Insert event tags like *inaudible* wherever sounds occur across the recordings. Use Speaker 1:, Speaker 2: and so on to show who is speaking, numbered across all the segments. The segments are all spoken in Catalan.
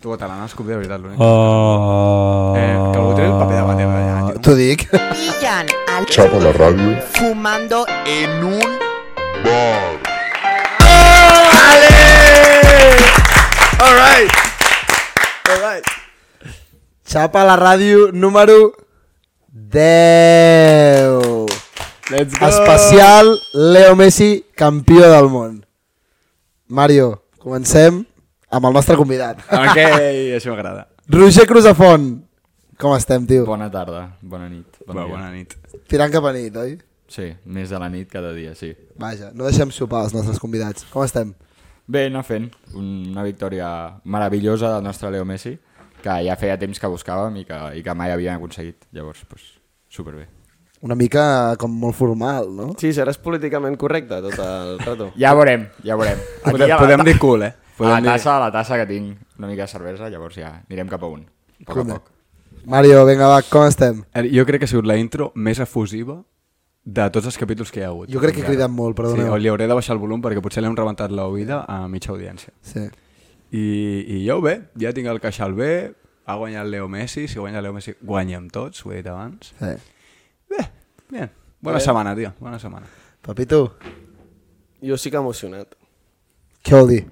Speaker 1: Tu, te l'han escopit, de veritat, l'únic.
Speaker 2: Oh.
Speaker 1: Eh, que algú tregui el paper de vàter d'allà, tio.
Speaker 3: T'ho dic.
Speaker 4: pillan al
Speaker 5: Chapa la radio.
Speaker 4: fumando
Speaker 5: En un bar.
Speaker 3: *laughs* Xapa la ràdio número 10.
Speaker 1: Let's
Speaker 3: Especial Leo Messi, campió del món. Mario, comencem amb el nostre convidat.
Speaker 1: Ok, això m'agrada.
Speaker 3: Roger Cruzafont. Com estem, tio?
Speaker 6: Bona tarda, bona nit. Bon
Speaker 1: Bona,
Speaker 6: dia.
Speaker 1: bona nit.
Speaker 3: Tirant cap a nit, oi?
Speaker 6: Sí, més de la nit cada dia, sí.
Speaker 3: Vaja, no deixem sopar els nostres convidats. Com estem?
Speaker 6: Bé, anar fent un- una victòria meravellosa del nostre Leo Messi, que ja feia temps que buscàvem i que, i que mai havíem aconseguit. Llavors, doncs, superbé.
Speaker 3: Una mica com molt formal, no?
Speaker 7: Sí, seràs políticament correcte tot el rato.
Speaker 6: Ja veurem, ja veurem.
Speaker 1: Podem, podem dir cool, eh?
Speaker 6: A la
Speaker 1: Podem dir...
Speaker 6: tassa, a la tassa que tinc una mica de cervesa, llavors ja anirem cap a un. A poc a
Speaker 3: Cool.
Speaker 6: poc.
Speaker 3: Mario, vinga, va, com estem?
Speaker 1: Eh, Jo crec que ha sigut la intro més efusiva de tots els capítols que hi ha hagut.
Speaker 3: Jo crec que he cridat molt,
Speaker 1: Sí,
Speaker 3: perdoneu.
Speaker 1: o li hauré de baixar el volum perquè potser l'hem rebentat l'oïda a mitja audiència.
Speaker 3: Sí.
Speaker 1: I, I jo bé, ja tinc el queixal bé, ha guanyat Leo Messi, si guanya Leo Messi guanyem tots, ho he dit abans.
Speaker 3: sí.
Speaker 1: Bé, bien. Bona setmana, tio, bona setmana.
Speaker 3: Papito,
Speaker 7: Jo sí que emocionat.
Speaker 3: què vol dir?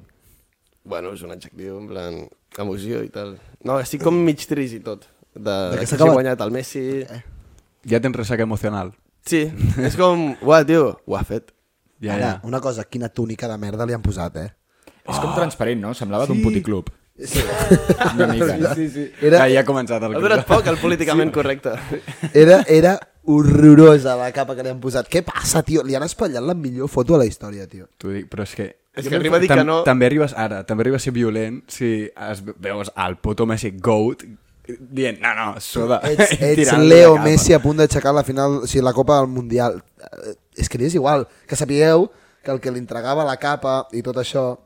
Speaker 7: Bueno, és un adjectiu, en plan, emoció i tal. No, estic com mig trist i tot. De,
Speaker 3: De
Speaker 7: de
Speaker 3: que
Speaker 7: que
Speaker 3: s'ha
Speaker 7: s'ha
Speaker 3: acabat. Eh.
Speaker 7: guanyat el Messi.
Speaker 1: Ja tens ressaca emocional.
Speaker 7: Sí, és com, uah, tio, ho ha fet.
Speaker 1: Ja,
Speaker 3: Ara,
Speaker 1: ja.
Speaker 3: una cosa, quina túnica de merda li han posat, eh?
Speaker 6: És com transparent, no? Semblava d'un puticlub.
Speaker 3: Sí.
Speaker 6: Una mica.
Speaker 3: sí, sí.
Speaker 1: Era...
Speaker 3: Era,
Speaker 1: Ja, ja ha començat el
Speaker 7: Ha durat poc el políticament correcte.
Speaker 3: era, era horrorosa la capa que li han posat. Què passa, tio? Li han espatllat la millor foto a la història, tio.
Speaker 1: T'ho dic, però és que...
Speaker 7: És que arriba a dir que no.
Speaker 1: També arribes ara, també arribes a ser violent si es, veus al puto Messi Goat dient, no, no, soda.
Speaker 3: Ets,
Speaker 1: *laughs* i
Speaker 3: ets
Speaker 1: tirant-li la
Speaker 3: Leo
Speaker 1: capa.
Speaker 3: Messi a punt d'aixecar la final, o sigui, la Copa del Mundial. Eh, És que li és igual. Que sapigueu que el que li entregava la capa i tot això,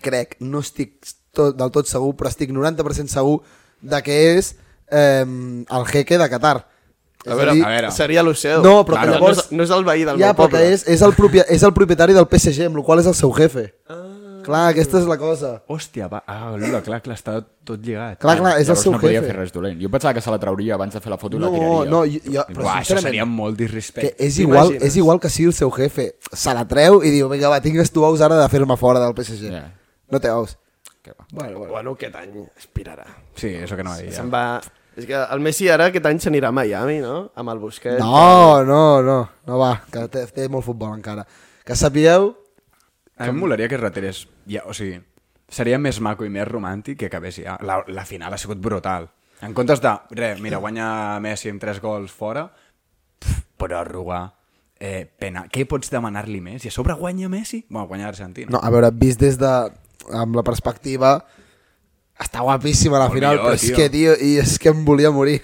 Speaker 3: crec, no estic tot, del tot segur, però estic 90% segur de que és eh, el jeque de Qatar. És
Speaker 7: A veure,
Speaker 3: dir,
Speaker 1: a veure.
Speaker 7: Seria l'Oceo.
Speaker 3: No, però que
Speaker 7: Claro.
Speaker 3: llavors-
Speaker 7: No és, no és el veí del
Speaker 3: ja,
Speaker 7: meu
Speaker 3: però que
Speaker 7: poble.
Speaker 3: és, és, el propia, és el propietari del PSG, amb el qual és el seu jefe. Ah. Clar, aquesta és la cosa.
Speaker 1: Hòstia, va, ah, l'Ula, clar, clar, està tot lligat.
Speaker 3: Ah, Clar, clar, és el
Speaker 6: Llavors
Speaker 3: seu
Speaker 6: no podia
Speaker 3: jefe.
Speaker 6: fer res dolent. Jo pensava que se la trauria abans de fer la foto i
Speaker 3: No,
Speaker 6: la tiraria.
Speaker 3: no, jo- jo- però
Speaker 1: Però Uah, això
Speaker 3: sincerament-
Speaker 1: seria molt
Speaker 3: Que
Speaker 1: disrespecte.
Speaker 3: és igual,
Speaker 7: T'imagines?
Speaker 3: és igual que sigui el seu jefe. Se la treu i diu, vinga, va, tingues tu ous ara de fer-me fora del PSG.
Speaker 6: Ja.
Speaker 3: No té ous.
Speaker 6: Que va.
Speaker 7: Bueno, bueno. bueno, aquest any aspirarà.
Speaker 1: Sí, això que no va dir. Ja.
Speaker 7: Se'n va... És que el Messi ara aquest any s'anirà a Miami, no? Amb el Busquets.
Speaker 3: No, no, no, no va, que té, té molt futbol encara. Que sapigueu,
Speaker 1: A mi em molaria que es retirés. Ja, o sigui, seria més maco i més romàntic que acabés ja. La, la final ha sigut brutal. En comptes de, re, mira, guanya Messi amb tres gols fora, pf, pròrroga, eh, pena. Què pots demanar-li més? I a sobre guanya Messi? Bueno, guanya Argentina.
Speaker 3: no, a veure, vist des de, amb la perspectiva, està guapíssima la
Speaker 1: Molt
Speaker 3: final,
Speaker 1: millor,
Speaker 3: però és
Speaker 1: tio.
Speaker 3: que, tio, i és que em volia morir.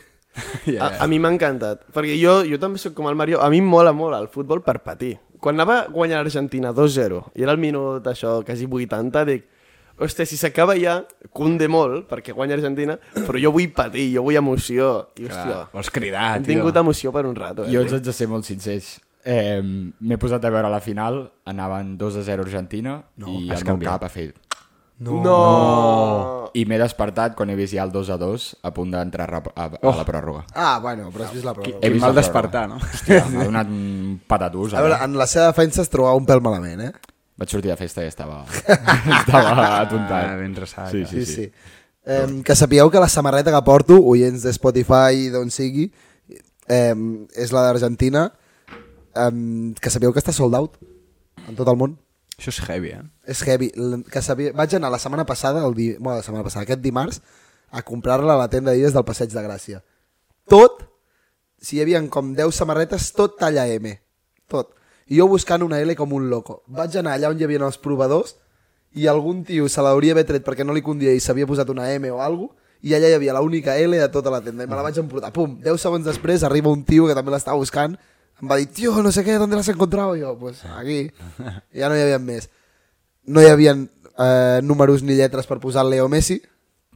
Speaker 1: Ja,
Speaker 7: A, a mi m'ha encantat, perquè jo, jo també sóc com el Mario, a mi em mola molt el futbol per patir. Quan anava guanyant l'Argentina 2-0, i era el minut, això, quasi 80, dic, hòstia, si s'acaba ja, cunde molt, perquè guanya Argentina, però jo vull patir, jo vull emoció. I, hòstia,
Speaker 1: Clar, Ah, vols cridar,
Speaker 7: hem
Speaker 1: tio.
Speaker 7: tingut emoció per un rato. Eh?
Speaker 6: Jo us haig de ser molt sincers. Eh, M'he posat a veure la final, anaven 2 a 0 Argentina no, i
Speaker 1: has
Speaker 6: el meu
Speaker 1: canviat.
Speaker 6: cap ha fet...
Speaker 7: No! no.
Speaker 6: I m'he despertat quan he vist ja el 2 a 2 a punt d'entrar a, a, a la pròrroga.
Speaker 3: Ah, bueno, però has vist la prova.
Speaker 1: Quin
Speaker 6: vist
Speaker 1: mal
Speaker 6: la pròrroga.
Speaker 1: despertar, no?
Speaker 6: Hòstia, m'ha donat un patatús. eh?
Speaker 3: A veure, en la seva defensa es trobava un pèl malament, eh?
Speaker 6: Vaig sortir de festa i estava, *laughs* estava atontat.
Speaker 1: Ah, ben ressaca.
Speaker 6: Sí, sí,
Speaker 3: Sí,
Speaker 6: sí.
Speaker 3: sí. Em, que sapigueu que la samarreta que porto, oients de Spotify i d'on sigui, em, és la d'Argentina, em, que sapigueu que està sold out en tot el món.
Speaker 1: Això és heavy, eh?
Speaker 3: És heavy. L- Que sabia... Vaig anar la setmana passada, el di... bueno, la setmana passada, aquest dimarts, a comprar-la a la tenda d'illes del Passeig de Gràcia. Tot, si hi havia com 10 samarretes, tot talla M. Tot. I jo buscant una L com un loco. Vaig anar allà on hi havia els provadors i algun tio se l'hauria haver tret perquè no li condia i s'havia posat una M o alguna cosa, i allà hi havia l'única L de tota la tenda i me la vaig emportar. Pum, 10 segons després arriba un tio que també l'estava buscant em va dir, tio, no sé què, d'on l'has encontrat? I jo, pues aquí. I ja no hi havia més no hi havia eh, números ni lletres per posar Leo Messi.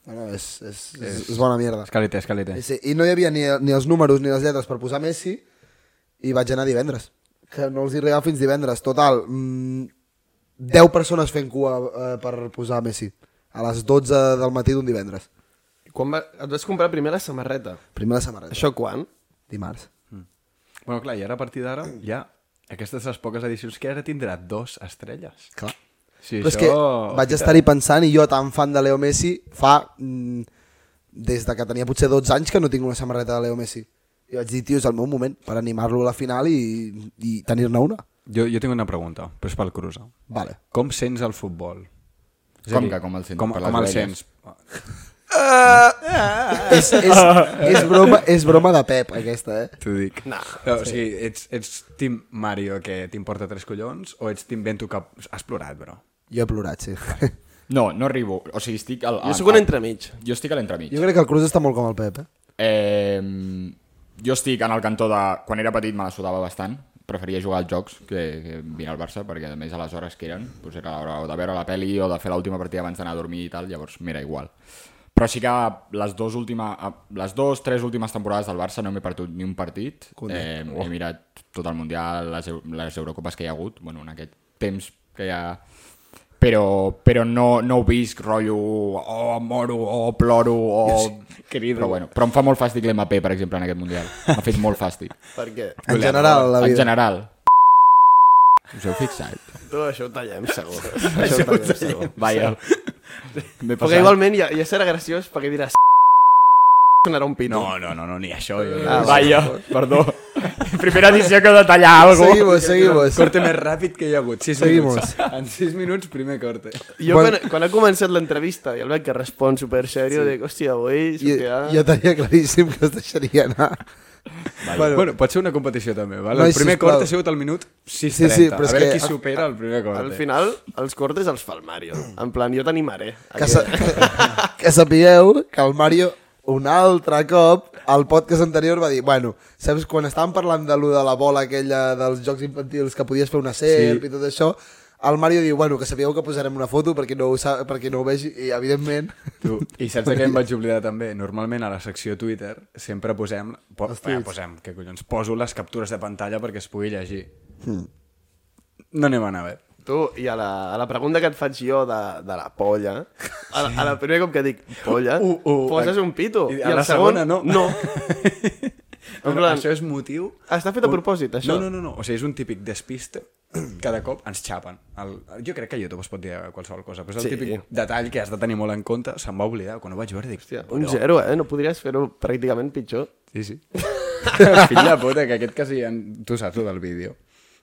Speaker 3: Bueno, és, és, és, és bona mierda.
Speaker 1: Escalite, escalite.
Speaker 3: Sí, I no hi havia ni, ni els números ni les lletres per posar Messi i vaig anar divendres. Que no els hi regal fins divendres. Total, mm, 10 persones fent cua eh, per posar Messi. a les 12 del matí d'un divendres.
Speaker 7: Quan va... et vas comprar primer la samarreta.
Speaker 3: Primera samarreta.
Speaker 7: Això quan?
Speaker 3: Dimarts.
Speaker 1: Bueno, clar, i ara a partir d'ara ja... Aquestes les poques edicions que ara tindrà dos estrelles.
Speaker 3: Clar.
Speaker 1: Sí,
Speaker 3: Però és que vaig estar-hi pensant i jo tan fan de Leo Messi fa... mm, des de que tenia potser 12 anys que no tinc una samarreta de Leo Messi. I vaig dir, tio, és el meu moment per animar-lo a la final i, i tenir-ne una.
Speaker 1: Jo, jo tinc una pregunta, però és pel Cruza.
Speaker 3: Vale.
Speaker 1: Com sents el futbol? És a
Speaker 6: Com
Speaker 1: dir,
Speaker 6: que com el sents?
Speaker 1: Com,
Speaker 6: Per les
Speaker 1: com el
Speaker 6: orelles.
Speaker 1: sents?
Speaker 3: És, és, és, broma, és broma de Pep, aquesta, eh?
Speaker 1: T'ho dic. No, no, o sigui, ets, ets Team Mario que t'importa tres collons o ets Team Bento que has plorat, bro?
Speaker 3: Jo he plorat, sí.
Speaker 6: No, no arribo. O sigui, estic al...
Speaker 7: Jo
Speaker 6: al-
Speaker 7: sóc un
Speaker 6: al-
Speaker 7: entremig.
Speaker 6: Jo estic a l'entremig.
Speaker 3: Jo crec que el Cruz està molt com el Pep, eh?
Speaker 6: Eh, jo estic en el cantó de... Quan era petit me la sudava bastant. Preferia jugar als jocs que, que mirar al Barça, perquè a més a les hores que eren doncs era l'hora o de veure la peli o de fer l'última partida abans d'anar a dormir i tal, llavors m'era igual. Però sí que les dues, última, les dues, tres últimes temporades del Barça no m'he perdut ni un partit. Eh, he mirat tot el Mundial, les, Eu- les Eurocopes que hi ha hagut, bueno, en aquest temps que hi ha però, però no, no ho visc rotllo o oh, moro, o oh, ploro o...
Speaker 3: *laughs*
Speaker 6: Oh... Però, bueno, però em fa molt fàstic l'MP, per exemple, en aquest Mundial. M'ha fet molt fàstic.
Speaker 7: Per què?
Speaker 3: *laughs* En general, la
Speaker 6: en
Speaker 3: vida.
Speaker 6: general. Us heu fixat?
Speaker 7: Tu això ho tallem, segur. això ho tallem, segur.
Speaker 6: Vaja. M'he
Speaker 7: Perquè
Speaker 6: passat.
Speaker 7: igualment ja, ja serà graciós perquè diràs sonarà un pito.
Speaker 1: No, no, no, no ni això. Jo,
Speaker 7: Ah,
Speaker 1: jo.
Speaker 6: Vaja,
Speaker 3: *laughs*
Speaker 6: perdó. Primera edició que he de tallar alguna cosa.
Speaker 3: Seguimos, seguimos.
Speaker 1: Corte més ràpid que hi ha hagut. 6
Speaker 3: Seguimos.
Speaker 1: minuts. En 6 minuts, primer corte.
Speaker 3: Bueno.
Speaker 7: Jo bueno. quan, quan ha començat l'entrevista i el veig que respon super serio, sí. dic, hòstia, avui
Speaker 3: Jo,
Speaker 7: sortirà...
Speaker 3: jo tenia claríssim que es deixaria anar.
Speaker 1: Bueno, bueno, pot ser una competició també, val?
Speaker 3: Nois,
Speaker 1: el primer
Speaker 3: sisplau.
Speaker 1: corte ha sigut al minut 6.30.
Speaker 3: Sí, sí, però és
Speaker 1: a veure
Speaker 3: que-
Speaker 1: qui supera el primer corte.
Speaker 7: Al final, els cortes els fa el Mario. En plan, jo t'animaré.
Speaker 3: Que, sa que sapigueu que el Mario un altre cop al podcast anterior va dir, bueno, saps quan estàvem parlant de lo de la bola aquella dels jocs infantils que podies fer una serp sí. i tot això, el Mario diu, bueno, que sapigueu que posarem una foto perquè no ho, sa- perquè no ho vegi i evidentment
Speaker 1: Tu, I saps de què em vaig oblidar també? Normalment a la secció Twitter sempre posem... Po
Speaker 3: Els
Speaker 1: eh,
Speaker 3: tuits.
Speaker 1: posem, què collons? Poso les captures de pantalla perquè es pugui llegir.
Speaker 7: Hmm.
Speaker 1: No anem a anar bé.
Speaker 7: Tu, i a la, a la pregunta que et faig jo de, de la polla, a la, a la primera cop que dic polla,
Speaker 1: Uh, uh,
Speaker 7: poses
Speaker 1: a-
Speaker 7: un pito.
Speaker 1: i
Speaker 7: I,
Speaker 1: a
Speaker 7: al
Speaker 1: la
Speaker 7: segon,
Speaker 1: segona no. *laughs*
Speaker 7: *laughs*
Speaker 1: No,
Speaker 7: No. En
Speaker 1: no,
Speaker 7: plan,
Speaker 1: això és motiu...
Speaker 7: Està fet a propòsit, això.
Speaker 1: No, no, no, no. O sigui, és un típic despiste. Cada cop ens xapen. El, jo crec que a YouTube es pot dir qualsevol cosa, però és el
Speaker 7: Sí.
Speaker 1: sí. típic detall que has de tenir molt en compte. Se'm va oblidar. Quan ho vaig veure dic...
Speaker 7: Hòstia, un zero, eh? No podries fer-ho pràcticament pitjor.
Speaker 1: Sí, sí. *laughs* Fill de puta, que aquest quasi... En... Tu saps, tu, del vídeo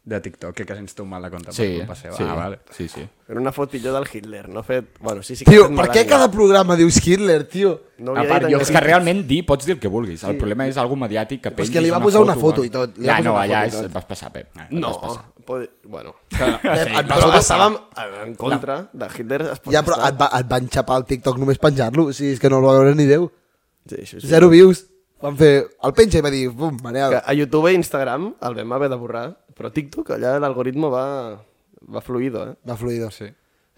Speaker 1: de TikTok, que quasi ens tomba la compte
Speaker 6: Sí,
Speaker 1: per culpa seva.
Speaker 6: sí,
Speaker 1: Ah, vale.
Speaker 6: sí, sí.
Speaker 7: Era una fotilló del Hitler, no fet... Bueno, sí, sí que
Speaker 3: tio,
Speaker 7: fet
Speaker 3: per què
Speaker 7: malament.
Speaker 3: cada programa dius Hitler, tio?
Speaker 7: No
Speaker 1: A
Speaker 7: havia
Speaker 1: part,
Speaker 7: dit
Speaker 1: jo
Speaker 7: encara.
Speaker 6: És que realment dir, pots dir el que vulguis. El problema és algo mediàtic que
Speaker 3: Però és
Speaker 6: pengis
Speaker 3: que li va posar una foto
Speaker 6: o-
Speaker 3: i tot, li va posar
Speaker 6: Ja, Ah, no,
Speaker 3: una
Speaker 6: allà
Speaker 3: foto i
Speaker 6: és,
Speaker 3: tot.
Speaker 6: et vas passar, Pep. Et
Speaker 7: No,
Speaker 6: vas passar.
Speaker 7: pot... bueno.
Speaker 3: Et, et
Speaker 7: Però
Speaker 3: vas passar.
Speaker 7: estàvem en contra de Hitler. Es pot
Speaker 3: Ja, però
Speaker 7: estar.
Speaker 3: et, va, et van xapar el TikTok només penjant-lo, o sigui, és que no el va veure ni Déu.
Speaker 7: Sí, això sí.
Speaker 3: Zero views. Van fer el penja i va dir, bum, maneada.
Speaker 7: Que a YouTube i Instagram el vam haver de borrar, però TikTok allà l'algoritme va, va fluido, eh?
Speaker 3: Va fluido.
Speaker 1: Sí.
Speaker 3: Sí,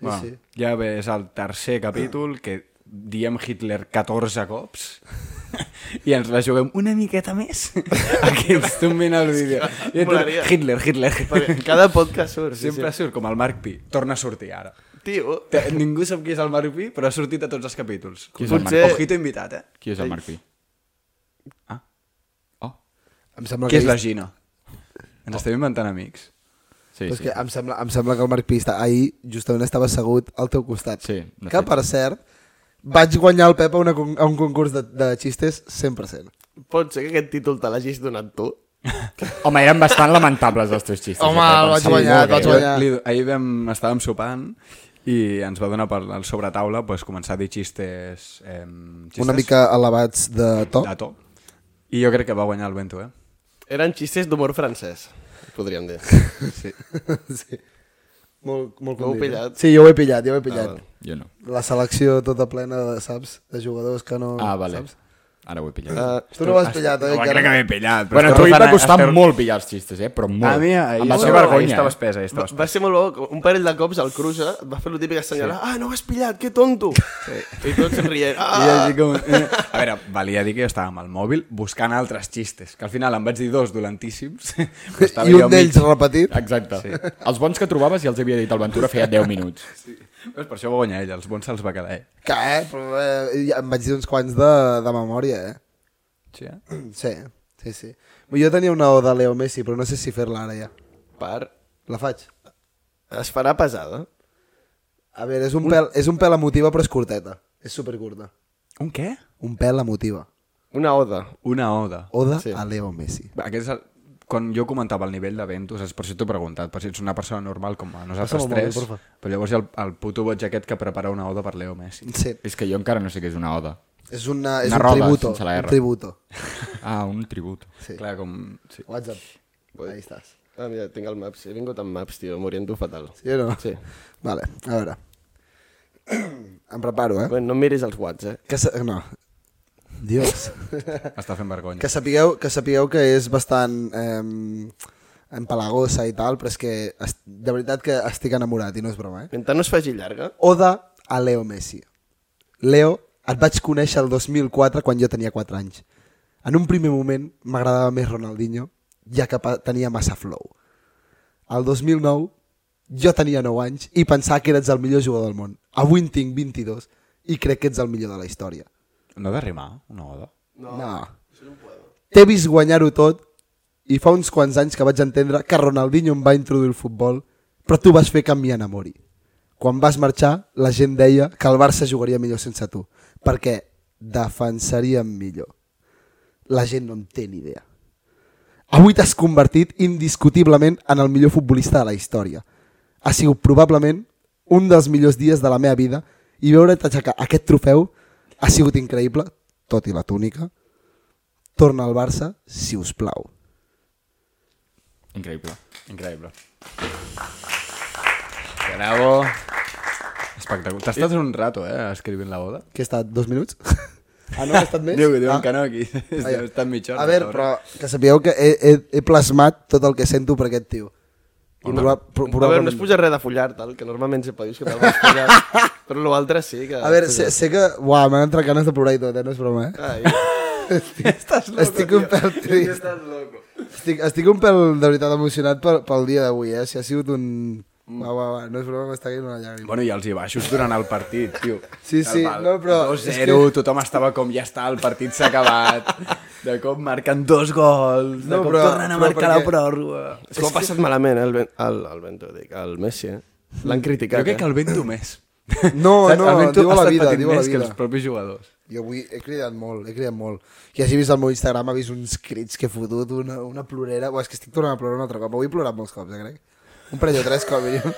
Speaker 1: Bueno,
Speaker 3: sí.
Speaker 1: Ja ve, és el tercer capítol que diem Hitler 14 cops *laughs* i ens la juguem una miqueta més *laughs* a que ens tombin el vídeo. I tu,
Speaker 7: Molaria.
Speaker 1: Hitler, Hitler.
Speaker 7: *laughs*
Speaker 1: *laughs*
Speaker 7: Perquè cada podcast surt, sí,
Speaker 1: Sempre
Speaker 7: sí.
Speaker 1: surt com el Marc Pi. Torna a sortir ara.
Speaker 7: Tio,
Speaker 1: Te- Ningú sap qui és el Marc Pi, però ha sortit a tots els capítols.
Speaker 6: Qui és el
Speaker 7: Potser-
Speaker 6: Marc?
Speaker 1: Ojito invitat, eh?
Speaker 6: Qui és el Marc Pi?
Speaker 1: Ah.
Speaker 6: Oh,
Speaker 3: Em sembla
Speaker 1: Qui és
Speaker 3: he
Speaker 1: la
Speaker 3: vist-
Speaker 1: Gina? Ens estem inventant amics.
Speaker 6: sí,
Speaker 3: Però és
Speaker 6: sí.
Speaker 3: que em sembla, em sembla que el Marc Pista ahir justament estava assegut al teu costat.
Speaker 6: Sí, de
Speaker 3: que,
Speaker 6: fet.
Speaker 3: per cert, vaig guanyar el Pep a, una, con- a un concurs de, de xistes 100%.
Speaker 7: pot ser que aquest títol te l'hagis donat tu?
Speaker 6: Home, eren bastant lamentables els teus xistes.
Speaker 3: Home,
Speaker 6: eh, Pep,
Speaker 3: el
Speaker 6: em
Speaker 3: vaig
Speaker 6: sap
Speaker 3: guanyar,
Speaker 6: molt
Speaker 3: el vaig
Speaker 6: greu.
Speaker 3: guanyar.
Speaker 1: Li, ahir vam, estàvem sopant i ens va donar per al sobretaula pues, començar a dir xistes... Eh, xistes
Speaker 3: Una mica elevats de to.
Speaker 1: de to. I jo crec que va guanyar el Bento, eh?
Speaker 7: Eren xistes d'humor francès, podríem dir.
Speaker 1: *laughs* Sí.
Speaker 3: *laughs* sí. Molt, molt
Speaker 7: Ho heu
Speaker 3: condit, eh?
Speaker 7: pillat?
Speaker 3: Sí, jo ho he pillat, jo ho he pillat.
Speaker 7: val.
Speaker 6: Jo no.
Speaker 3: la selecció tota plena, de, saps? De jugadors que no...
Speaker 6: Ah, vale.
Speaker 3: Saps?
Speaker 6: Ara ho he pillat.
Speaker 7: Uh,
Speaker 3: Tu no ho has pillat, oi?
Speaker 1: Home, crec que m'he pillat.
Speaker 6: Bueno, a tu
Speaker 1: Esther
Speaker 6: hi va
Speaker 1: Fernan-
Speaker 6: costar
Speaker 1: Esther-
Speaker 6: molt pillar els xistes, eh? Però molt.
Speaker 1: A mi, ahir,
Speaker 6: em va ser
Speaker 1: ahir
Speaker 6: vergonya.
Speaker 1: estava
Speaker 6: eh?
Speaker 1: espès, ahir estava espès.
Speaker 7: va ser molt bo, un parell de cops al Cruza et va fer el típic assenyalar, sí. ah, no ho has pillat, que tonto! Sí. I tots rient,
Speaker 1: I jo
Speaker 7: ah!
Speaker 1: dic com... A veure, valia dir que jo estava amb el mòbil buscant altres xistes, que al final em vaig dir dos dolentíssims. *laughs* però estava
Speaker 3: I
Speaker 1: jo
Speaker 3: un
Speaker 1: mig-
Speaker 3: d'ells repetit.
Speaker 6: Exacte. Els bons que trobaves ja els havia dit el Ventura feia 10 minuts.
Speaker 1: Pues per això va guanyar ell, els bons se'ls va quedar ell.
Speaker 3: Que, eh? Però, eh, ja em vaig dir uns quants de, de memòria, eh?
Speaker 1: Sí, eh?
Speaker 3: Sí, sí, sí. Jo tenia una O de Leo Messi, però no sé si fer-la ara ja.
Speaker 7: Per...
Speaker 3: La faig.
Speaker 7: Es farà pesada.
Speaker 3: A veure, és un, pèl, és un pèl emotiva, però és curteta. És supercurta.
Speaker 1: Un què?
Speaker 3: Un pèl emotiva.
Speaker 7: Una oda.
Speaker 1: Una oda.
Speaker 3: Oda
Speaker 7: Sí.
Speaker 3: sí. a Leo Messi.
Speaker 1: Aquest és el... Quan jo comentava el nivell de Ventus, és per això t'ho he preguntat, per si ets una persona normal com a nosaltres
Speaker 3: Passa'm el mòbil,
Speaker 1: tres,
Speaker 3: porfa.
Speaker 1: però llavors hi ha el, el puto boig aquest que prepara una oda per Leo Messi.
Speaker 3: Sí.
Speaker 6: És que jo encara no sé què és una oda.
Speaker 3: És, una, és
Speaker 6: Una
Speaker 3: un
Speaker 6: roda,
Speaker 3: tributo.
Speaker 6: sense la
Speaker 3: Un
Speaker 6: R.
Speaker 3: tributo.
Speaker 6: Ah, un tribut.
Speaker 3: Sí.
Speaker 1: Clar, com... Sí.
Speaker 3: WhatsApp. Ahí estàs.
Speaker 7: Ah, mira, tinc el Maps. He vingut amb Maps, tio. M'oriento fatal.
Speaker 3: Sí o no?
Speaker 7: Sí.
Speaker 3: Vale, a veure. Em preparo, eh?
Speaker 7: Bueno, no em miris els whats, eh?
Speaker 3: Que sa... No. Dios.
Speaker 1: Està fent vergonya.
Speaker 3: *laughs* Que sapigueu que, sapigueu que és bastant eh, empalagosa i tal, però és que est- de veritat que estic enamorat i no és broma, eh?
Speaker 7: Mentre no es faci llarga,
Speaker 3: Oda a Leo Messi. Leo, et vaig conèixer el 2004 quan jo tenia 4 anys. En un primer moment m'agradava més Ronaldinho, ja que pa- tenia massa flow. El 2009 jo tenia 9 anys i pensava que eres el millor jugador del món. Avui en tinc 22 i crec que ets el millor de la història.
Speaker 1: No ha de rimar, una oda?
Speaker 3: No. no T'he vist guanyar-ho tot i fa uns quants anys que vaig entendre que Ronaldinho em va introduir al futbol, però tu vas fer que m'hi enamori. Quan vas marxar, la gent deia que el Barça jugaria millor sense tu, perquè defensaríem millor. La gent no en té ni idea. Avui t'has convertit indiscutiblement en el millor futbolista de la història. Ha sigut probablement un dels millors dies de la meva vida i veure't aixecar aquest trofeu ha sigut increïble, tot i la túnica. Torna al Barça, si us plau.
Speaker 6: Increïble.
Speaker 1: Increïble.
Speaker 6: Bravo.
Speaker 1: Espectacular. T'has estat un rato, eh, escrivint la oda?
Speaker 3: Què ha estat, dos
Speaker 1: *laughs*
Speaker 3: minuts? Ah, no, ha estat més?
Speaker 1: Diu, diuen
Speaker 3: ah.
Speaker 1: ah. que no, aquí. *laughs*
Speaker 3: Ah, ja.
Speaker 1: Esteu estat mitja hora.
Speaker 3: A veure, però que sapigueu que he, he, he plasmat tot el que sento per aquest tio. I proba, pro,
Speaker 7: A veure, no es
Speaker 3: probablement...
Speaker 7: puja res de follar, tal, que normalment sempre dius que te'l vas
Speaker 3: *laughs*
Speaker 7: follar. però l'altre sí que...
Speaker 3: A veure, sé, sé que... Uau, m'han entrat ganes de plorar i tot, eh? No és broma, eh?
Speaker 7: Ai,
Speaker 3: Estàs loco, estic un pèl trist.
Speaker 7: estàs loco.
Speaker 3: Estic, estic un pèl, de veritat, emocionat pel, pel dia d'avui, eh? Si ha sigut un... Va, va, va, no és broma, m'està caient una llàgrima.
Speaker 1: Bueno, i els hi baixos durant el partit, tio.
Speaker 3: Sí, sí, no, però-
Speaker 1: 2-0, tothom estava com, ja està, el partit s'ha acabat. De cop marquen dos gols, de
Speaker 3: No,
Speaker 1: cop
Speaker 3: però-
Speaker 1: tornen a
Speaker 3: però
Speaker 1: marcar la
Speaker 3: perquè-
Speaker 1: pròrroga.
Speaker 7: És que ho ha passat malament, eh, el, ben, el, el Bento, dic, el Messi, eh? L'han criticat,
Speaker 1: Jo crec que
Speaker 7: eh?
Speaker 1: el Vento més.
Speaker 3: No,
Speaker 1: Saps?
Speaker 3: no,
Speaker 1: el Vento
Speaker 3: diu a
Speaker 1: ha
Speaker 3: la
Speaker 1: estat
Speaker 3: vida,
Speaker 1: patint
Speaker 3: diu a la
Speaker 1: més que
Speaker 3: vida.
Speaker 1: els propis jugadors.
Speaker 3: Jo avui he cridat molt, he cridat molt. Qui hagi vist el meu Instagram ha vist uns crits que he fotut, una, una plorera... Buah, és que estic tornant a plorar un altre cop. Avui he plorat molts cops, eh, crec. Un parell o tres com a mínim.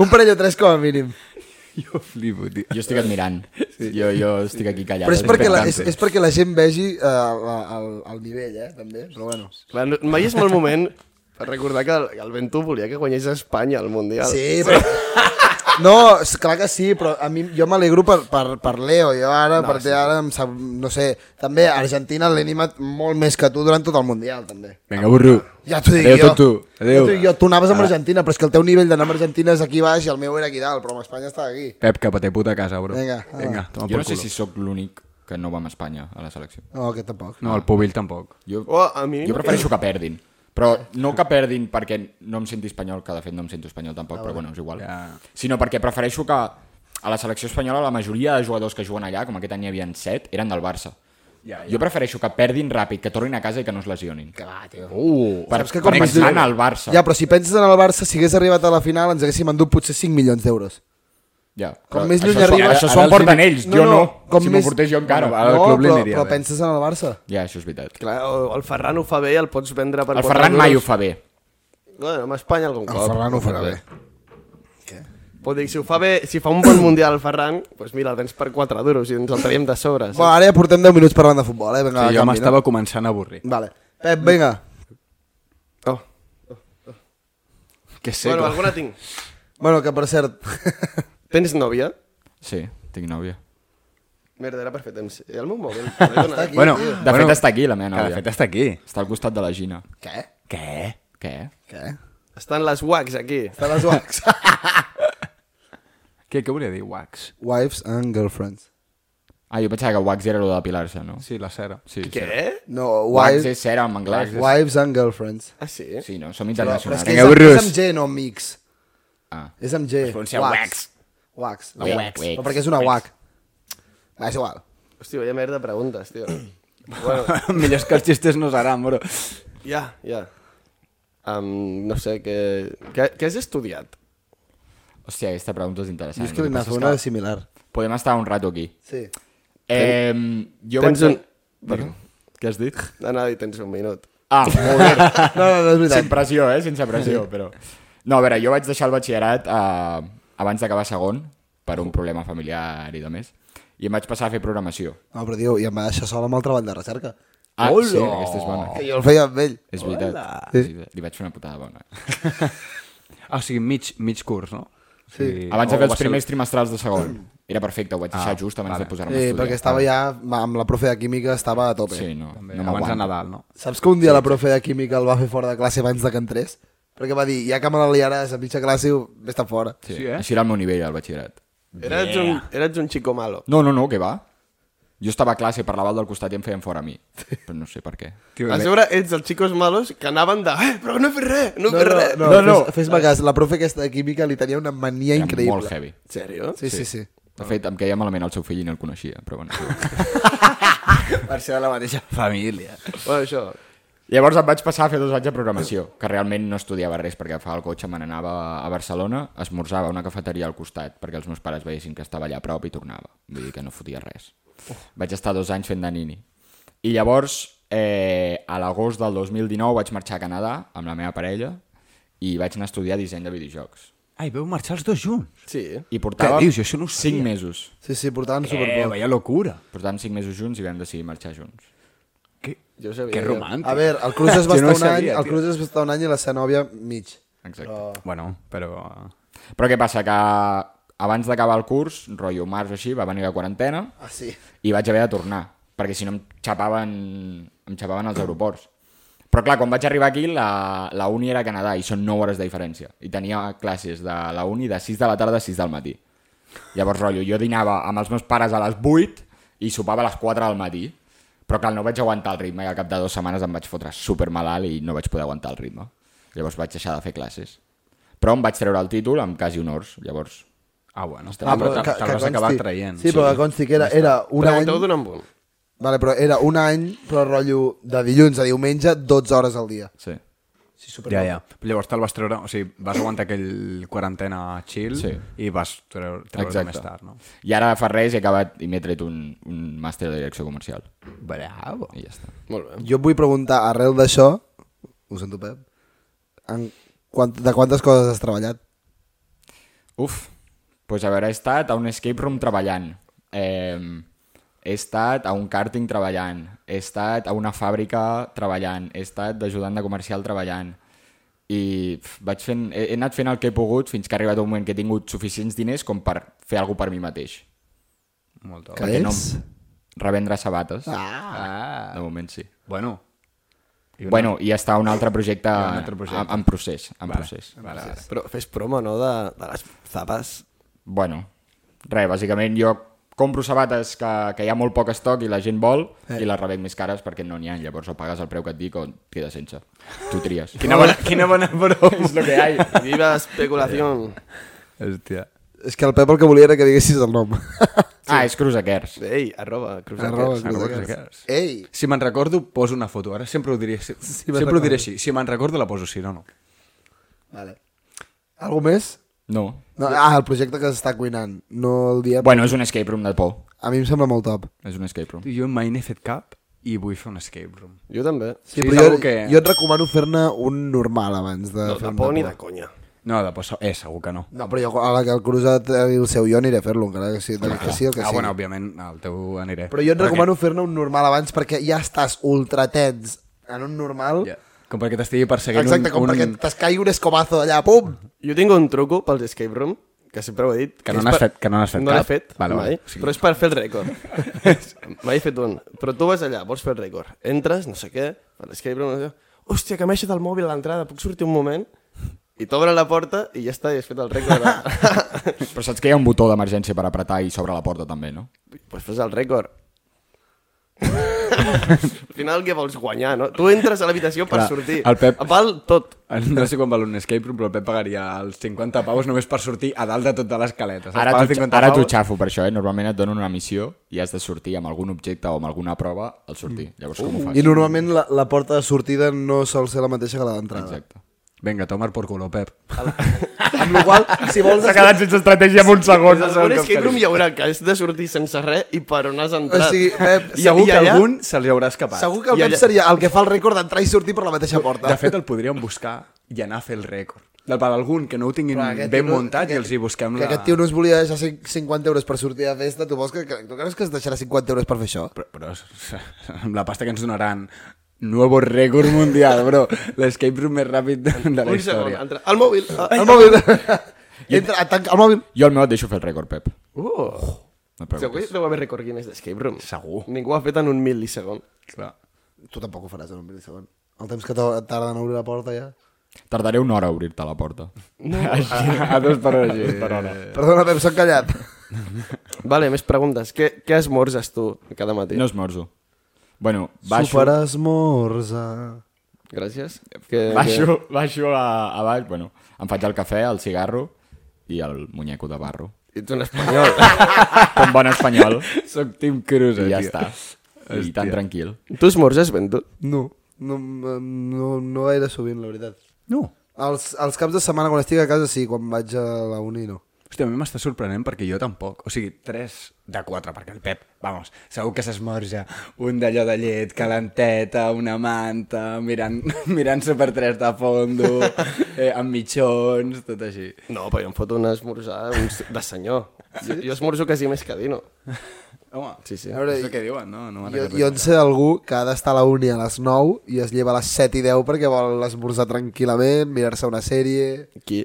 Speaker 3: Un parell o tres com a mínim.
Speaker 1: *laughs* Jo flipo, tio.
Speaker 6: Jo estic admirant. Sí. Jo, jo estic aquí callat.
Speaker 3: Però és perquè la, és,
Speaker 6: expectant-te.
Speaker 3: és perquè la gent vegi eh, la, el, el nivell, eh, també. Però bueno.
Speaker 7: Clar, no- mai és mal moment per recordar que el, el Bento volia que guanyés Espanya al Mundial.
Speaker 3: Sí,
Speaker 6: *laughs*
Speaker 3: però... No, és clar que sí, però a mi, jo m'alegro per, per, per Leo, jo ara, no, perquè sí. ara em sap, no sé, també Argentina l'he animat molt més que tu durant tot el Mundial, també.
Speaker 1: Vinga, burro.
Speaker 3: Ja t'ho dic
Speaker 1: Adéu,
Speaker 3: jo.
Speaker 1: tonto. Adéu.
Speaker 3: Ja t'ho dic jo, tu anaves amb Argentina, però és que el teu nivell d'anar amb Argentina és aquí baix i el meu era aquí dalt, però amb Espanya estava aquí.
Speaker 1: Pep, cap a te puta casa, bro.
Speaker 3: Vinga, ah.
Speaker 1: Vinga, toma
Speaker 6: Jo
Speaker 1: por
Speaker 6: no sé
Speaker 1: culo.
Speaker 6: si sóc l'únic que no va amb Espanya a la selecció.
Speaker 3: No, aquest tampoc.
Speaker 1: No, el Pubill tampoc.
Speaker 6: Jo,
Speaker 7: Oh, a mi...
Speaker 6: jo prefereixo que perdin. Però no que perdin perquè no em senti espanyol, que de fet no em sento espanyol tampoc, però bueno, és igual.
Speaker 1: Ja.
Speaker 6: Sinó perquè prefereixo que a la selecció espanyola la majoria de jugadors que juguen allà, com aquest any hi havia 7, eren del Barça.
Speaker 1: Ja, ja.
Speaker 6: Jo prefereixo que perdin ràpid, que tornin a casa i que no es lesionin.
Speaker 3: Que va, tio.
Speaker 6: Uh, per,
Speaker 3: Saps que
Speaker 6: per
Speaker 3: com més
Speaker 6: pensar
Speaker 3: dura-
Speaker 6: en el Barça.
Speaker 3: Ja, però si penses en el Barça, si hagués arribat a la final ens haguéssim endut potser 5 milions d'euros.
Speaker 6: Ja,
Speaker 3: Com
Speaker 6: però
Speaker 3: més lluny
Speaker 6: això, s'ho-
Speaker 3: arriba-
Speaker 6: Això
Speaker 3: ara
Speaker 6: s'ho
Speaker 3: els
Speaker 6: emporten
Speaker 3: diners-
Speaker 6: ells, jo no. si m'ho portés jo encara.
Speaker 1: Bueno, Al
Speaker 3: no,
Speaker 1: club li
Speaker 3: però,
Speaker 1: aniria
Speaker 3: però
Speaker 1: bé.
Speaker 3: penses en el Barça.
Speaker 6: Ja, això és veritat.
Speaker 7: Clar, o- el Ferran ho fa bé, el pots vendre per...
Speaker 6: El
Speaker 7: quatre
Speaker 6: Ferran mai ho
Speaker 7: euros.
Speaker 6: fa bé.
Speaker 7: Bueno, amb Espanya algun
Speaker 3: El
Speaker 7: cop.
Speaker 3: Ferran ho farà bé.
Speaker 7: Però dic, si ho fa bé, si fa un bon mundial el Ferran, doncs pues mira, el vens per 4 duros i ens el traiem de sobre.
Speaker 3: Bueno,
Speaker 7: saps?
Speaker 3: ara ja portem 10 minuts parlant de futbol, eh? Vinga,
Speaker 1: Sí, jo
Speaker 3: canvi,
Speaker 1: m'estava començant a avorrir.
Speaker 3: No? Vale. Pep, vinga.
Speaker 7: Oh.
Speaker 1: Que sé,
Speaker 7: Bueno,
Speaker 1: com-
Speaker 7: alguna tinc.
Speaker 3: Bueno, que per
Speaker 6: *laughs*
Speaker 3: cert...
Speaker 7: Tens nòvia?
Speaker 6: Sí, tinc nòvia.
Speaker 7: Merda, era per fer temps. I el meu mòbil? Perdona. eh?
Speaker 3: aquí.
Speaker 1: Bueno,
Speaker 6: De fet, està aquí, la meva
Speaker 1: Que de
Speaker 6: nòvia.
Speaker 1: fet està aquí.
Speaker 6: Està al costat de la Gina.
Speaker 3: Què?
Speaker 1: Què?
Speaker 6: Què?
Speaker 3: Què?
Speaker 7: Estan les wags aquí.
Speaker 3: Te les wax.
Speaker 1: Què, què volia dir, wax?
Speaker 3: Wives and girlfriends.
Speaker 6: Ah, jo pensava que wax era allò depilar-se, no?
Speaker 1: Sí, la cera.
Speaker 6: Sí, cera.
Speaker 7: Què?
Speaker 3: No,
Speaker 6: Wax
Speaker 3: wives,
Speaker 6: és cera en anglès.
Speaker 3: wives and girlfriends.
Speaker 7: Ah, sí?
Speaker 6: Sí, no? Som
Speaker 3: Però, però
Speaker 6: internacionals.
Speaker 3: és que
Speaker 1: Vinga,
Speaker 3: és, amb-
Speaker 1: burros.
Speaker 3: és amb G, no amb mix.
Speaker 6: Ah.
Speaker 3: És amb G.
Speaker 1: pronuncia wax.
Speaker 3: Wax.
Speaker 6: Wax, wax,
Speaker 3: No, perquè és una
Speaker 6: wax. Ah,
Speaker 3: WAC. Va, és igual.
Speaker 7: Hòstia, vaya merda de preguntes, tio. bueno,
Speaker 1: *laughs* Millor és que els xistes no seran, bro.
Speaker 7: ja, ja. Um, no sé, què, què, què has estudiat?
Speaker 6: Hòstia, aquesta pregunta és interessant.
Speaker 3: Jo és que
Speaker 6: El
Speaker 3: li
Speaker 6: que passa
Speaker 3: n'has
Speaker 6: és
Speaker 3: una
Speaker 6: que
Speaker 3: de similar.
Speaker 6: Podem estar un rato aquí.
Speaker 3: Sí.
Speaker 6: Eh, jo
Speaker 7: Tens
Speaker 6: vaig...
Speaker 7: un-
Speaker 6: Perdó. Què has dit?
Speaker 7: No, no, i tens un minut.
Speaker 6: Ah,
Speaker 3: *laughs*
Speaker 6: molt bé.
Speaker 3: No, no, no, és veritat.
Speaker 6: Sin pressió, eh? Sense pressió, però... No, a veure, jo vaig deixar el batxillerat eh, abans d'acabar segon, per un problema familiar i de més, i em vaig passar a fer programació.
Speaker 3: No, però tio, i em va deixar sol amb el treball de recerca.
Speaker 6: Ah,
Speaker 1: Hola!
Speaker 6: sí, aquesta és bona.
Speaker 3: Que jo el feia amb ell.
Speaker 6: És veritat.
Speaker 3: Sí.
Speaker 6: Sí, Li vaig fer una putada bona.
Speaker 1: Ah, o sigui, mig, mig curs, no? Sí.
Speaker 6: Abans de fer els primers trimestrals de segon. Era perfecte, ho vaig
Speaker 1: Ah,
Speaker 6: deixar just abans de posar-me a
Speaker 3: Sí,
Speaker 6: estudiar.
Speaker 3: perquè estava ja amb la profe de química, estava a tope.
Speaker 6: Sí, no,
Speaker 1: També,
Speaker 6: no
Speaker 1: abans de
Speaker 6: m'aguanto.
Speaker 1: Nadal, no?
Speaker 3: Saps que un dia la profe de química el va fer fora de classe abans de que entrés? Perquè va dir, ja que me la liaràs a mitja classe, vés-te'n fora.
Speaker 6: Sí,
Speaker 1: Sí, eh?
Speaker 6: Així era el meu nivell al batxillerat.
Speaker 7: Eres, yeah. un, eres un xico malo.
Speaker 6: No, no, no, què va? Jo estava a classe, parlava al del costat i em feien fora a mi. Però no sé per què.
Speaker 1: Tio,
Speaker 7: A sobre ets els xicos malos que anaven de... Eh, però no he fet res, no he fet res.
Speaker 3: no, no, no. Fes, fes-me cas, la profe aquesta de química li tenia una mania
Speaker 6: Era
Speaker 3: increïble.
Speaker 6: molt heavy.
Speaker 7: En sèrio?
Speaker 3: Sí, sí, sí.
Speaker 6: De fet, em queia malament el seu fill i no el coneixia, però bueno. sí.
Speaker 1: per ser de la mateixa família.
Speaker 7: Bueno, això.
Speaker 6: Llavors em vaig passar a fer dos anys de programació, que realment no estudiava res perquè agafava el cotxe, me n'anava a Barcelona, esmorzava a una cafeteria al costat perquè els meus pares veiessin que estava allà a prop i tornava. Vull dir que no fotia res. Vaig estar dos anys fent de nini. I llavors, eh, a l'agost del 2019 vaig marxar a Canadà amb la meva parella i vaig anar a estudiar disseny de videojocs.
Speaker 1: Ai, veu marxar els dos junts.
Speaker 7: Sí.
Speaker 6: I portava
Speaker 1: dius? Jo això no ho
Speaker 6: 5 mesos.
Speaker 3: Sí, sí, portaven
Speaker 1: Eh,
Speaker 3: superpoc.
Speaker 1: vaya locura.
Speaker 6: Portàvem 5 mesos junts i vam decidir marxar junts.
Speaker 1: Que,
Speaker 7: Jo ho sabia,
Speaker 1: que
Speaker 7: jo.
Speaker 1: romàntic.
Speaker 3: A veure, el
Speaker 1: *laughs*
Speaker 3: Cruz es va
Speaker 1: Jo no
Speaker 3: estar
Speaker 1: ho
Speaker 3: un any,
Speaker 1: sabia,
Speaker 3: el
Speaker 1: tio.
Speaker 3: Cruz es va estar un any i la seva nòvia mig.
Speaker 6: Exacte.
Speaker 1: Bueno, però...
Speaker 6: Però què passa? Que abans d'acabar el curs, rotllo març o així, va venir la quarantena
Speaker 3: Ah, sí.
Speaker 6: i vaig haver de tornar, perquè si no em xapaven, em xapaven als aeroports. Però clar, quan vaig arribar aquí, la, la uni era a Canadà i són 9 hores de diferència. I tenia classes de la uni de 6 de la tarda a 6 del matí. Llavors, rotllo, jo dinava amb els meus pares a les 8 i sopava a les 4 del matí. Però clar, no vaig aguantar el ritme i al cap de dues setmanes em vaig fotre super malalt i no vaig poder aguantar el ritme. Llavors vaig deixar de fer classes. Però em vaig treure el títol amb quasi honors. Llavors,
Speaker 1: Ah, bueno,
Speaker 6: Ah, però
Speaker 1: te'l-
Speaker 6: que-
Speaker 1: te'l vas acabar traient.
Speaker 3: Sí, però que consti que era, era un any...
Speaker 7: Pregunteu d'un en un.
Speaker 3: Vale, però era un any, però rotllo de dilluns a diumenge, 12 hores al dia.
Speaker 6: sí.
Speaker 3: Sí, super.
Speaker 1: Ja, ja. Però llavors te'l vas treure... O sigui, vas aguantar aquell quarantena chill
Speaker 6: Sí.
Speaker 1: i vas treure, treure més tard, no?
Speaker 6: I ara fa res he acabat i m'he tret un, un màster de direcció comercial.
Speaker 1: Bravo.
Speaker 6: I ja està.
Speaker 7: Molt bé.
Speaker 3: Jo et vull preguntar, arrel d'això, ho sento, Pep, en quant, de quantes coses has treballat?
Speaker 6: Uf, doncs a veure, he estat a un escape room treballant. Eh, he estat a un càrting treballant. He estat a una fàbrica treballant. He estat d'ajudant de comercial treballant. I pf, vaig fent, he, he anat fent el que he pogut fins que ha arribat un moment que he tingut suficients diners com per fer alguna per mi mateix.
Speaker 1: Molt
Speaker 3: Que
Speaker 1: bé.
Speaker 6: Perquè no
Speaker 3: és?
Speaker 6: Revendre sabates.
Speaker 1: Ah.
Speaker 6: De moment sí.
Speaker 1: Bueno. I una-
Speaker 6: Bueno, i està un altre projecte,
Speaker 1: un altre projecte.
Speaker 6: En, en procés. En
Speaker 1: Vale,
Speaker 6: procés.
Speaker 1: Vale, vale.
Speaker 7: Però fes promo, no?, de, de les zapes.
Speaker 6: Bueno, res, bàsicament jo compro sabates que, que hi ha molt poc estoc i la gent vol i les rebec més cares perquè no n'hi ha. Llavors o pagues el preu que et dic o et quedes sense. Tu tries.
Speaker 1: Quina bona, quina *laughs* bona broma.
Speaker 6: és el que hi ha.
Speaker 7: Viva especulació.
Speaker 1: Hòstia.
Speaker 3: És que el Pep el que volia era que diguessis el
Speaker 1: *laughs*
Speaker 3: nom.
Speaker 6: Ah, és Cruzaquers.
Speaker 7: Ei, arroba, cruzaquers.
Speaker 3: Arroba,
Speaker 1: arroba
Speaker 3: Cruz de
Speaker 1: Cruzaquers.
Speaker 3: Cas. Ei!
Speaker 1: Si me'n recordo, poso una foto. Ara sempre ho diré, *laughs* si, sempre ho diré així. Si me'n recordo, la poso així, no, no.
Speaker 3: Vale. Algú més?
Speaker 6: No.
Speaker 3: No, ah, el projecte que s'està cuinant. No el dia...
Speaker 6: Bueno, és un escape room de por.
Speaker 3: A mi em sembla molt top.
Speaker 6: És un escape room.
Speaker 1: Jo mai n'he fet cap i vull fer un escape room.
Speaker 7: Jo també.
Speaker 3: Sí,
Speaker 1: Sí, és
Speaker 3: però jo,
Speaker 1: algú que-
Speaker 3: jo et recomano fer-ne un normal abans de
Speaker 7: No,
Speaker 3: fer
Speaker 7: de
Speaker 3: un
Speaker 7: por ni
Speaker 3: por.
Speaker 7: de conya.
Speaker 1: No, de posar... Eh, segur que no.
Speaker 3: No, però jo, a la que el cruzat i el seu jo aniré a fer-lo, encara que sigui, del que sigui el que
Speaker 1: ah,
Speaker 3: sigui.
Speaker 1: bueno, òbviament, el teu aniré.
Speaker 3: Però jo et recomano fer-ne un normal abans perquè ja estàs ultra tens en un normal.
Speaker 1: Ja. Com perquè t'estigui perseguint
Speaker 3: Exacte, com
Speaker 1: un...
Speaker 3: perquè
Speaker 1: un...
Speaker 3: t'escaigui un escobazo allà, pum!
Speaker 7: Jo tinc un truco pels escape room, que sempre ho he dit.
Speaker 1: Que no
Speaker 7: és
Speaker 1: n'has fet- que no n'has fet
Speaker 7: no
Speaker 1: cap?
Speaker 7: l'he fet,
Speaker 1: Vale, vale.
Speaker 7: mai,
Speaker 1: O sigui-
Speaker 7: però és per fer el rècord. *laughs* mai he fet un. Però tu vas allà, vols fer el rècord. Entres, no sé què, per l'escape room, no sé què. Hòstia, que m'he deixat el mòbil a l'entrada, puc sortir un moment? I t'obre la porta i ja està, i has fet el rècord.
Speaker 1: *laughs*
Speaker 7: *laughs* De...
Speaker 6: Però saps que hi ha un botó d'emergència per apretar i sobre la porta també, no?
Speaker 7: pues fes el rècord. Al final què vols guanyar, no? Tu entres a l'habitació per
Speaker 1: Clar,
Speaker 7: sortir.
Speaker 1: el Pep-
Speaker 7: Val tot.
Speaker 1: No sé quan val un escape room, però el Pep pagaria els 50 paus només per sortir a dalt de tota l'escaleta. saps?
Speaker 6: Ara
Speaker 1: Paga els
Speaker 6: t'ho
Speaker 1: 50
Speaker 6: ara t'ho
Speaker 1: paus.
Speaker 6: xafo per això, eh? Normalment et donen una missió i has de sortir amb algun objecte o amb alguna prova al sortir. Llavors com ho fas?
Speaker 3: I normalment la, la porta de sortida no sol ser la mateixa que la d'entrada.
Speaker 6: Exacte.
Speaker 1: Vinga, tomar por culo, Pep.
Speaker 3: Amb la
Speaker 1: *laughs*
Speaker 3: qual cosa, si vols...
Speaker 6: quedat sense estratègia en un segon.
Speaker 7: En algun escape room hi haurà que has de sortir sense res i per on has
Speaker 3: O
Speaker 7: entrat.
Speaker 3: sigui, Pep,
Speaker 7: I-
Speaker 1: Segur
Speaker 7: i
Speaker 1: que
Speaker 7: allà-
Speaker 1: algun se li haurà escapat.
Speaker 3: Segur que el
Speaker 7: I
Speaker 3: Pep
Speaker 7: allà-
Speaker 3: seria el que fa el rècord d'entrar i sortir per la mateixa porta.
Speaker 1: De fet, el podríem buscar i anar a fer el rècord. Per algun que no ho tinguin
Speaker 3: Clar, *laughs* aquest
Speaker 1: ben
Speaker 3: tio no-
Speaker 1: muntat i els hi busquem
Speaker 3: que
Speaker 1: la...
Speaker 3: aquest tio no es volia deixar cinc- 50 euros per sortir de festa, tu vols que, que, tu creus que es deixarà 50 euros per fer això?
Speaker 1: Però, però *laughs* s- amb la pasta que ens donaran... Nuevo rècord mundial, bro. L'escape room més ràpid de, de la
Speaker 7: Un segon,
Speaker 1: història.
Speaker 7: entra. El mòbil. Ah,
Speaker 3: El
Speaker 1: *laughs*
Speaker 3: mòbil! Entra, tanca el mòbil!
Speaker 6: Jo el meu et deixo fer el rècord, Pep. Oh,
Speaker 7: Uh.
Speaker 6: No et
Speaker 7: Segur que
Speaker 6: preocupis.
Speaker 7: deu haver record Guinness d'escape room.
Speaker 1: Segur.
Speaker 7: Ningú ho ha fet en un mil·lisegon.
Speaker 1: Clar.
Speaker 3: Tu tampoc ho faràs en un mil·lisegon. El temps que to- tarda en obrir la porta ja.
Speaker 6: Tardaré una hora a obrir-te la porta. *laughs*
Speaker 1: A, a dos per hora. Sí. Per hora.
Speaker 3: Perdona, Pep, s'ha callat.
Speaker 7: Vale, més preguntes. Què, què esmorzes tu cada matí?
Speaker 6: Eh, No esmorzo. Bueno, baixo...
Speaker 3: Super esmorza.
Speaker 7: Gràcies. Que, que...
Speaker 6: Baixo, baixo a, a baix, bueno, em faig el cafè, el cigarro i el muñeco de barro.
Speaker 7: Ets un espanyol.
Speaker 6: Com bon espanyol. *laughs*
Speaker 1: Soc Tim Cruise,
Speaker 6: I ja
Speaker 1: tio.
Speaker 6: està. I tan tranquil.
Speaker 7: tu esmorzes ben tu?
Speaker 3: No, no, no, no gaire sovint, la veritat.
Speaker 1: No.
Speaker 3: Els, els caps de setmana quan estic a casa sí, quan vaig a la uni no.
Speaker 1: Hòstia, a mi m'està sorprenent perquè jo tampoc. O sigui, 3 de 4, perquè el Pep, vamos, segur que s'esmorja un d'allò de llet, calenteta, una manta, mirant, *laughs* mirant Super 3 de fondo, eh, amb mitjons, tot així.
Speaker 7: No, però jo em foto una esmorzada un... s- de senyor. Jo, jo esmorzo quasi més que dino.
Speaker 1: Home,
Speaker 7: Sí, sí.
Speaker 1: a veure, és el que diuen, no? no
Speaker 3: Jo, jo en sé d'algú que ha d'estar a la uni a les 9 i es lleva a les 7 i 10 perquè vol esmorzar tranquil·lament, mirar-se una sèrie...
Speaker 7: Qui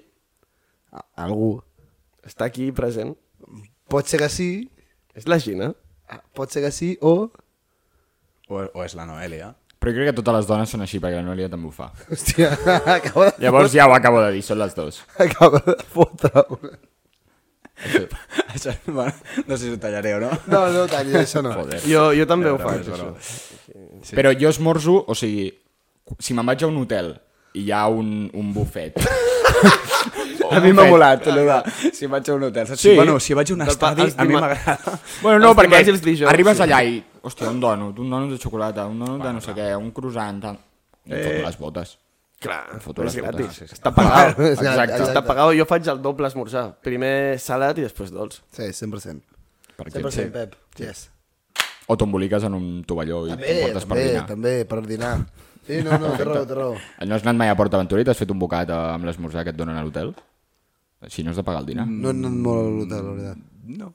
Speaker 3: A- Algú.
Speaker 7: està aquí present
Speaker 3: Pot ser que sí,
Speaker 7: és la Gina.
Speaker 3: ah, pot ser que sí, o...
Speaker 1: O, o és la Noelia.
Speaker 6: Però crec que totes les dones són així, perquè la Noelia també ho fa.
Speaker 3: Hòstia, *laughs* acaba de,
Speaker 6: *laughs* Llavors ja ho acabo de dir, són les dues.
Speaker 3: acaba de fotre una...
Speaker 1: *laughs* Això, bueno, no sé si ho tallaré o no.
Speaker 3: No, no, talli, això no. *laughs*
Speaker 6: Joder.
Speaker 7: Jo, jo també ho faig,
Speaker 1: però-
Speaker 7: això.
Speaker 6: Sí. Però jo esmorzo, o sigui, si me'n vaig a un hotel i hi ha un, un bufet...
Speaker 1: A mi m'ha volat, allò de... Si vaig a un hotel, saps?
Speaker 6: Sí.
Speaker 1: Bueno, si vaig a un
Speaker 7: Del pa-
Speaker 1: estadi,
Speaker 7: els
Speaker 1: a mi
Speaker 7: dima-
Speaker 1: m'agrada.
Speaker 6: Bueno, no,
Speaker 7: Els
Speaker 6: perquè
Speaker 7: dimarts i els dijous,
Speaker 6: arribes
Speaker 7: sí.
Speaker 6: allà i... Hòstia, un donut, un donut de xocolata, un donut de no sé què, un croissant... Tal.
Speaker 3: Eh.
Speaker 6: I em foto les botes.
Speaker 7: Clar,
Speaker 6: foto
Speaker 7: és
Speaker 6: les botes.
Speaker 7: gratis.
Speaker 6: Sí, sí.
Speaker 7: Està
Speaker 6: *laughs*
Speaker 7: pagat.
Speaker 3: Exacte,
Speaker 7: Exacte.
Speaker 3: exacte.
Speaker 7: Està pagat. Jo faig el doble esmorzar. Primer salat i després dolç.
Speaker 3: Sí, 100%.
Speaker 6: Per exemple.
Speaker 3: 100% Pep, yes.
Speaker 6: O t'emboliques en un tovalló i
Speaker 3: També,
Speaker 6: t'emportes per
Speaker 3: també,
Speaker 6: dinar.
Speaker 3: també, per dinar. Sí, no, no, té raó, té raó.
Speaker 6: No has anat mai a Port Aventura i t'has fet un bocat eh, amb l'esmorzar que et donen a l'hotel? Si no has de pagar el dinar, mm.
Speaker 3: No he anat molt a l'hotel, la veritat.
Speaker 1: *laughs* No.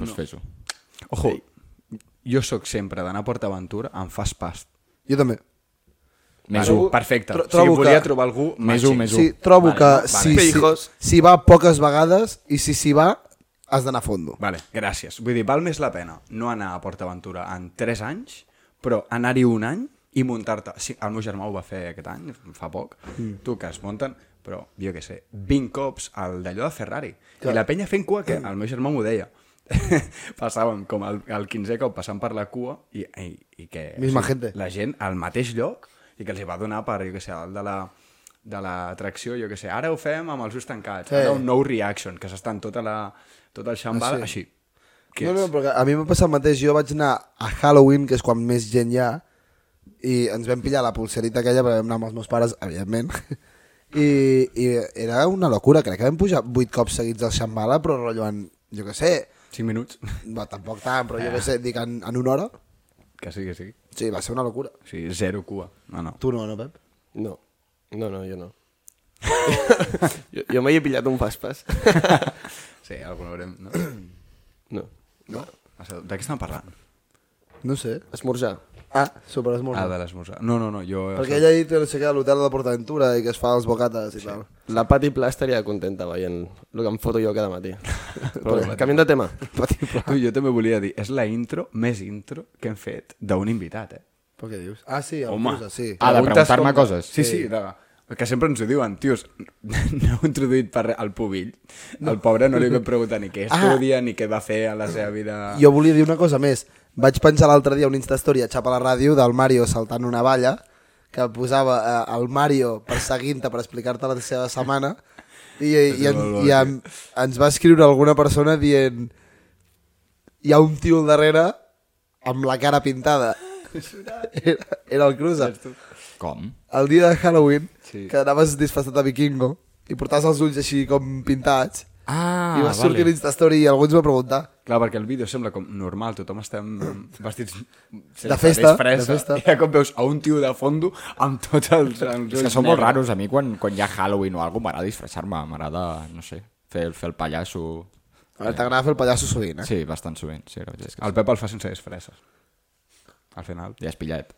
Speaker 6: doncs fes-ho.
Speaker 1: Ojo, jo sóc sempre d'anar a PortAventura amb fast past.
Speaker 3: Jo també.
Speaker 6: Més
Speaker 1: Vale,
Speaker 6: un.
Speaker 1: Perfecte.
Speaker 3: Tro-
Speaker 1: Tro si
Speaker 3: trobo
Speaker 1: volia
Speaker 3: que-
Speaker 1: trobar algú
Speaker 6: Més
Speaker 1: màgic.
Speaker 6: un, més un.
Speaker 3: Sí, trobo
Speaker 1: Vale,
Speaker 3: que
Speaker 1: no?
Speaker 3: si,
Speaker 7: Vale.
Speaker 3: si,
Speaker 7: Pijos.
Speaker 3: si va poques vegades i si s'hi va, has d'anar a fondo.
Speaker 1: Vale, gràcies. Vull dir, val més la pena no anar a PortAventura en 3 anys, però anar-hi un any i muntar-te... Sí, el meu germà ho va fer aquest any, fa poc. Mm. Tu, que es munten, però, jo què sé, 20 cops al d'allò de Ferrari. Clar. I la penya fent cua, que el meu germà m'ho deia. *laughs* Passàvem com el, el 15è cop passant per la cua i, i, i que...
Speaker 3: Misma
Speaker 1: o
Speaker 3: gente.
Speaker 1: La gent al mateix lloc i que els hi va donar per, jo què sé, el de la de l'atracció, jo què sé, ara ho fem amb els ulls tancats,
Speaker 3: Sí.
Speaker 1: sí. ara un nou reaction, que s'està en tota la, tot el xambal,
Speaker 3: Ah, sí.
Speaker 1: així. Què
Speaker 3: No,
Speaker 1: ets?
Speaker 3: no, perquè a mi m'ha passat el mateix. Jo vaig anar a Halloween, que és quan més gent hi ha, i ens vam pillar la pulserita aquella, perquè vam anar amb els meus pares, evidentment, *laughs* i, i era una locura. Crec que vam pujar vuit cops seguits al Shambhala, però rotllo en, jo què sé,
Speaker 1: 5 minuts. *laughs*
Speaker 3: va, tampoc tant, però jo què sé, dic en, en una hora.
Speaker 1: Que sí, que sí.
Speaker 3: Sí, va ser una locura.
Speaker 1: O sigui, zero cua. No, no.
Speaker 3: Tu no, no, Pep?
Speaker 7: No. No, no, jo
Speaker 3: *laughs*
Speaker 7: no. jo, jo m'hi he pillat un fast pass.
Speaker 1: Sí, alguna haurem... No?
Speaker 3: *coughs*
Speaker 7: No.
Speaker 1: no? De què estan parlant?
Speaker 3: No sé.
Speaker 7: Esmorzar.
Speaker 3: Ah, super esmorzar.
Speaker 1: Ah, de l'esmorzar. No, no, no, jo... *laughs*
Speaker 3: Perquè ella ha dit que no sé què, a l'hotel de PortAventura i que es fa els bocates i sí. tal.
Speaker 7: La Pati Pla estaria contenta veient el que em foto jo cada
Speaker 3: *laughs*
Speaker 7: matí. Però bé, canviant de tema.
Speaker 1: Tu, jo també volia dir, és la intro, més intro que hem fet d'un invitat, eh?
Speaker 3: Però què dius? Ah, sí, el Home.
Speaker 1: Home.
Speaker 3: Cruza, sí.
Speaker 6: Ah, de
Speaker 1: Preguntes
Speaker 6: preguntar-me
Speaker 1: com-
Speaker 6: coses.
Speaker 1: Sí, sí, de... que sempre ens ho diuen, tios, *laughs* no heu introduït per re- el pubill.
Speaker 3: Ah.
Speaker 1: El pobre no li vam preguntar ni què estudia, ni què va fer a la seva vida...
Speaker 3: Jo volia dir una cosa més. Vaig penjar l'altre dia un Instastory a xapa la ràdio del Mario saltant una valla que posava eh, el Mario perseguint-te per explicar-te la seva setmana i, i, en, i en, ens va escriure alguna persona dient hi ha un tio al darrere amb la cara *laughs* pintada. Era, era el Cruza.
Speaker 6: Com?
Speaker 3: El dia de Halloween, sí. que anaves disfressat de vikingo i portaves els ulls així com pintats
Speaker 6: Ah,
Speaker 3: i vas vale. sortir a l'Instastory i algú ens va preguntar
Speaker 1: Clar, perquè el vídeo sembla com normal, tothom estem vestits sense
Speaker 3: De festa,
Speaker 1: disfressa,
Speaker 3: de festa.
Speaker 1: I de cop veus a un tio de fondo amb tots els... els
Speaker 6: És que
Speaker 1: ulls
Speaker 6: són molt
Speaker 1: negres.
Speaker 6: raros. A mi, quan, quan hi ha Halloween o alguna m'agrada disfressar-me, m'agrada, no sé, fer, fer el pallasso...
Speaker 3: Ara t'agrada fer el pallasso sovint, eh?
Speaker 6: Sí, bastant sovint, sí, la veritat és que
Speaker 1: El Pep el fa sense disfresses. Al final.
Speaker 6: sí. Ja has pillat.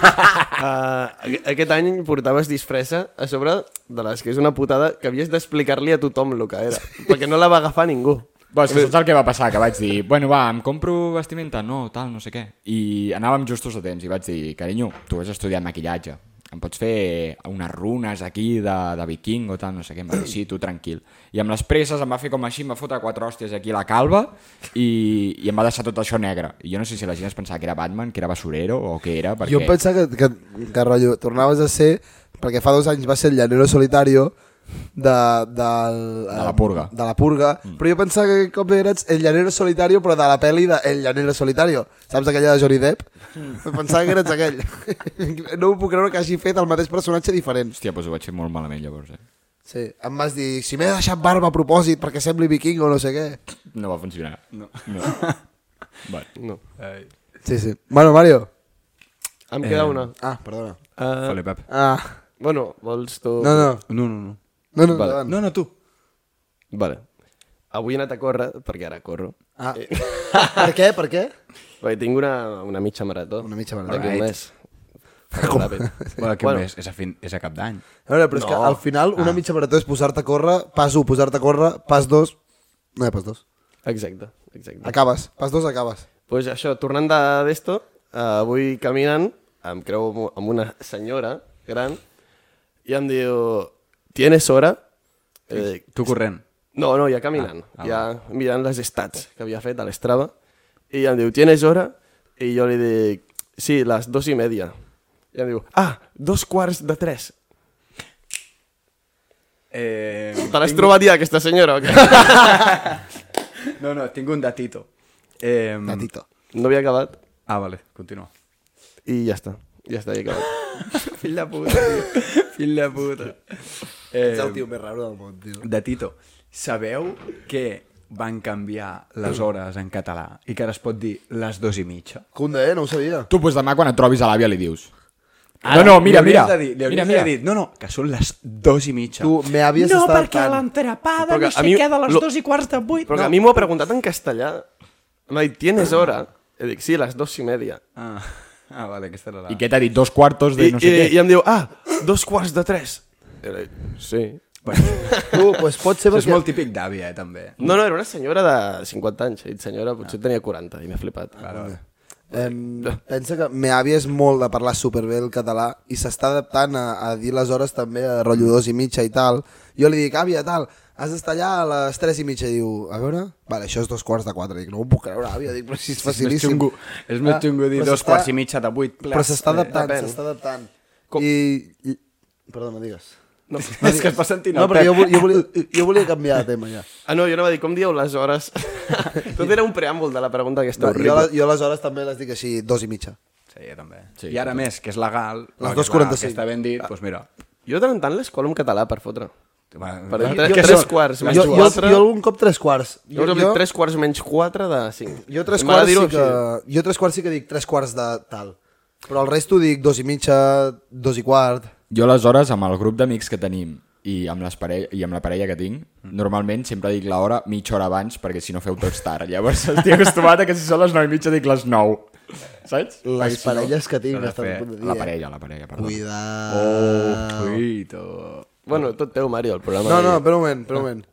Speaker 7: Uh, aquest any portaves disfressa a sobre de les que és una putada que havies d'explicar-li a tothom el que era, perquè no la va agafar ningú.
Speaker 6: Bé, és que saps el que va passar? Que vaig dir, bueno, va, em compro vestimenta, no, tal, no sé què. I anàvem justos a temps i vaig dir, carinyo, tu has estudiat maquillatge, em pots fer unes runes aquí de, de viking o tal, no sé què. Em va dir, sí, tu tranquil. I amb les presses em va fer com així, em va fotre quatre hòsties aquí a la calva i, i em va deixar tot això negre. I jo no sé si la gent es pensava que era Batman, que era basurero o què era, perquè...
Speaker 3: Jo em pensava que, que, que rotllo, tornaves a ser, perquè fa dos anys va ser el llanero solitario de, del,
Speaker 6: De la purga.
Speaker 3: De la purga. Mm. Però jo pensava que aquest cop eres el llanero solitario, però de la pel·li de El llanero solitario. Saps aquella de Johnny Depp? Mm. Pensava que eres aquell. *laughs* no ho puc creure que hagi fet el mateix personatge diferent.
Speaker 6: Hòstia, doncs ho vaig fer molt malament llavors, eh?
Speaker 3: Sí, em vas dir, si m'he deixat barba a propòsit perquè sembli viking o no sé què.
Speaker 6: No va funcionar. No. no. bueno.
Speaker 7: No.
Speaker 3: Sí, sí. Bueno, Mario.
Speaker 7: Em queda una.
Speaker 3: Ah, perdona.
Speaker 7: Uh,
Speaker 1: Fole, Pep.
Speaker 3: Ah,
Speaker 7: bueno, vols tu...
Speaker 3: no, no.
Speaker 1: No, no, no.
Speaker 3: No, no,
Speaker 7: Vale.
Speaker 3: endavant.
Speaker 1: No, no, tu.
Speaker 7: Vale. Avui he anat a córrer, perquè ara corro.
Speaker 3: Ah. per què, per què?
Speaker 7: Perquè tinc una, una mitja marató.
Speaker 3: Una mitja marató.
Speaker 7: D'aquí un
Speaker 3: Right. *laughs*
Speaker 7: mes. Com?
Speaker 1: Bueno, què bueno. més? És a, fin... és a cap d'any.
Speaker 3: A veure, però no. Ah. és que al final una mitja marató és posar-te a córrer, pas 1, posar-te a córrer, pas 2... No, eh, pas 2.
Speaker 7: Exacte, exacte.
Speaker 3: Acabes. Pas 2, acabes.
Speaker 7: pues això, tornant de- d'esto, eh, avui caminant, em creu amb- amb una senyora gran i em diu, ¿tienes hora? Eh,
Speaker 1: Tu corrent.
Speaker 7: no, no, ja caminant, ah, ja mirant les estats que havia fet a l'Estrava, i em diu, ¿tienes hora? I jo li dic, sí, les dos i media. I em diu, ah, dos quarts de tres.
Speaker 1: Eh...
Speaker 7: Te l'has trobat ja, aquesta senyora? o què? *laughs*
Speaker 1: No, no, tinc un datito. Eh...
Speaker 3: Tatito.
Speaker 7: No havia acabat
Speaker 1: Ah, vale,
Speaker 7: *laughs*
Speaker 1: continua.
Speaker 7: i ja està. Ja està, ja he acabat.
Speaker 1: Fill de puta, tio. *laughs* Fill de puta. Eh...
Speaker 3: És el tio més raro del món, tio.
Speaker 1: de Tito. Sabeu que van canviar les hores en català i que ara es pot dir les dos i mitja?
Speaker 3: Cunda, eh? No ho sabia.
Speaker 6: Tu, doncs demà, quan et trobis a l'àvia, li dius... Ara, Ah, no, no, mira,
Speaker 1: Ah, Li hauries
Speaker 6: mira.
Speaker 1: De dir, li mira,
Speaker 6: mira, mira.
Speaker 1: Dit, no, no, que són les dos i mitja.
Speaker 3: Tu me havies
Speaker 2: no,
Speaker 3: estat
Speaker 2: perquè
Speaker 3: tant.
Speaker 2: l'entrepada
Speaker 7: Però
Speaker 2: ni
Speaker 7: que a
Speaker 2: se
Speaker 7: mi-
Speaker 2: queda a les
Speaker 7: lo-
Speaker 2: dos i quarts de vuit.
Speaker 7: Però
Speaker 2: no.
Speaker 7: que a mi m'ho ha preguntat en castellà. M'ha dit, ¿tienes hora? I dic, sí, les dos i media.
Speaker 1: Ah, ah, vale, aquesta era la...
Speaker 6: I què t'ha dit? Dos quartos de
Speaker 7: I,
Speaker 6: no
Speaker 7: i,
Speaker 6: sé què?
Speaker 7: i em diu, ah, dos quarts de tres. I dic, sí.
Speaker 1: Bueno,
Speaker 3: Tu, pues pot ser
Speaker 1: això és
Speaker 3: perquè...
Speaker 1: molt típic d'àvia, eh, també.
Speaker 7: No, no, era una senyora de 50 anys. He dit, senyora, potser
Speaker 3: Ah.
Speaker 7: tenia 40 i m'he flipat.
Speaker 3: Em, pensa que me àvia és molt de parlar superbé el català i s'està adaptant a, a dir les hores també a rotllo dos i mitja i tal. Jo li dic, àvia, tal, has d'estar allà a les tres i mitja. I diu, a veure... Vale, això és dos quarts de quatre. Dic, no ho puc creure, àvia. Dic, però si
Speaker 1: És
Speaker 3: és
Speaker 1: més
Speaker 3: facilíssim.
Speaker 1: xungo, eh, és més
Speaker 3: Ah,
Speaker 1: xungo dir
Speaker 3: però
Speaker 1: dos
Speaker 3: s'està-
Speaker 1: quarts i mitja de vuit.
Speaker 3: Però s'està adaptant,
Speaker 7: depèn.
Speaker 3: s'està adaptant. Com... I, i... Perdona, digues.
Speaker 7: No.
Speaker 1: És que es va sentint
Speaker 3: No,
Speaker 1: el
Speaker 3: perquè
Speaker 1: Pep.
Speaker 3: jo, vol- jo, volia, jo volia canviar de tema ja.
Speaker 7: Ah, no, jo no va dir, com dieu les
Speaker 3: *laughs*
Speaker 7: hores? Tot era un preàmbul de la pregunta aquesta
Speaker 3: No, jo,
Speaker 7: horrible.
Speaker 3: les- jo les hores també les dic així, dos i mitja.
Speaker 1: Sí, jo també.
Speaker 6: Sí,
Speaker 1: I ara més, que és legal,
Speaker 3: Les
Speaker 1: que és
Speaker 3: 2.45.
Speaker 1: legal, Que està ben dit, doncs mira.
Speaker 7: Jo de tant en tant l'escola en català per fotre.
Speaker 1: Va,
Speaker 7: Per
Speaker 1: va,
Speaker 7: entre-
Speaker 1: què
Speaker 7: tres
Speaker 1: són?
Speaker 7: quarts,
Speaker 1: Les
Speaker 7: jo-
Speaker 1: dues.
Speaker 3: jo,
Speaker 7: quatre-
Speaker 3: jo algun cop tres quarts.
Speaker 7: Jo us he dit 3 quarts menys 4 de 5.
Speaker 3: Jo tres quarts sí que... Jo tres quarts sí que dic tres quarts de tal. Però el resto dic dos i mitja, dos i quart...
Speaker 6: Jo aleshores, amb el grup d'amics que tenim i amb, les parell i amb la parella que tinc,
Speaker 1: Mm.
Speaker 6: normalment sempre dic l'hora mitja hora abans, perquè si no feu tots tard. Llavors estic acostumat a que si són les 9 i mitja dic les 9.
Speaker 3: Les
Speaker 6: Saps? Perquè si no-
Speaker 3: parelles que tinc
Speaker 1: s'ha de
Speaker 3: estan
Speaker 1: fer
Speaker 3: a punt de dir.
Speaker 6: La
Speaker 3: eh?
Speaker 6: parella, la parella, perdó.
Speaker 3: Cuida...
Speaker 1: Oh, cuito.
Speaker 7: Bueno, tot teu, Mario, el programa.
Speaker 3: No,
Speaker 7: d'avui.
Speaker 3: no, però un moment, però un moment.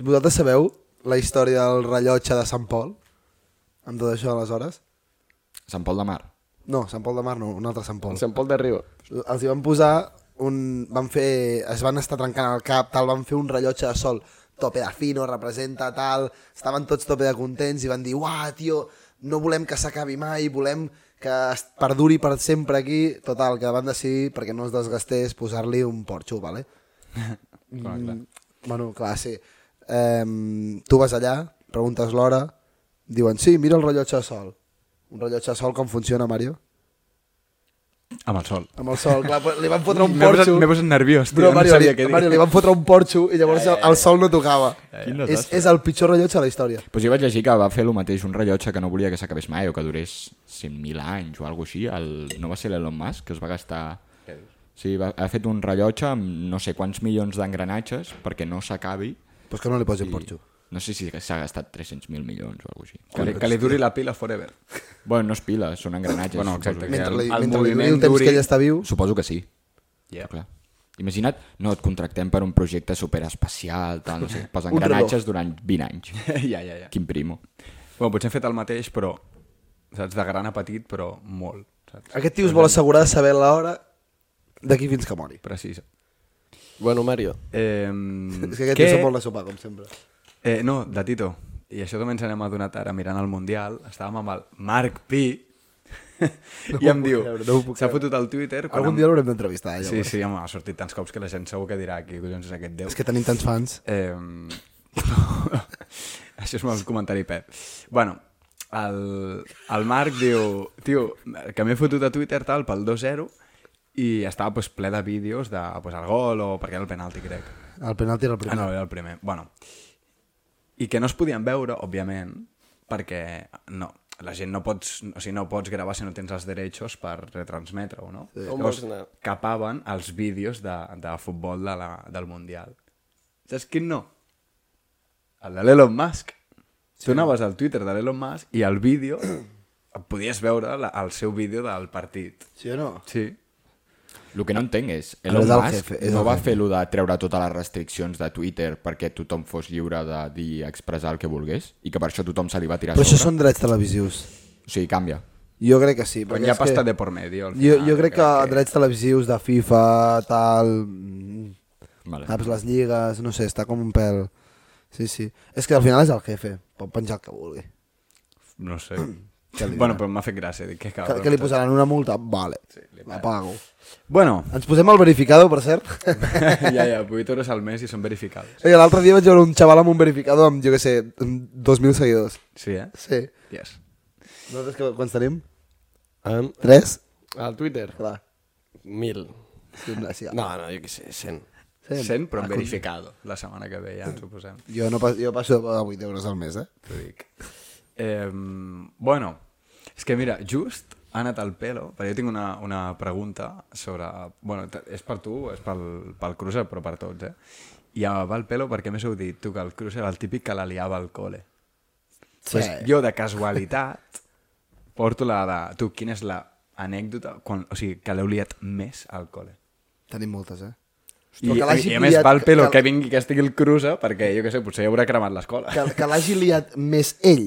Speaker 3: Vosaltres sabeu la història del rellotge de Sant Pol? Amb tot això de les hores?
Speaker 6: Sant Pol de Mar.
Speaker 3: No, Sant Pol de Mar no, un altre Sant Pol.
Speaker 7: Sant Pol de Riu.
Speaker 3: els hi van posar un... Van fer, es van estar trencant el cap, tal, van fer un rellotge de sol tope de fino, representa tal, estaven tots tope de contents i van dir, uah, tio, no volem que s'acabi mai, volem que es perduri per sempre aquí. Total, que van decidir, perquè no es desgastés, posar-li un porxo, vale?
Speaker 1: *laughs*
Speaker 3: Mm,
Speaker 1: Clar, clar.
Speaker 3: Bueno, clar, sí. Um, tu vas allà, preguntes l'hora, diuen, sí, mira el rellotge de sol. Un rellotge de sol com funciona, Mario?
Speaker 1: Amb el sol.
Speaker 3: Amb el sol, clar, li van fotre un
Speaker 1: M'he posat,
Speaker 3: porxo.
Speaker 1: m'he posat nerviós, tio,
Speaker 3: Però
Speaker 1: no
Speaker 3: Mario,
Speaker 1: sabia
Speaker 3: li,
Speaker 1: què dir.
Speaker 3: Mario, li van fotre un porxo i llavors el, el sol no tocava.
Speaker 6: Quin
Speaker 3: És,
Speaker 6: desastre.
Speaker 3: és el pitjor rellotge de la història.
Speaker 6: Pues jo vaig llegir que va fer el mateix, un rellotge que no volia que s'acabés mai o que durés 100.000 anys o alguna així. El... No va ser l'Elon Musk que es va gastar... Sí, va... ha fet un rellotge amb no sé quants milions d'engranatges perquè no s'acabi.
Speaker 3: Però és que no li posi un
Speaker 6: I
Speaker 3: porxo.
Speaker 6: No sé si s'ha gastat 300.000 milions o alguna així.
Speaker 1: Que li, que li duri la pila forever.
Speaker 6: Bueno, no és pila, són engranatges.
Speaker 1: Bueno,
Speaker 6: suposo
Speaker 1: exacte,
Speaker 6: que-
Speaker 3: Mentre
Speaker 1: el-
Speaker 3: li,
Speaker 1: el
Speaker 3: mentre li duri
Speaker 1: moviment
Speaker 3: el temps
Speaker 1: duri-
Speaker 3: que ell està viu...
Speaker 6: Suposo que sí.
Speaker 1: Yeah.
Speaker 6: Clar. Imagina't, no, et contractem per un projecte superespacial, tal,
Speaker 3: *laughs*
Speaker 6: no sé, posa
Speaker 3: Un robot.
Speaker 6: engranatges durant 20 anys.
Speaker 1: *laughs* ja, ja, ja.
Speaker 6: Quin primo.
Speaker 1: Bueno, potser hem fet el mateix, però... Saps? De gran a petit, però molt. Saps?
Speaker 3: Aquest tio es vol assegurar de saber l'hora d'aquí fins que mori.
Speaker 1: Precisa.
Speaker 7: Bueno, Mario.
Speaker 1: Eh,
Speaker 3: *laughs* És que aquest tio se'n vol de sopar, com sempre.
Speaker 1: Eh, no, de Tito. I això també ens n'hem adonat ara mirant el Mundial. Estàvem amb el Marc Pi i
Speaker 3: ho
Speaker 1: em
Speaker 3: puc
Speaker 1: diu...
Speaker 3: creure, no ho puc
Speaker 1: S'ha
Speaker 3: creure.
Speaker 1: fotut al Twitter... quan
Speaker 3: Algun
Speaker 1: em-
Speaker 3: dia l'haurem d'entrevistar, eh,
Speaker 1: Sí,
Speaker 3: llavors.
Speaker 1: sí, home, ha sortit tants cops que la gent segur que dirà qui collons és aquest déu.
Speaker 3: És que tenim tants fans.
Speaker 1: Eh, *laughs* això és un comentari pep. Bueno, el, el Marc diu, tio, que m'he fotut a Twitter tal pel 2-0 i estava pues, ple de vídeos de pues, el gol o perquè era el penalti, crec.
Speaker 3: El penalti era el
Speaker 1: Ah,
Speaker 3: primer.
Speaker 1: no, era el primer. Bueno, i que no es podien veure, òbviament, perquè no, la gent no pots, o sigui, no pots gravar si no tens els derechos per retransmetre-ho, no? Sí.
Speaker 7: On vols anar?
Speaker 1: capaven els vídeos de, de futbol de la, del Mundial. Saps quin no? El de l'Elon Musk. Sí. Tu anaves al Twitter de l'Elon Musk i el vídeo podies veure la, el seu vídeo del partit.
Speaker 3: Sí o no?
Speaker 1: Sí.
Speaker 6: El que no entenc és,
Speaker 3: Però
Speaker 6: Elon
Speaker 3: és el
Speaker 6: Musk
Speaker 3: jefe, és
Speaker 6: no
Speaker 3: el
Speaker 6: va
Speaker 3: jefe.
Speaker 6: fer lo de treure totes les restriccions de Twitter perquè tothom fos lliure de dir i expressar el que volgués i que per això tothom se li va tirar
Speaker 3: Però això
Speaker 6: sobre.
Speaker 3: són drets televisius.
Speaker 6: O sigui, canvia.
Speaker 3: Jo crec que sí.
Speaker 1: Però
Speaker 3: perquè
Speaker 1: hi ha
Speaker 3: és
Speaker 1: pasta
Speaker 3: que...
Speaker 1: de por medio. al
Speaker 3: Jo,
Speaker 1: final,
Speaker 3: jo crec que drets televisius de FIFA, tal... mm,
Speaker 6: Vale.
Speaker 3: Saps, les lligues, no sé, està com un pèl... Sí, sí. És que al final és el jefe, pot penjar el que vulgui.
Speaker 1: No sé.
Speaker 3: Mm. Què li
Speaker 1: bueno,
Speaker 3: dirà?
Speaker 1: però m'ha fet gràcia. Dic, que,
Speaker 3: Que, que li posaran una multa? Vale, la pago. *laughs*
Speaker 1: Bueno,
Speaker 3: Ens posem el verificador, per
Speaker 1: *laughs*
Speaker 3: cert?
Speaker 1: ja, ja, 8 euros al mes i són verificades.
Speaker 3: Oye, l'altre dia vaig veure un xaval amb un verificador amb, jo què sé, amb 2.000 seguidors.
Speaker 1: Sí, eh?
Speaker 3: Sí.
Speaker 1: Yes.
Speaker 3: Nosaltres que, quants tenim?
Speaker 7: Um,
Speaker 3: 3?
Speaker 7: al Twitter.
Speaker 3: Clar.
Speaker 7: Mil.
Speaker 3: Sí, no, sí,
Speaker 7: No, no, jo què sé, 100.
Speaker 3: sí.
Speaker 1: 100,
Speaker 7: Ah,
Speaker 1: però amb verificado. La setmana que ve ja ens ho posem.
Speaker 3: Jo, no pas, jo passo de 8 euros al mes, eh?
Speaker 1: T'ho dic.
Speaker 3: Mm.
Speaker 1: Eh, bueno, és que mira, just ha anat al pelo, perquè jo tinc una, una pregunta sobre... Bueno, t- és per tu, és pel, pel Cruiser, però per tots, eh? I ja va al pelo perquè més heu dit tu que el Cruiser era el típic que la liava al col·le.
Speaker 3: Sí.
Speaker 1: Pues jo, de casualitat, porto la de... Tu, quina és la anècdota quan, o sigui, que l'heu liat més al col·le?
Speaker 3: Tenim moltes, eh?
Speaker 1: I,
Speaker 3: Però que
Speaker 1: i,
Speaker 3: l'hagi
Speaker 1: i a més
Speaker 3: liat-
Speaker 1: va al pelo
Speaker 3: que-
Speaker 1: que vingui que estigui el Cruiser perquè, jo què sé, potser ja haurà cremat l'escola.
Speaker 3: Que, que l'hagi liat més ell.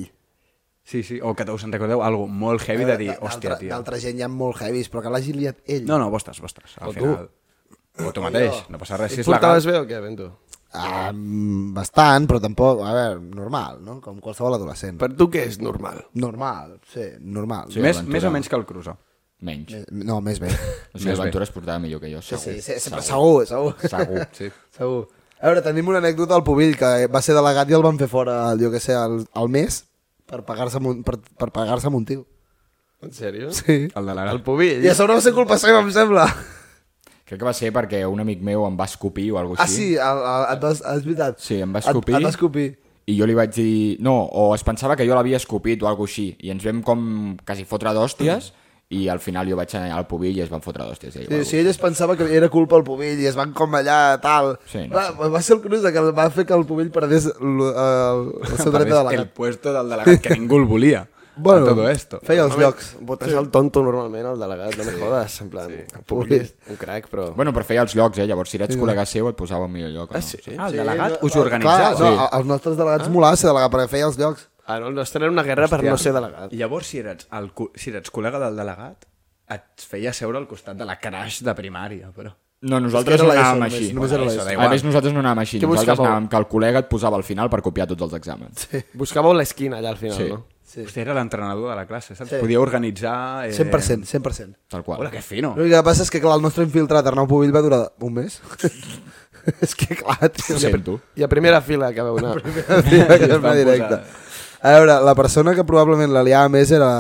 Speaker 1: Sí, sí, o que us en recordeu, algo molt heavy de dir, hòstia,
Speaker 3: Eh, D'altra-
Speaker 1: tio.
Speaker 3: D'altra gent hi ha molt heavies, però que l'hagi liat ell.
Speaker 1: No, no, vostres, vostres, al
Speaker 3: O tu.
Speaker 1: final. O tu mateix, no passa res, si
Speaker 7: Et
Speaker 1: és legal.
Speaker 7: portaves bé o què, Bento?
Speaker 3: Um, bastant, però tampoc... A veure, normal, no? Com qualsevol adolescent.
Speaker 7: Per tu què és normal?
Speaker 3: Normal, sí, normal.
Speaker 1: Sí, més, més o menys que el Cruza.
Speaker 6: Menys.
Speaker 3: Més- No, més bé.
Speaker 6: O
Speaker 1: Més
Speaker 6: sigui,
Speaker 1: bé.
Speaker 6: l'aventura es portava millor que jo,
Speaker 3: Sí,
Speaker 6: segur.
Speaker 3: sí, sí, sí, segur, segur.
Speaker 6: Segur.
Speaker 1: Sí.
Speaker 3: *laughs* Segur. A veure, tenim una anècdota al Pubill, que va ser delegat i el van fer fora, jo que sé, al, al mes, per pagar-se amb un- per, per pagar amb un tio.
Speaker 7: En sèrio?
Speaker 3: Sí.
Speaker 1: El de
Speaker 7: El
Speaker 1: legal.
Speaker 7: Pubill?
Speaker 3: I a sobre va ser culpa seva, em sembla.
Speaker 6: Crec que va ser perquè un amic meu em va escopir o alguna
Speaker 3: Ah,
Speaker 6: així.
Speaker 3: sí, el, el, et vas, és veritat.
Speaker 6: Sí, em va escopir.
Speaker 3: Et, et va escopir.
Speaker 6: I jo li vaig dir... No, o es pensava que jo l'havia escopit o alguna així. I ens vam com quasi fotre d'hòsties i al final jo vaig anar al pubill i es van fotre d'hòsties. ell o
Speaker 3: Sí,
Speaker 6: alguna
Speaker 3: sí, ell es pensava que era culpa del Pubill i es van com allà, tal.
Speaker 6: Sí, no
Speaker 3: va, va ser el Cruz que el- va fer que el Pubill perdés el, el, el seu dret de
Speaker 1: El
Speaker 3: delegat.
Speaker 1: puesto del delegat, que ningú el volia. Bueno,
Speaker 3: Bueno,
Speaker 1: a todo esto.
Speaker 3: feia els llocs.
Speaker 7: Votes sí. el tonto normalment, el delegat, no me jodes. En plan, sí. Pubill és un crac, però...
Speaker 6: Bueno, per feia els llocs, eh? Llavors, si eres col·lega seu, et posava al millor lloc. o No? Ah, sí?
Speaker 1: Ah, el delegat us
Speaker 3: Clar,
Speaker 1: organitzava.
Speaker 3: no, sí. els nostres delegats ah. molava ser delegat perquè feia els llocs.
Speaker 7: Ah, no, el nostre era una guerra per no ser delegat.
Speaker 1: Llavors, si eres, el, co- si eres col·lega del delegat, et feia seure al costat de la crash de primària, però...
Speaker 6: No, nosaltres
Speaker 3: És que
Speaker 6: no
Speaker 3: era la
Speaker 6: anàvem
Speaker 3: ESO,
Speaker 6: així.
Speaker 3: només- només era la
Speaker 6: Bueno,
Speaker 1: ESO.
Speaker 6: a més, nosaltres no anàvem així.
Speaker 7: Què
Speaker 6: Nosaltres
Speaker 7: buscàveu?
Speaker 6: anàvem que el col·lega et posava al final per copiar tots els exàmens. Sí.
Speaker 7: Buscàveu l'esquina allà al final,
Speaker 6: Sí.
Speaker 7: no?
Speaker 3: Sí.
Speaker 1: Hòstia, era l'entrenador de la classe, saps?
Speaker 3: Sí.
Speaker 1: Sí. Podia organitzar... Eh...
Speaker 3: 100%, 100%.
Speaker 6: Tal qual.
Speaker 1: Hola, que fino.
Speaker 3: L'únic que passa és que, clar, el nostre infiltrat Arnau Pubill va durar un mes. *laughs* és que, clar, tio,
Speaker 6: Ho sento.
Speaker 7: I a primera fila que veu anar.
Speaker 1: *laughs*
Speaker 3: Mira,
Speaker 1: van
Speaker 3: directe. A veure, la persona que probablement la liava més era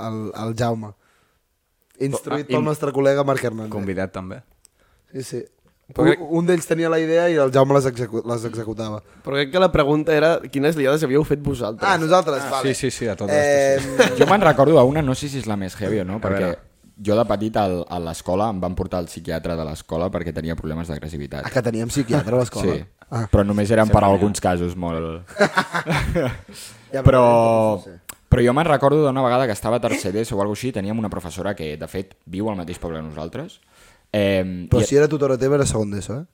Speaker 3: el, el Jaume. Instruït
Speaker 1: Ah,
Speaker 3: pel nostre col·lega Marc Hernández.
Speaker 1: Convidat, també.
Speaker 3: Sí, sí.
Speaker 7: Però
Speaker 3: Un,
Speaker 7: crec-
Speaker 3: un d'ells tenia la idea i el Jaume les, execu les executava.
Speaker 7: Però crec que la pregunta era quines liades havíeu fet vosaltres.
Speaker 3: Ah, nosaltres,
Speaker 1: Ah,
Speaker 3: vale.
Speaker 1: sí, sí, sí, a totes
Speaker 3: Eh,
Speaker 1: les
Speaker 6: Jo me'n recordo d'una, no sé si és la més heavy o no, perquè
Speaker 1: veure.
Speaker 6: jo de petit al, a l'escola em van portar al psiquiatre de l'escola perquè tenia problemes
Speaker 3: ah,
Speaker 6: d'agressivitat.
Speaker 3: que teníem psiquiatre a l'escola.
Speaker 6: Sí,
Speaker 3: Ah,
Speaker 6: però només eren per a alguns casos molt...
Speaker 3: ja
Speaker 6: però, però jo me'n recordo d'una vegada que estava a tercer d'ESO o alguna així, teníem una professora que, de fet, viu al mateix poble que nosaltres. Eh,
Speaker 3: Però
Speaker 6: i-
Speaker 3: si era tutora teva era segon d'ESO, eh?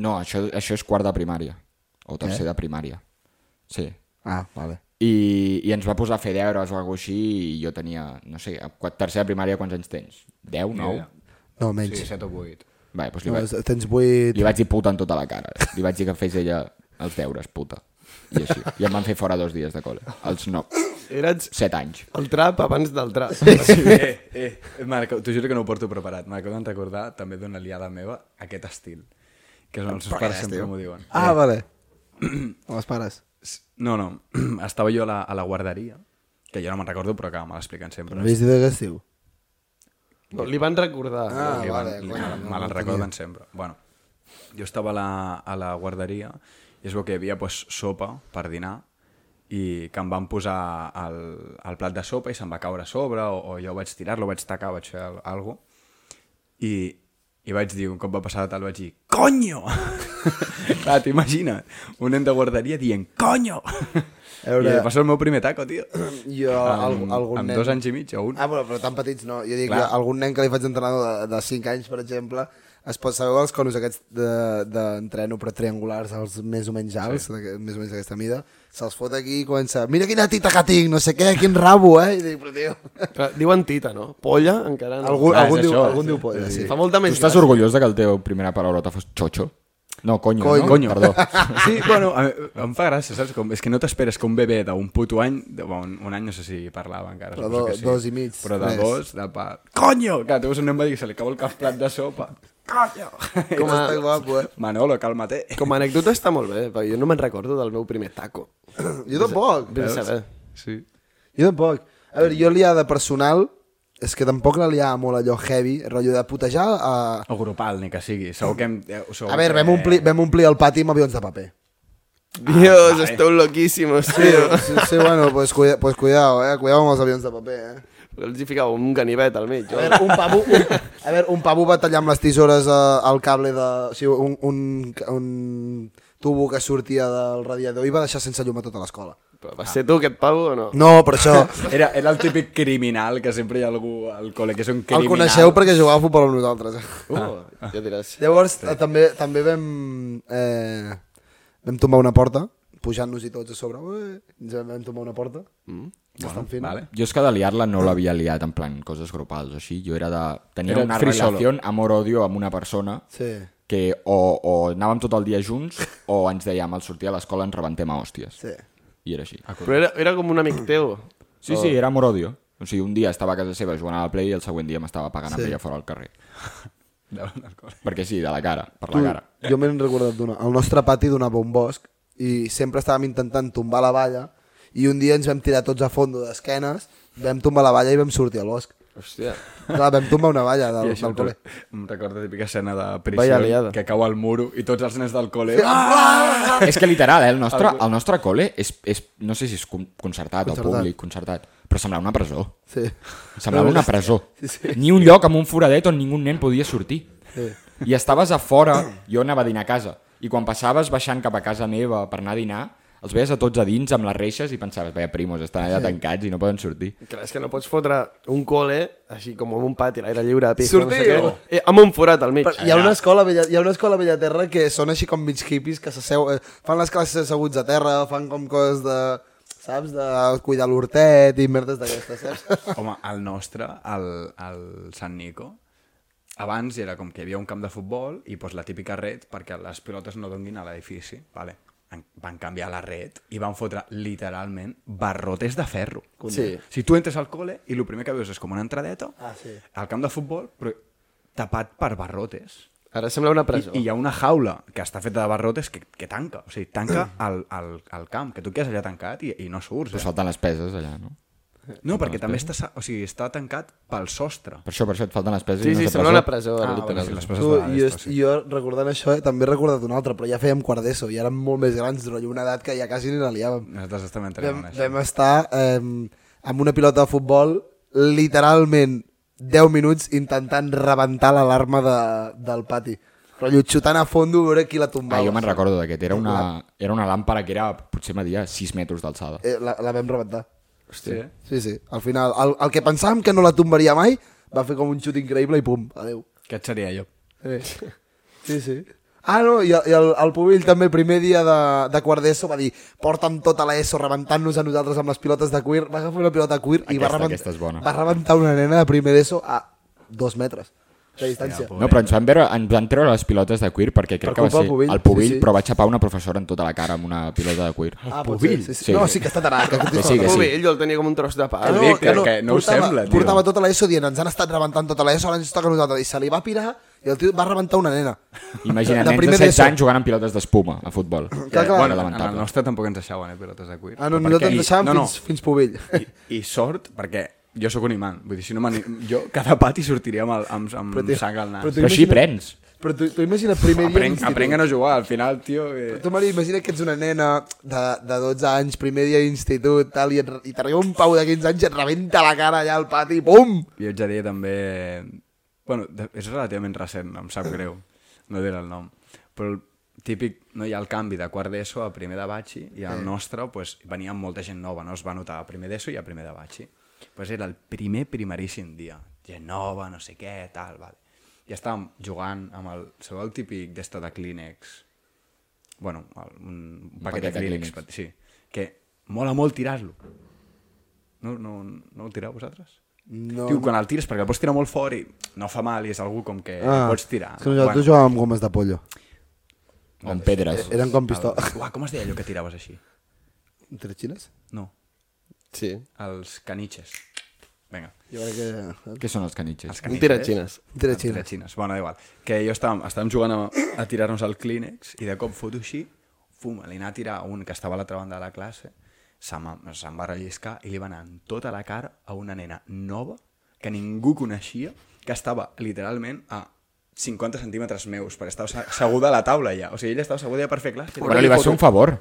Speaker 6: No, això, això és quart de primària. O
Speaker 3: Eh?
Speaker 6: tercer de primària. Sí.
Speaker 3: Ah, vale.
Speaker 6: I, I ens va posar a fer deures o alguna així i jo tenia, no sé, a qua- tercer de primària quants anys tens? 10, 9?
Speaker 1: idea.
Speaker 3: No,
Speaker 1: Sí,
Speaker 3: menys.
Speaker 1: 7 o 8.
Speaker 6: Vale, doncs li,
Speaker 3: no,
Speaker 6: vaig,
Speaker 3: tens vuit...
Speaker 6: li vaig dir puta en tota la cara. Li vaig dir que fes ella els deures, puta. I així. I em van fer fora dos dies de col·le. Els 9,
Speaker 7: Eres
Speaker 6: 7 anys.
Speaker 7: el trap abans del trap.
Speaker 1: *laughs* eh, eh, Marc, t'ho juro que no ho porto preparat. M'acabo de recordar també d'una liada meva, aquest estil. Que és on els seus pares sempre m'ho diuen.
Speaker 3: Ah, vale. Amb els pares.
Speaker 1: S- No, no, *clears throat* estava jo a la, a la guarderia, que jo no me'n recordo, però que me l'expliquen sempre.
Speaker 3: No havies dit que es diu?
Speaker 7: No, li van recordar. Ah.
Speaker 1: Ah, vale, me la recorden sempre. Bueno, jo estava a la, a la guarderia i es veu que hi havia pues, sopa per dinar i que em van posar el, el plat de sopa i se'm va caure a sobre o, o jo vaig tirar-lo, vaig tacar, vaig fer al- algo i, i vaig dir, un cop va passar de tal, vaig dir CONYO! *laughs* Clar, t'imagines, un nen de guarderia dient CONYO!
Speaker 3: veure-
Speaker 1: I va ser el meu primer taco, tio.
Speaker 3: Jo, al,
Speaker 1: Ah, Amb-
Speaker 3: algun
Speaker 1: amb
Speaker 3: nen...
Speaker 1: dos anys i mig o un.
Speaker 3: Ah, però, però tan petits no. Jo dic,
Speaker 1: Clar.
Speaker 3: jo, algun nen que li faig entrenador de, de 5 anys, per exemple, es pot saber els conos aquests de- d'entreno, de, però triangulars, els més o menys alts, sí. més o menys d'aquesta mida, se'ls fot aquí i comença, mira quina tita que tinc, no sé què, quin rabo, eh? I dic, però tio...
Speaker 7: Diuen tita, no? Polla, encara no. Ah,
Speaker 3: Algun,
Speaker 6: Clar, és
Speaker 3: algun, diu,
Speaker 6: això,
Speaker 3: algun
Speaker 6: sí.
Speaker 3: diu polla, sí.
Speaker 7: Fa molta
Speaker 6: Tu
Speaker 7: més
Speaker 6: estàs
Speaker 7: gràcia.
Speaker 6: orgullós de que el teu primera paraulota fos xocho? No, conyo,
Speaker 3: Cony.
Speaker 6: no?
Speaker 1: Conyo. *laughs*
Speaker 6: Perdó.
Speaker 1: Sí, bueno, a, em fa gràcia, saps? Com, és que no t'esperes que un bebè d'un puto any, de, bueno, un, un any no sé si parlava encara.
Speaker 3: Però
Speaker 1: suposo
Speaker 3: do-
Speaker 1: que sí.
Speaker 3: dos i mig,
Speaker 1: Però de
Speaker 3: tres.
Speaker 1: dos, de pa... Conyo! Que tu un nen va dir que se li cau el cap plat de sopa. Conyo!
Speaker 3: Com a... Està *laughs* guapo, eh?
Speaker 1: Manolo, calma-te.
Speaker 7: Com a anècdota està molt bé, perquè jo no me'n recordo del meu primer taco.
Speaker 3: Jo tampoc.
Speaker 7: Vés a saber.
Speaker 1: Sí.
Speaker 3: Jo tampoc. A veure, jo liada personal, és que tampoc la liava molt allò heavy, rotllo de putejar a...
Speaker 1: O grupal, ni que sigui. Segur que hem... eh, Segur
Speaker 3: A veure,
Speaker 1: que-
Speaker 3: vam omplir, vam omplir el pati amb avions de paper.
Speaker 7: Dios, esteu loquíssimos, tio.
Speaker 3: Sí, sí, bueno, pues, cuida, pues cuidado, eh? Cuidado amb els avions de paper, eh?
Speaker 7: Els hi ficava un ganivet al mig.
Speaker 3: A veure, un pavo, un, a veure, un pavo va tallar amb les tisores eh, el cable de... O sigui, un, un, un tubo que sortia del radiador i va deixar sense llum a tota l'escola.
Speaker 7: Però Vas ser tu aquest pavo o no?
Speaker 3: No, per *laughs* això...
Speaker 1: Era, era el típic criminal, que sempre hi ha algú al col·le que és un
Speaker 3: El
Speaker 1: criminal.
Speaker 3: coneixeu perquè jugava a futbol amb nosaltres.
Speaker 7: Uh, ja diràs.
Speaker 3: Llavors, sí. també, també vam, eh, vam tombar una porta, pujant-nos i tots a sobre. Ué, ens vam tombar una porta. Mm. Bastant bueno,
Speaker 1: Vale.
Speaker 6: Jo és que de liar-la no l'havia liat en plan coses grupals o així. Jo era de... Tenia
Speaker 1: Era
Speaker 6: una
Speaker 1: free
Speaker 6: relació
Speaker 1: solo.
Speaker 6: amor-odio amb una persona
Speaker 3: Sí.
Speaker 6: que o, o anàvem tot el dia junts o ens dèiem al sortir a l'escola ens rebentem a hòsties.
Speaker 3: Sí.
Speaker 6: I era així.
Speaker 7: Però era, era com un amic teu.
Speaker 6: Sí, sí, era amor-odio. O sigui, un dia estava a casa seva jugant a la Play i el següent dia m'estava pagant sí. amb ella fora al carrer.
Speaker 1: Davant del col·le.
Speaker 6: Perquè sí, de la cara, per la cara.
Speaker 3: Jo m'he recordat d'una. El nostre pati donava un bosc i sempre estàvem intentant tombar la valla i un dia ens vam tirar tots a fondo d'esquenes, vam tombar la valla i vam sortir al bosc.
Speaker 7: Hòstia.
Speaker 3: Clar, vam tombar una valla
Speaker 1: I
Speaker 3: del,
Speaker 1: això
Speaker 3: del
Speaker 1: em,
Speaker 3: col·le.
Speaker 1: re- em recorda la típica escena de
Speaker 7: Vaya
Speaker 1: prisió
Speaker 7: liada.
Speaker 1: que cau al muro i tots els nens del col·le... Ah!
Speaker 6: *laughs* És que literal, eh? el, nostre, el nostre col·le és, és, no sé si és con- concertat, concertat o
Speaker 3: Concertat.
Speaker 6: públic, concertat, però semblava una presó.
Speaker 3: Sí.
Speaker 6: Semblava una presó. Ni un lloc amb un foradet on ningú nen podia sortir. I estaves a fora, jo anava a dinar a casa, i quan passaves baixant cap a casa meva per anar a dinar, els veies a tots a dins amb les reixes i pensaves, veia primos, estan allà tancats i no poden sortir.
Speaker 7: Clar, és que no pots fotre un col·le així com en un pati, a l'aire lliure, a pico,
Speaker 3: Sortiu!
Speaker 7: no sé què, eh, amb un forat al mig.
Speaker 3: Però hi ha una escola a Bella, hi ha una escola a Bellaterra que són així com mig hippies que s'asseu, eh, fan les classes asseguts a terra, fan com coses de, saps, de cuidar l'hortet i merdes d'aquestes, saps?
Speaker 1: Home, el nostre, el, el Sant Nico, abans doncs, era com que hi havia un camp de futbol i pues, la típica red perquè les pilotes no donguin a l'edifici. Vale. en- van canviar la red i van fotre literalment barrotes de ferro.
Speaker 7: Sí.
Speaker 1: Si tu entres al col·le i el primer que veus és com una entradeta
Speaker 3: Ah, sí.
Speaker 1: al camp de futbol, però tapat per barrotes.
Speaker 7: Ara sembla una
Speaker 1: I,
Speaker 7: presó.
Speaker 1: I hi ha una jaula que està feta de barrotes que, que tanca, o sigui, tanca el, el, el camp, que tu quedes allà tancat i, i no surts.
Speaker 6: Però salten les peses allà, no?
Speaker 1: Eh? No, perquè també està, sa- o sigui, està tancat pel sostre.
Speaker 6: Per això, per això et falten les peses
Speaker 7: Sí,
Speaker 6: i no
Speaker 7: sí,
Speaker 6: és de
Speaker 7: sembla
Speaker 6: presó.
Speaker 7: una presó.
Speaker 1: Ah,
Speaker 7: ara,
Speaker 1: bueno,
Speaker 7: literal.
Speaker 1: sí, les
Speaker 3: Tu,
Speaker 1: passes de
Speaker 3: jo,
Speaker 1: dades, sí.
Speaker 3: jo recordant això, eh, també he recordat un altre, però ja fèiem quart d'ESO i érem molt més grans, rotllo una edat que ja quasi ni la liàvem.
Speaker 1: Nosaltres estem entrant
Speaker 3: Vam,
Speaker 1: en això.
Speaker 3: vam estar eh, amb una pilota de futbol literalment 10 minuts intentant rebentar l'alarma de, del pati. Rotllo xutant a fondo a veure qui la
Speaker 6: Ah,
Speaker 3: tombava.
Speaker 6: jo me'n recordo d'aquest. Era, una, era una làmpara que era, potser media, 6 metres d'alçada.
Speaker 3: eh, la, la vam rebentar.
Speaker 1: Hosti, eh?
Speaker 3: Sí, sí. Al final, el, el que pensàvem que no la tombaria mai, va fer com un xut increïble i pum, adeu.
Speaker 1: Aquest seria jo.
Speaker 3: Eh. Sí, sí. Ah, no, i, el- i el, el Pubill també el primer dia de, de quart d'ESO va dir porta'm tota l'ESO rebentant-nos a nosaltres amb les pilotes de cuir. Va agafar una pilota de cuir i va,
Speaker 6: Aquesta-
Speaker 3: rebent...
Speaker 6: aquesta és bona.
Speaker 3: va rebentar una nena de primer d'ESO a dos metres de distància.
Speaker 6: No, però ens van, veure, ens van treure les pilotes de cuir perquè crec
Speaker 3: Per
Speaker 6: que va
Speaker 3: culpa
Speaker 6: ser
Speaker 3: del Pubill,
Speaker 6: el pubill,
Speaker 3: sí, sí.
Speaker 6: però va xapar una professora en tota la cara amb una pilota de cuir.
Speaker 3: ah, potser, sí, sí.
Speaker 6: Sí.
Speaker 3: No, sí que està tarat. aquest
Speaker 6: Que
Speaker 3: tio.
Speaker 6: sí, que
Speaker 7: Molt
Speaker 6: sí.
Speaker 7: bé, ell jo el tenia com un tros de pa.
Speaker 1: Que
Speaker 7: No,
Speaker 1: dic, que no, que no ho
Speaker 3: portava,
Speaker 1: sembla, tio.
Speaker 3: Portava tota l'ESO dient, ens han estat rebentant tota l'ESO, ara ens toca a nosaltres. I se li va pirar i el tio va rebentar una nena.
Speaker 6: Imagina't,
Speaker 3: De
Speaker 6: nens de
Speaker 3: primer
Speaker 6: 16
Speaker 3: d'ESO.
Speaker 6: anys jugant amb pilotes d'espuma a futbol.
Speaker 3: clar.
Speaker 6: Era
Speaker 1: bueno, en el
Speaker 6: lamentable.
Speaker 1: nostre tampoc ens deixaven, eh, pilotes de cuir.
Speaker 3: Ah, no,
Speaker 1: Però
Speaker 3: nosaltres
Speaker 1: perquè-
Speaker 3: ens deixàvem
Speaker 1: no, no.
Speaker 3: fins, fins Pubill.
Speaker 1: I, I sort, perquè jo sóc un imant. Vull dir, si no m'ani- jo cada pati sortiria amb, el, amb, amb
Speaker 3: Però, tio,
Speaker 1: sang al nas.
Speaker 3: però tu-
Speaker 6: Però així
Speaker 3: Imagina't-
Speaker 6: prens.
Speaker 3: Però tu, tu imagina el primer dia
Speaker 1: Aprenc,
Speaker 3: d'institut.
Speaker 1: aprenc a no jugar, al final, tio... eh, Que...
Speaker 3: Tu, Maria, imagina que ets una nena de, de 12 anys, primer dia d'institut, tal, i, et re- i t'arriba un pau de 15 anys i et rebenta la cara allà al pati, pum!
Speaker 1: Jo et ja diria també... Bueno, de- és relativament recent, em sap greu. No diré el nom. Però el típic, no hi ha el canvi de quart d'ESO a primer de batxi i al nostre pues, venia molta gent nova, no? Es va notar a primer d'ESO i a primer de batxi. Pues era el primer primeríssim dia. Gent nova, no sé què, tal, vale. I estàvem jugant amb el... Sabeu el típic d'esta de Kleenex? Bueno, el, un, un paquet, de Kleenex, pet- sí. Que mola molt tirar-lo. No, no, no el tireu vosaltres?
Speaker 3: No.
Speaker 1: Tio, quan el tires, perquè el pots tirar molt fort i no fa mal i és algú com que ah, pots tirar.
Speaker 3: És que nosaltres bueno. jugàvem amb gomes de pollo.
Speaker 6: O amb pedres.
Speaker 3: Eren com pistola.
Speaker 1: El... Uah, com es deia allò que tiraves així?
Speaker 3: *laughs* Entre xines?
Speaker 1: No,
Speaker 7: Sí.
Speaker 1: els canitxes. Vinga.
Speaker 3: Jo crec que...
Speaker 6: Què són els canitxes?
Speaker 1: Els
Speaker 7: Un
Speaker 1: canitxes.
Speaker 7: tiratxines.
Speaker 3: Entre
Speaker 1: Tira
Speaker 3: xines.
Speaker 1: xines. Bueno, da igual. Que jo estàvem, estàvem jugant a, a tirar-nos al Kleenex i de cop foto així, fum, li anava a tirar a un que estava a l'altra banda de la classe, se'n va- se'n va relliscar i li va anar en tota la cara a una nena nova que ningú coneixia, que estava literalment a 50 centímetres meus, perquè estava se- asseguda a la taula ja. O sigui, ella estava asseguda ja per fer classe.
Speaker 6: Bueno, li va ser un favor.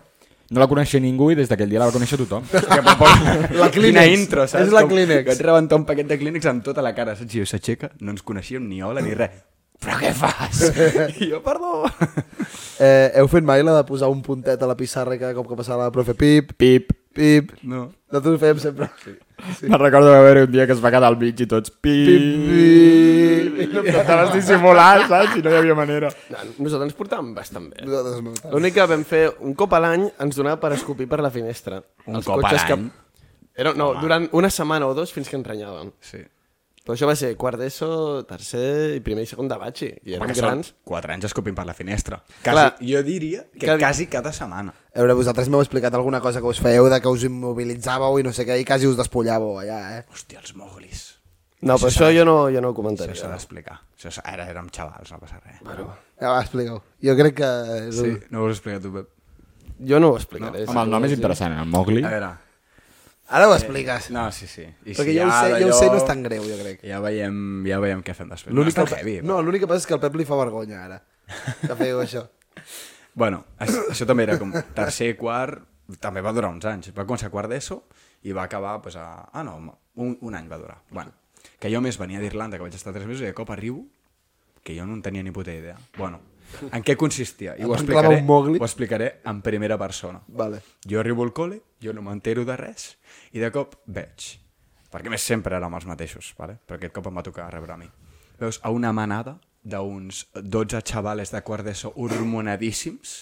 Speaker 6: No la coneixia ningú i des d'aquell dia la va conèixer
Speaker 1: *laughs*
Speaker 6: tothom.
Speaker 3: *laughs*
Speaker 1: La Quina
Speaker 3: Kleenex.
Speaker 1: intro, saps?
Speaker 3: És la
Speaker 1: Com
Speaker 3: Kleenex.
Speaker 1: Que et rebentar un paquet de Kleenex amb tota la cara, saps? I jo s'aixeca, no ens coneixíem ni hola ni res. Però què fas?
Speaker 3: *laughs*
Speaker 1: I jo, perdó. *laughs*
Speaker 3: Eh, heu fet mai la de posar un puntet a la pissarra i cada cop que passava la profe pip,
Speaker 6: Pip.
Speaker 3: pip.
Speaker 1: No.
Speaker 3: Nosaltres ho fèiem sempre.
Speaker 6: Sí. Me'n recordo que va haver un dia que es va quedar al mig i tots
Speaker 3: Pip,
Speaker 6: pip.
Speaker 3: pip.
Speaker 6: pip. Estaves dissimulant, saps? I no hi havia manera.
Speaker 7: No, nosaltres ens portàvem bastant bé.
Speaker 3: Nosaltres no. tant.
Speaker 7: L'únic que vam fer un cop a l'any ens donava per escopir per la finestra.
Speaker 1: Un cop a
Speaker 7: cotxes que-
Speaker 1: l'any?
Speaker 7: Era, no, durant una setmana o dos fins que ens renyàvem.
Speaker 1: Sí.
Speaker 7: Però això va ser quart d'ESO, tercer i primer i segon de batxi. I érem grans.
Speaker 1: Quatre anys escopint per la finestra. Quasi,
Speaker 7: Clar.
Speaker 1: jo diria que
Speaker 7: Clar.
Speaker 1: quasi cada setmana.
Speaker 3: A veure, vosaltres m'heu explicat alguna cosa que us fèieu, de que us immobilitzàveu i no sé què, i quasi us despullàveu allà, eh?
Speaker 1: Hòstia, els moglis.
Speaker 7: No, però això jo no, jo no ho
Speaker 1: Això s'ha
Speaker 7: comentaria.
Speaker 1: d'explicar. Això s'ha- Ara érem xavals, no passa res.
Speaker 7: Bueno,
Speaker 3: Ja Ah, va, expliqueu. Jo crec que... és
Speaker 1: Sí,
Speaker 3: un-
Speaker 1: no ho has explicat tu, Pep.
Speaker 7: jo no ho explicaré.
Speaker 6: Home, el nom és interessant, el Mowgli.
Speaker 1: A veure,
Speaker 3: Ara ho expliques.
Speaker 1: Eh, no, sí, sí. I
Speaker 3: Perquè ja ho sé, ja ho sé, no és tan greu, jo crec.
Speaker 1: Ja veiem, ja veiem què fem després. No,
Speaker 3: L'únic
Speaker 1: està
Speaker 3: que,
Speaker 1: heavy,
Speaker 3: no, l'únic que passa és que el Pep li fa vergonya, ara. Que
Speaker 1: *laughs*
Speaker 3: feu això.
Speaker 1: Bueno, això, això també era com tercer, quart, també va durar uns anys. Va començar quart d'ESO i va acabar pues, a... Ah, no, un, un any va durar. Bueno, que jo a més venia d'Irlanda, que vaig estar tres mesos, i de cop arribo, que jo no en tenia ni puta idea. Bueno, en què consistia? I ho
Speaker 3: van clavar
Speaker 1: explicaré,
Speaker 3: un mogli.
Speaker 1: ho explicaré en primera persona.
Speaker 3: Vale.
Speaker 1: Jo arribo al col·le, jo no m'entero de res, i de cop veig, perquè a més sempre érem els mateixos, vale? però aquest cop em va tocar rebre a mi. Veus, a una manada d'uns 12 xavales de quart d'ESO hormonadíssims,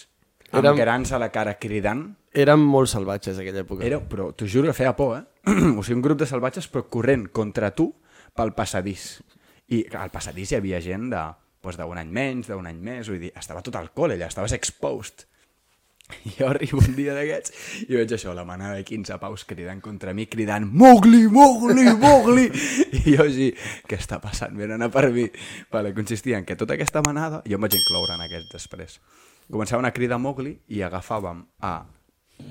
Speaker 1: amb
Speaker 7: Érem-
Speaker 1: grans a la cara cridant,
Speaker 7: Érem molt salvatges aquella època.
Speaker 1: era, però t'ho juro que feia por, eh? *clears throat* o sigui, un grup de salvatges però corrent contra tu pel passadís. I al passadís hi havia gent de doncs, d'un any menys, d'un any més, vull dir, estava tot al col·le, allà, estaves exposed. I *laughs* jo arribo un dia d'aquests i veig això, la manada de 15 paus cridant contra mi, cridant Mowgli, Mowgli, Mowgli! *laughs* I jo així, què està passant? Venen a per mi. Vale, consistia en que tota aquesta manada, jo em vaig incloure en aquests després, començaven a cridar Mowgli i agafàvem a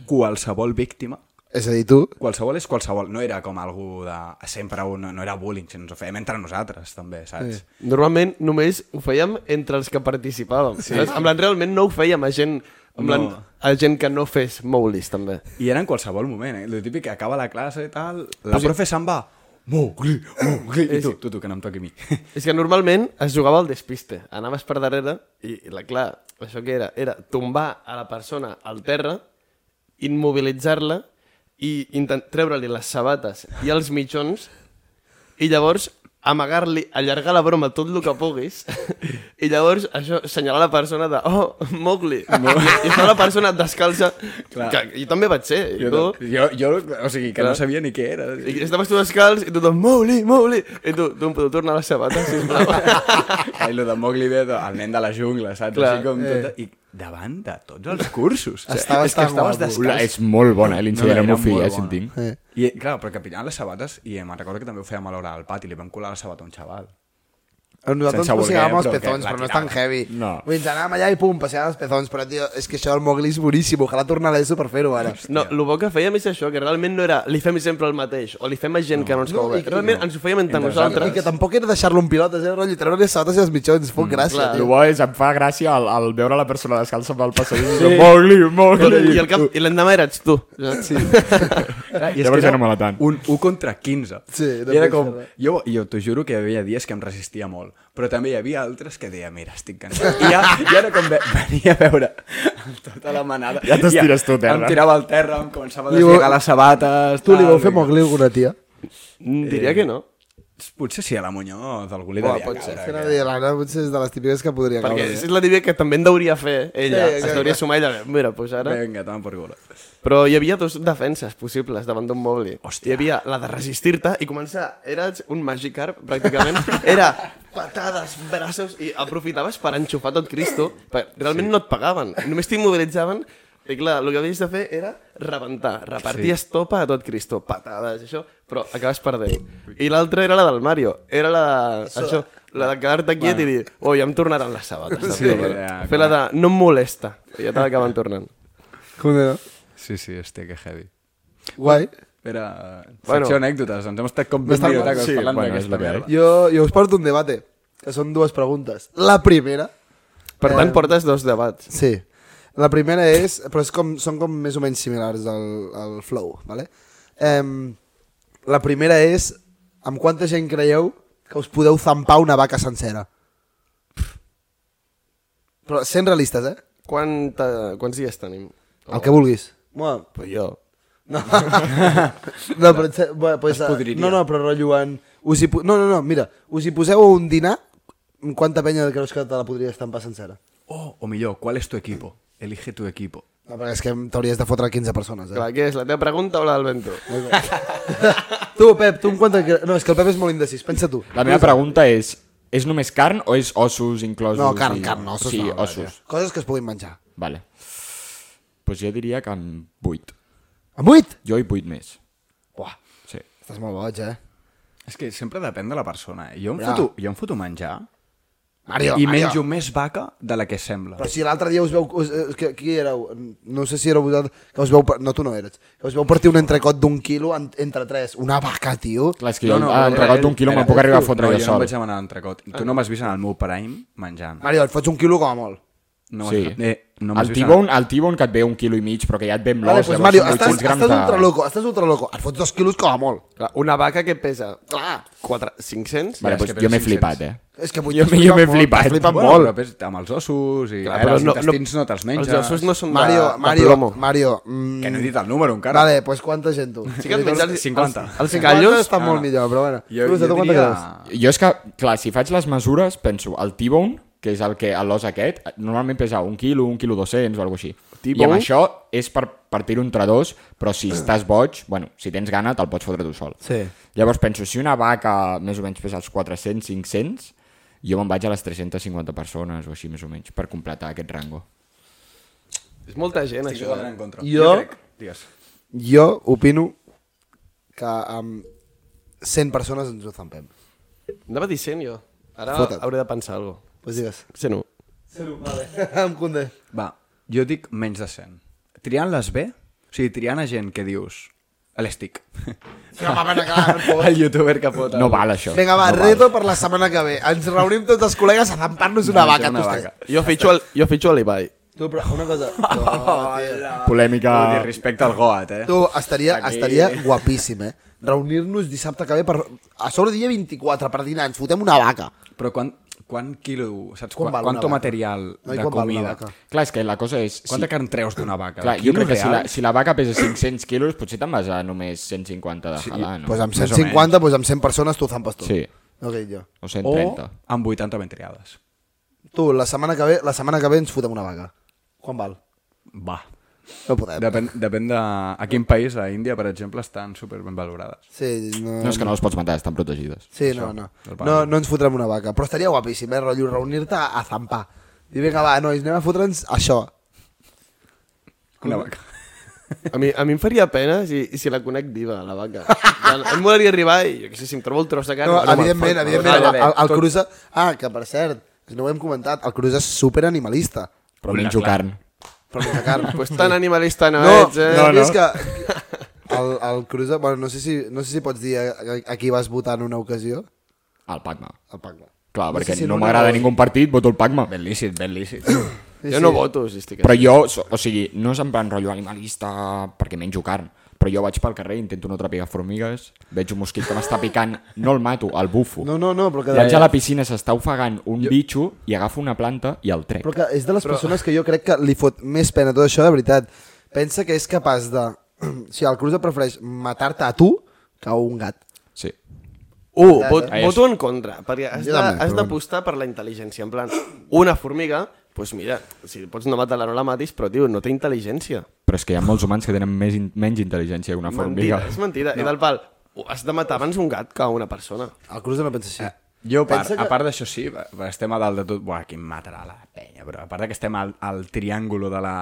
Speaker 1: qualsevol víctima
Speaker 3: És a dir, tu...
Speaker 1: qualsevol és qualsevol, no era com algú de... Sempre un, no era bullying, sinó ens ho fèiem entre nosaltres, també, saps? Sí.
Speaker 7: Normalment només ho fèiem entre els que participàvem. Sí. En plan, realment no ho fèiem a gent, en plan,
Speaker 1: No.
Speaker 7: a gent que no fes moulis, també.
Speaker 1: I era en qualsevol moment, eh? El típic que acaba la classe i tal, la profe se'n va, Mowgli, Mowgli, i tu, tu, tu, que no em toqui a mi. *laughs*
Speaker 7: És que normalment es jugava al despiste. Anaves per darrere i, i la, clar, això que era? Era tombar a la persona al terra, immobilitzar-la i intent- treure-li les sabates i els mitjons i llavors amagar-li, allargar la broma tot el que puguis *laughs* i llavors això assenyalar la persona de oh, Mowgli *laughs* i fa la persona descalça
Speaker 1: Clar.
Speaker 7: que jo també vaig ser i tu,
Speaker 1: jo, jo, o sigui, que
Speaker 7: Clar.
Speaker 1: no sabia ni què era.
Speaker 7: i estaves tu descalç i tothom Mowgli, Mowgli i tu, tu em podeu tornar les sabates
Speaker 1: *laughs*
Speaker 7: sisplau
Speaker 1: Ai, lo de Mowgli ve de- el nen de la jungla, saps?
Speaker 7: Clar,
Speaker 1: Així com tot... I davant de tots els cursos.
Speaker 3: Estava
Speaker 1: és que
Speaker 3: tan
Speaker 1: estaves
Speaker 3: guapo.
Speaker 6: Ula,
Speaker 1: descalç.
Speaker 6: és molt bona, eh?
Speaker 1: No,
Speaker 6: L'incident no,
Speaker 1: era
Speaker 6: amb el meu fill,
Speaker 1: molt
Speaker 6: eh,
Speaker 1: bona.
Speaker 6: sentim.
Speaker 3: Eh.
Speaker 1: I, clar, perquè pillant les sabates, i me'n recordo que també ho fèiem a l'hora del pati, li vam colar la sabata a un xaval.
Speaker 3: A Nosaltres
Speaker 1: Sense
Speaker 3: ens
Speaker 1: voler,
Speaker 3: passejàvem els
Speaker 1: però que
Speaker 3: pezons,
Speaker 1: la
Speaker 3: però no és tan
Speaker 1: tirava.
Speaker 3: heavy.
Speaker 6: No.
Speaker 3: Vull dir, anàvem allà i pum, passejàvem els pezons, però tio, és que això del Mowgli és boníssim, ojalà tornar a l'ESO per fer-ho ara.
Speaker 7: No, el bo que fèiem és això, que realment no era li fem sempre el mateix, o li fem a gent no, que no ens cau bé. Realment ens ho fèiem entre
Speaker 3: I que
Speaker 7: nosaltres.
Speaker 3: tampoc era deixar-lo en pilotes, era rotllo, treure les sabates i els mitjons,
Speaker 1: Mm,
Speaker 3: fot gràcia,
Speaker 7: clar.
Speaker 6: El
Speaker 3: tio.
Speaker 6: bo és, em fa gràcia al, al veure la persona descalça amb el passadís. Sí. Mowgli, Mowgli.
Speaker 7: I, el cap, i l'endemà eres tu. Sí.
Speaker 3: Ah,
Speaker 1: Clar, i és
Speaker 6: Llavors
Speaker 1: que
Speaker 6: ja no mola tant.
Speaker 3: Uh,
Speaker 1: Un 1 contra 15.
Speaker 3: Sí, no
Speaker 1: I era
Speaker 3: pots
Speaker 1: com...
Speaker 3: fer res.
Speaker 1: Jo, jo t'ho juro que hi havia dies que em resistia molt, però també hi havia altres que deia, mira, estic cansat. I ja, ja era com ve, venia a veure amb tota la manada.
Speaker 6: Ja t'estires tu a terra.
Speaker 1: Em tirava al terra, em començava a
Speaker 3: Li vau-
Speaker 1: deslligar les sabates...
Speaker 3: Tu li
Speaker 1: tal,
Speaker 3: vau fer
Speaker 1: vinga.
Speaker 3: Mowgli alguna tia?
Speaker 7: Mm, Diria que no.
Speaker 1: Potser sí, a la Muñoz, algú li
Speaker 7: Home,
Speaker 1: devia
Speaker 7: pot ser,
Speaker 1: caure.
Speaker 3: Que
Speaker 1: que-
Speaker 3: no diria, l'Anna potser és de les típiques que podria
Speaker 7: Perquè
Speaker 3: caure.
Speaker 7: és la idea que també en deuria fer ella.
Speaker 3: Sí,
Speaker 7: Sí, es
Speaker 3: exacte.
Speaker 7: deuria sumar ella. Mira, doncs ara...
Speaker 1: Vinga, toma per culo.
Speaker 7: Però hi havia dos defenses possibles davant d'un Mowgli.
Speaker 1: Hòstia.
Speaker 7: Hi havia la de resistir-te i començar... Eres un Magikarp, pràcticament. *laughs* Era patades, braços, i aprofitaves per enxufar tot Cristo. perquè Realment sí. no et pagaven, només t'immobilitzaven. I clar, el que havies de fer era rebentar, repartir sí. estopa a tot Cristo, patades, això, però acabes perdent. I l'altra era la del Mario, era la de, això, la de quedar-te quiet bueno. i dir, oi, ja em tornaran les sabates.
Speaker 1: Sí,
Speaker 7: Sí,
Speaker 1: ja,
Speaker 7: fer la de, no em molesta, i ja te l'acaben tornant.
Speaker 3: Com era?
Speaker 1: Sí, sí, este, que heavy.
Speaker 3: Guai.
Speaker 1: Era eh, secció
Speaker 7: Bueno.
Speaker 1: bueno, anècdotes, ens hem estat com 20
Speaker 3: Bastant-
Speaker 1: minutacos
Speaker 6: sí,
Speaker 1: sí, parlant
Speaker 6: bueno, és
Speaker 1: d'aquesta
Speaker 6: la que
Speaker 1: merda.
Speaker 3: Jo, jo us porto un debate, que són dues preguntes. La primera...
Speaker 7: Per tant,
Speaker 3: Eh,
Speaker 7: portes dos debats.
Speaker 3: Sí. La primera és... Però és com, són com més o menys similars al, al flow, ¿vale? Em, la primera és... Amb quanta gent creieu que us podeu zampar una vaca sencera? Però sent realistes, eh?
Speaker 7: Quanta, quants dies tenim?
Speaker 3: El que vulguis.
Speaker 7: Bueno, pues jo.
Speaker 3: No, no però... en ser- Bueno, pues,
Speaker 1: Es
Speaker 3: eh,
Speaker 1: podriria.
Speaker 3: no, no, però rotllo en... Us hi, po- no, no, no, mira, us hi poseu a un dinar amb quanta penya creus que te la podries estampar sencera?
Speaker 1: Oh, o millor, ¿cuál es tu equipo? Elige tu equipo.
Speaker 3: No, perquè és que t'hauries de fotre 15 persones, eh?
Speaker 7: Clar, què és? La teva pregunta o la del vento?
Speaker 3: Tu, Pep, tu en quanta... cre- No, és que el Pep és molt indecis, pensa tu.
Speaker 6: La meva pregunta és, és només carn o és ossos inclosos?
Speaker 3: No, carn,
Speaker 6: i-
Speaker 3: carn, no, ossos
Speaker 6: sí,
Speaker 3: no,
Speaker 6: ossos.
Speaker 3: Coses que es puguin menjar.
Speaker 6: Vale. Pues jo diria que en 8.
Speaker 3: Amb 8?
Speaker 6: Jo i 8 més. Uah. Sí.
Speaker 3: Estàs molt boig, eh?
Speaker 1: És que sempre depèn de la persona. eh? Jo em,
Speaker 3: Bra.
Speaker 1: foto, jo em foto menjar
Speaker 3: Mario,
Speaker 1: i
Speaker 3: Mario.
Speaker 1: menjo més vaca de la que sembla.
Speaker 3: Però si l'altre dia us veu... Us, eh, que, qui éreu? No sé si éreu vosaltres... Que us veu... per- No, tu no eres. Que us veu partir un entrecot d'un quilo en, entre tres. Una vaca, tio.
Speaker 6: Clar, és que no, no, jo entregat d'un quilo
Speaker 1: eh, Espera,
Speaker 6: me'n puc arribar a
Speaker 1: no,
Speaker 6: fotre jo
Speaker 1: jo no em
Speaker 6: sol.
Speaker 1: vaig demanar l'entrecot. Tu no m'has vist en el meu prime menjant.
Speaker 3: Mario, et fots un quilo com a molt.
Speaker 1: No
Speaker 6: sí.
Speaker 1: m'has- eh, no m'has
Speaker 6: el,
Speaker 1: vist en-
Speaker 6: tibon, el tibon que et ve un quilo i mig, però que ja et ve amb l'os.
Speaker 3: Vale, pues,
Speaker 6: llavors
Speaker 3: Mario,
Speaker 6: són
Speaker 3: estàs,
Speaker 6: 800 grams
Speaker 3: estàs
Speaker 6: de-
Speaker 3: ultra loco, estàs ultra loco. Et fots dos quilos com a molt.
Speaker 7: Clar, una vaca que pesa... Clar, 4, 500?
Speaker 1: Ja,
Speaker 6: Vale,
Speaker 1: és
Speaker 6: pues,
Speaker 1: que
Speaker 6: jo m'he
Speaker 1: 500.
Speaker 6: flipat, eh?
Speaker 3: És que vull
Speaker 6: Jo- jo m'he flipat.
Speaker 3: flipat
Speaker 1: Bueno,
Speaker 3: molt.
Speaker 1: però pes- amb els ossos i
Speaker 7: Clar,
Speaker 1: eh, els intestins no, te'ls menges.
Speaker 7: Els ossos no són
Speaker 3: Mario,
Speaker 7: de, de
Speaker 3: Mario,
Speaker 7: plomo.
Speaker 3: Mario... Mm,
Speaker 1: Que no he dit el número encara.
Speaker 3: Vale, pues quanta gent tu?
Speaker 7: Sí que et menges els-
Speaker 1: 50.
Speaker 7: Els, els
Speaker 3: Callos
Speaker 7: callos... Ah.
Speaker 3: està
Speaker 1: No,
Speaker 3: molt
Speaker 1: no.
Speaker 3: millor, però bueno.
Speaker 1: Jo,
Speaker 3: Cruz, a
Speaker 1: jo
Speaker 3: tu quanta
Speaker 1: diria...
Speaker 3: creus?
Speaker 6: Jo és que, clar, si faig les mesures, penso, el T-bone, que és el que a l'os aquest, normalment pesa un quilo, un quilo 200 o alguna així. I amb
Speaker 7: T-bone?
Speaker 6: això és per partir-ho entre dos, però si estàs boig, bueno, si tens gana, te'l pots fotre tu sol.
Speaker 3: Sí.
Speaker 6: Llavors penso, si una vaca més o menys pesa els 400, 500, jo me'n vaig a les 350 persones o així més o menys per completar aquest rango.
Speaker 7: És molta gent,
Speaker 1: Estic
Speaker 7: això. eh?
Speaker 1: totalment en contra.
Speaker 3: Jo-
Speaker 1: crec, digues.
Speaker 3: Jo opino que amb 100 persones ens ho zampem.
Speaker 7: Anava dissent, jo. Ara
Speaker 3: Fota't.
Speaker 7: hauré de pensar alguna cosa.
Speaker 3: Pues digues.
Speaker 7: Sent un.
Speaker 3: em condé.
Speaker 1: Va, jo dic menys de 100. Triant-les bé, o sigui, triant a gent que dius a l'estic. *laughs*
Speaker 6: No, va, va, clar,
Speaker 1: El youtuber que pot...
Speaker 6: no val, això.
Speaker 3: *laughs* Vinga, va,
Speaker 6: no val.
Speaker 3: reto per la setmana que ve. Ens reunim tots els col·legues a zampar-nos una vaca.
Speaker 1: una
Speaker 3: tu
Speaker 1: vaca.
Speaker 7: Jo fitxo, el, jo fitxo a l'Ibai.
Speaker 3: Tu, però una cosa... No, tio.
Speaker 6: Polèmica...
Speaker 1: Vull dir, respecte al Goat, eh?
Speaker 3: tu, estaria, estaria guapíssim, eh? Reunir-nos dissabte que ve per... A sobre dia 24, per dinar, ens fotem una vaca.
Speaker 1: Però quan, quan quilo, saps?
Speaker 3: Quan
Speaker 1: Quan,
Speaker 3: val
Speaker 1: quan,
Speaker 3: una
Speaker 1: quanto
Speaker 3: vaca?
Speaker 1: material
Speaker 3: No, i
Speaker 1: de
Speaker 3: quan val una
Speaker 1: comida?
Speaker 3: vaca?
Speaker 6: Clar, és que la cosa és... si-
Speaker 1: Quanta carn treus d'una vaca?
Speaker 6: Clar,
Speaker 1: El
Speaker 6: jo
Speaker 1: quilo
Speaker 6: crec que si la,
Speaker 1: real?
Speaker 6: si la vaca pesa 500 quilos, potser te'n vas a només 150 de halal, no?
Speaker 3: Pues amb
Speaker 1: Més o
Speaker 3: 150, pues amb 100 persones tu zampes tu.
Speaker 6: Sí.
Speaker 3: No que jo.
Speaker 6: O
Speaker 1: O
Speaker 6: 130.
Speaker 1: amb 80 ventriades.
Speaker 3: Tu, la setmana que ve, la setmana que ve ens fotem una vaca. Quan val?
Speaker 1: Va.
Speaker 3: No podem.
Speaker 1: Depèn, depèn de... A quin país, a Índia, per exemple, estan super ben valorades.
Speaker 3: Sí, no...
Speaker 6: No és que no les pots matar, estan protegides.
Speaker 3: Sí, no, no.
Speaker 1: del pare.
Speaker 3: No, no ens fotrem una vaca. Però estaria guapíssim, eh, rotllo, reunir-te a zampar. I vinga, va, nois, anem a fotre'ns això.
Speaker 1: Una vaca.
Speaker 7: A mi, a mi em faria pena si, si la conec viva, la vaca. Ja, em molaria arribar i, jo què sé, si em trobo el tros de carn...
Speaker 3: No,
Speaker 7: bueno,
Speaker 3: evidentment,
Speaker 7: me'n fa-
Speaker 3: evidentment,
Speaker 1: Vale,
Speaker 3: el,
Speaker 1: bé,
Speaker 3: el, el
Speaker 1: tot-
Speaker 3: Cruza... Ah, que per cert, no ho hem comentat, el Cruza és superanimalista.
Speaker 6: Però menjo carn.
Speaker 3: Però no
Speaker 7: *laughs*
Speaker 3: carn.
Speaker 7: Pues tan animalista no,
Speaker 3: No,
Speaker 7: ets, eh?
Speaker 3: no, no. és que... El, el Cruza... Bueno, no sé, si, no sé si pots dir a, a, a qui vas votar en una ocasió.
Speaker 6: El Pacma.
Speaker 3: El Pacma.
Speaker 6: Clar,
Speaker 3: No sé
Speaker 6: perquè
Speaker 3: si en
Speaker 6: no
Speaker 3: una o
Speaker 6: m'agrada
Speaker 3: dos.
Speaker 6: ningú partit, voto el Pacma.
Speaker 1: Ben lícit, ben lícit.
Speaker 7: Jo no voto, si estic...
Speaker 6: *clears throat* Però jo, so- o sigui, no és en plan rotllo animalista perquè menjo carn, però jo vaig pel carrer, intento no trepidar formigues, veig un mosquit que m'està picant, no el mato, el bufo.
Speaker 3: No, no, no, però que...
Speaker 6: Vaig a la piscina, s'està ofegant un bitxo i agafo una planta i el trec.
Speaker 3: Però que és de les persones que jo crec que li fot més pena tot això, de veritat. Pensa que és capaç de... *clears throat* Si el Cruz prefereix matar-te a tu que a un gat.
Speaker 6: Sí.
Speaker 7: Uh, vot,
Speaker 6: ja.
Speaker 7: voto en contra, perquè has
Speaker 3: Jo
Speaker 7: de-
Speaker 3: també,
Speaker 7: has
Speaker 3: però
Speaker 7: d'apostar per la intel·ligència. En plan, una formiga, doncs pues mira, si pots no matar-la no la matis, però, tio, no té intel·ligència.
Speaker 6: Però és que hi ha molts humans que tenen més in menys intel·ligència que una
Speaker 7: Mentida,
Speaker 6: formiga.
Speaker 7: és mentida. No. I del pal, ho has de matar abans un gat que una persona.
Speaker 3: El Cruz no pensa així.
Speaker 1: Eh, Jo, a part,
Speaker 3: Pensa que-
Speaker 1: a part d'això sí, va- va- estem a dalt de tot. Buah, qui em matarà la penya, però a part de que estem al, al triàngulo de la...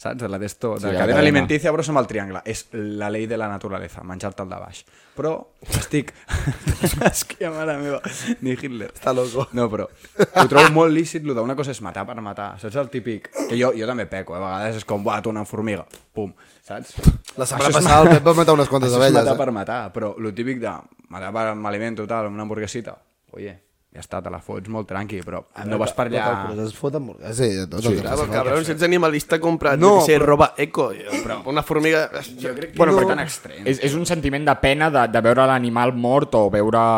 Speaker 1: Saps? De la d'esto...
Speaker 6: Sí,
Speaker 1: De
Speaker 6: la
Speaker 1: la cadena
Speaker 6: cadena.
Speaker 1: alimenticia, però som al triangle. És la llei de la naturaleza, menjar-te el de baix. Però estic... *laughs* és que, mare meva, ni Hitler.
Speaker 3: Està loco.
Speaker 1: No, però ho trobo molt lícit, lo d'una cosa és matar per matar. Saps el típic? Que jo, jo també peco, eh? a vegades és com, buah, tu una formiga. Pum, saps? Em
Speaker 3: La setmana passada el Pep va matar unes quantes
Speaker 1: Això és
Speaker 3: abelles.
Speaker 1: matar
Speaker 3: Eh?
Speaker 1: per matar, però lo típic de matar per alimento, tal, amb una hamburguesita, oye, ja està, te la fots molt tranqui, però no vas per allà...
Speaker 3: Tot el Cruz es fot amb... Sí, de tot, sí,
Speaker 7: Cabrón, cabrón, si ets animalista, compra,
Speaker 3: No,
Speaker 7: no, jo què sé,
Speaker 3: però-
Speaker 7: roba eco. Però... Una formiga... Jo crec
Speaker 1: Bueno,
Speaker 3: No.
Speaker 1: però tan extrem.
Speaker 6: És, és un sentiment de pena de, de veure l'animal mort o veure...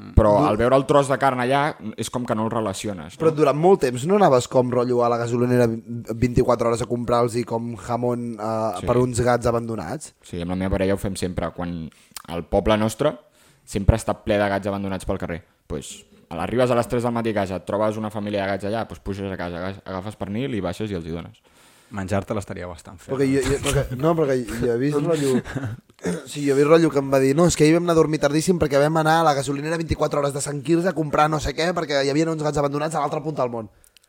Speaker 7: Mm.
Speaker 6: Però al veure el tros de carn allà és com que no el relaciones.
Speaker 3: Però durant molt temps no anaves com rotllo a la gasolinera 24 hores a comprar-los i com jamón eh, sí. per uns gats abandonats?
Speaker 6: Sí, amb la meva parella ho fem sempre. Quan el poble nostre sempre està ple de gats abandonats pel carrer. Pues, a les arribes a les 3 del matí a casa, et trobes una família de gats allà, pues puges a casa, aga- agafes pernil i baixes i els hi dones.
Speaker 1: Menjar-te l'estaria bastant fet.
Speaker 3: Perquè jo, jo, perquè, no, perquè jo he vist rotllo... *coughs* Sí, jo he vist rotllo que em va dir no, és que ahir vam anar a dormir tardíssim perquè vam anar a la gasolinera 24 hores de Sant Quirze a comprar no sé què perquè hi havia uns gats abandonats a l'altra punta del món.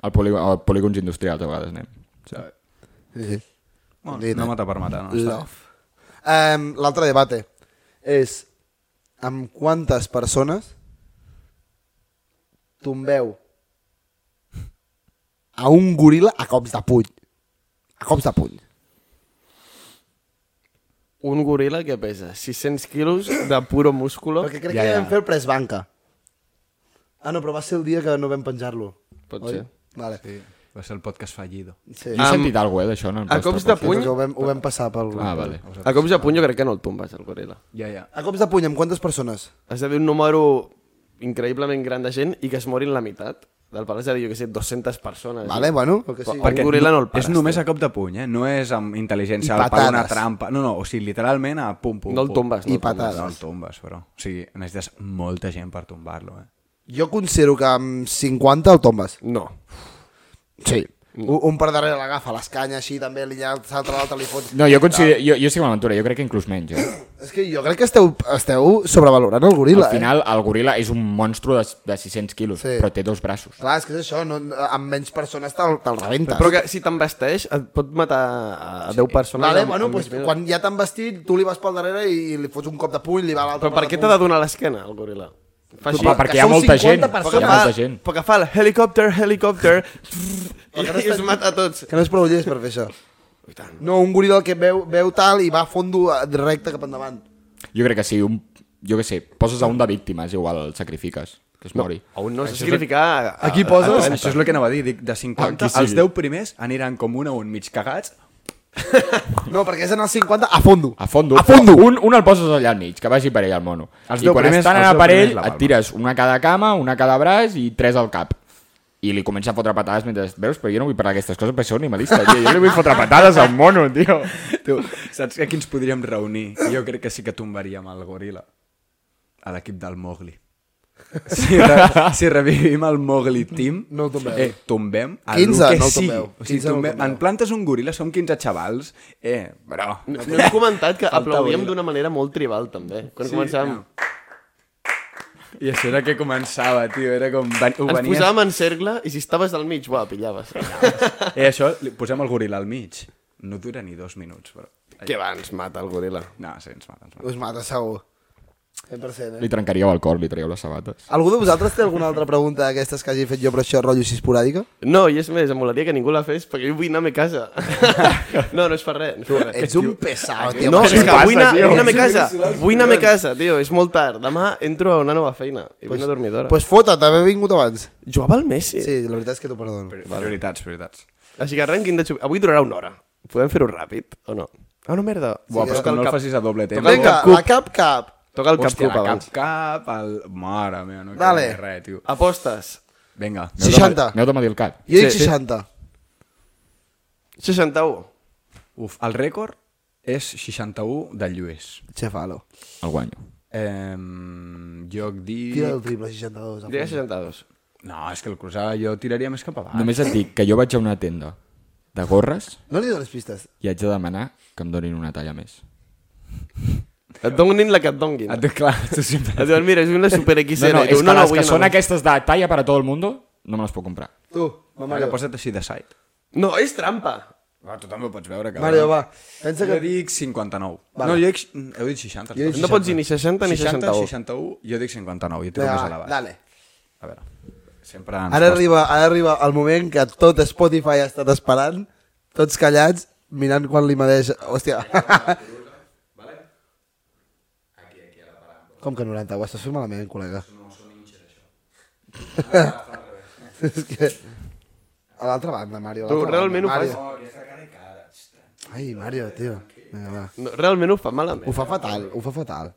Speaker 6: Al polí a polígons industrials a vegades anem. Sí.
Speaker 3: Sí, sí.
Speaker 1: Bueno, no matar per matar, no. Ah, està
Speaker 3: Love. Um, L'altre debate és amb quantes persones tombeu a un goril·la a cops de puny. A cops de puny.
Speaker 7: Un goril·la que pesa 600 quilos de puro músculo.
Speaker 3: Perquè crec
Speaker 1: Ja,
Speaker 3: ja,
Speaker 1: ja.
Speaker 3: que ja. vam fer el pres banca. Ah, no, però va ser el dia que no vam penjar-lo.
Speaker 7: Pot
Speaker 3: oi?
Speaker 7: ser.
Speaker 3: Vale.
Speaker 1: bé. Va ser el podcast fallido.
Speaker 3: Sí.
Speaker 6: Jo he
Speaker 7: Am-
Speaker 6: sentit alguna cosa, eh, d'això. en el
Speaker 7: a
Speaker 6: vostre
Speaker 7: cops de
Speaker 6: podcast.
Speaker 7: puny?
Speaker 3: Perquè ho, vam, ho vam passar pel...
Speaker 6: Ah, vale.
Speaker 7: A cops de puny jo crec que no el tombes, el goril·la.
Speaker 1: Ja, ja.
Speaker 3: A cops de puny, amb quantes persones?
Speaker 7: Has de dir un número increïblement gran de gent i que es morin la meitat. Del pal, és a dir, jo què sé, 200 persones. eh?
Speaker 3: Vale, bueno, el que sigui.
Speaker 7: Per- goril·la no el pares,
Speaker 1: és només a cop de puny, eh? No és amb intel·ligència,
Speaker 3: I
Speaker 1: al pal una
Speaker 3: patades.
Speaker 1: trampa. No, no, o sigui, literalment a pum, pum,
Speaker 7: No el
Speaker 1: pum.
Speaker 7: tombes, no
Speaker 3: I
Speaker 7: el tombes.
Speaker 3: patades.
Speaker 1: No el tombes, però. O sigui, necessites molta gent per tombar-lo, eh?
Speaker 3: Jo considero que amb 50 el tombes.
Speaker 7: No.
Speaker 3: Sí. Un, un per darrere l'agafa, les canyes així també, li llança l'altre, l'altre li fot...
Speaker 6: No, jo, considero, jo, jo estic amb l'aventura, jo crec que inclús menys. Eh?
Speaker 3: És que jo crec que esteu, esteu sobrevalorant el eh? goril·la,
Speaker 6: Al
Speaker 1: eh?
Speaker 6: final, el goril·la és un monstru de, de 600 quilos,
Speaker 3: Sí.
Speaker 6: sí. però té dos braços.
Speaker 3: eh? Clar, és que és això, no, amb menys persones te'l te rebentes.
Speaker 7: Però que si t'envesteix et pot matar a 10 persones.
Speaker 3: Vale,
Speaker 7: amb-
Speaker 3: bueno,
Speaker 7: amb
Speaker 3: pues,
Speaker 7: més vida.
Speaker 3: quan ja t'han vestit, tu li vas pel darrere i li fots un cop de puny, li va l'altre
Speaker 7: Però per què t'ha de donar l'esquena, el goril·la? Fa així.
Speaker 6: Però perquè hi ha
Speaker 3: són
Speaker 6: molta
Speaker 3: 50
Speaker 6: gent.
Speaker 3: persones.
Speaker 6: Hi ha molta gent.
Speaker 7: Perquè fa el helicòpter, helicòpter... I, i us mata a tots.
Speaker 3: Que no és prou llest per fer això. No, un goril·la que veu, veu tal i va a fondo eh, recte cap endavant.
Speaker 6: Jo crec que si un... Jo què sé, poses a un de víctima, és igual, el sacrifiques, que es mori.
Speaker 7: A un no s'ha significar...
Speaker 1: Aquí poses... Això és el que anava a dir, dic, de 50,
Speaker 6: Aquí sí.
Speaker 1: els 10 primers aniran com un a un mig cagats,
Speaker 3: No, perquè és en els 50 a fondo.
Speaker 6: A fondo.
Speaker 3: A fondo.
Speaker 6: Un, un el poses allà al mig, que vagi per ell el mono.
Speaker 1: Els
Speaker 6: I
Speaker 1: deu
Speaker 6: quan
Speaker 1: primers-
Speaker 6: estan
Speaker 1: els
Speaker 6: en
Speaker 1: deu
Speaker 6: aparell,
Speaker 1: primers la
Speaker 6: et
Speaker 1: palma.
Speaker 6: tires una a cada cama, una a cada braç i tres al cap. I li comença a fotre patades mentre... Veus, però jo no vull parlar d'aquestes coses perquè sóc animalista, tio. Jo li vull fotre patades al mono,
Speaker 1: *laughs*
Speaker 6: tio.
Speaker 1: Tu, saps que aquí ens podríem reunir? Jo crec que sí que tombaríem el goril·la. A l'equip del Mowgli. Si, re, si revivim el Mowgli Team,
Speaker 3: No el tombeu.
Speaker 1: eh, tombem a
Speaker 3: 15
Speaker 1: lo que
Speaker 3: no el
Speaker 1: sigui.
Speaker 3: tombeu.
Speaker 1: O sigui,
Speaker 3: 15 no el
Speaker 1: tombem,
Speaker 3: tombeu.
Speaker 1: en plantes un goril·la, som 15 xavals. Eh, però...
Speaker 7: No, no hem comentat que
Speaker 1: Falta
Speaker 7: aplaudíem
Speaker 1: goril·la.
Speaker 7: d'una manera molt tribal, també. Quan sí, començàvem... No.
Speaker 1: I això era que començava, tio, era com... ven- Ho
Speaker 7: Ens
Speaker 1: venies...
Speaker 7: posàvem en cercle i si estaves al mig, buah, pillaves.
Speaker 1: Eh, això, li posem el goril·la al mig. No dura ni dos minuts, però...
Speaker 7: Què va, ens mata el goril·la.
Speaker 1: No, sí, ens mata, ens mata.
Speaker 3: Us mata, segur. 100%, eh?
Speaker 6: Li trencaríeu el cor, li traieu les sabates.
Speaker 3: Algú de vosaltres té alguna altra pregunta d'aquestes que hagi fet jo, però això, rotllo així esporàdica?
Speaker 7: No, i és més, em molaria que ningú la fes perquè jo vull anar a me *laughs* casa. no, no és per res. No, és per res.
Speaker 3: Ets un pesat, tio.
Speaker 7: no
Speaker 3: però
Speaker 7: és que
Speaker 6: passa,
Speaker 7: vull anar,
Speaker 6: tio?
Speaker 7: vull anar a me casa. Vull anar a me casa, tio, és molt tard. Demà entro a una nova feina i vull anar a dormir d'hora.
Speaker 3: Pues fota't, haver vingut abans.
Speaker 7: Jugava al Messi.
Speaker 3: Sí, la veritat és que t'ho perdono.
Speaker 1: Prioritats, prioritats. prioritats.
Speaker 7: Així que arrenquin de xupar. Avui durarà una hora. Podem fer-ho ràpid, o no? Ah, no, merda.
Speaker 1: Buah, però és que
Speaker 7: toca
Speaker 1: no
Speaker 7: el
Speaker 1: el
Speaker 7: cap,
Speaker 1: facis a doble temps.
Speaker 3: Vinga,
Speaker 7: Cup.
Speaker 3: a cap cap. doncs.
Speaker 7: toca el cap
Speaker 1: Hòstia,
Speaker 7: cup abans.
Speaker 1: cap, cap, el... Mare meva, no
Speaker 3: Dale.
Speaker 1: queda res, tio.
Speaker 7: Apostes.
Speaker 1: Vinga.
Speaker 3: Sí. 60.
Speaker 6: Aneu de medir el cap.
Speaker 3: Jo dic
Speaker 7: Sí, sí.
Speaker 3: 60.
Speaker 7: 61.
Speaker 1: Uf, el rècord és 61 de Lluís.
Speaker 3: Chefalo.
Speaker 6: El guanyo.
Speaker 1: Eh, jo dic...
Speaker 3: Tira el triple, 62.
Speaker 7: Diré
Speaker 3: apunta.
Speaker 7: 62.
Speaker 1: No, és que el cruzar jo tiraria més cap avall.
Speaker 6: Ah. Només et dic que jo vaig a una tenda de gorres
Speaker 3: No li dones pistes.
Speaker 6: i haig de demanar que em donin una talla més.
Speaker 7: Et donin la que et donguin.
Speaker 1: Et dic, clar, Ah, tu sempre...
Speaker 7: Et diuen, mira, és una super
Speaker 6: No,
Speaker 7: XL.
Speaker 6: no,
Speaker 7: I
Speaker 6: és
Speaker 7: tu,
Speaker 6: que no, les
Speaker 7: vull
Speaker 6: que
Speaker 7: anar
Speaker 6: són
Speaker 7: més.
Speaker 6: aquestes de talla per a tot el món no me les puc comprar.
Speaker 3: Tu,
Speaker 1: Mario, posa't així de side.
Speaker 7: No, és trampa.
Speaker 1: Va, tu també ho pots veure, cabrón.
Speaker 3: Mario, va. Pensa
Speaker 1: Jo
Speaker 3: que...
Speaker 1: dic 59.
Speaker 3: Vale.
Speaker 1: No, jo dic... Heu dit 60.
Speaker 3: Jo dic
Speaker 7: No pots dir ni 60 ni
Speaker 1: 60,
Speaker 7: 61.
Speaker 1: 61, jo dic 59, jo tiro
Speaker 3: Vinga,
Speaker 1: més a la
Speaker 3: va,
Speaker 1: baix.
Speaker 3: dale.
Speaker 1: A veure, sempre ens
Speaker 3: Ara
Speaker 1: costa.
Speaker 3: arriba, ara arriba el moment que tot Spotify ha estat esperant, tots callats, mirant quan li medeix... Hòstia. Com que 90? Ho estàs fent malament, col·lega. Ah, És que... A l'altra banda, Mario. a
Speaker 7: Tu
Speaker 3: l'altra banda,
Speaker 7: realment ho
Speaker 3: Mario.
Speaker 7: fas...
Speaker 3: Ai, Mario, tio. Vinga, va.
Speaker 7: No, realment ho fa
Speaker 3: Ho
Speaker 7: malament.
Speaker 3: fa fatal, ho fa fatal.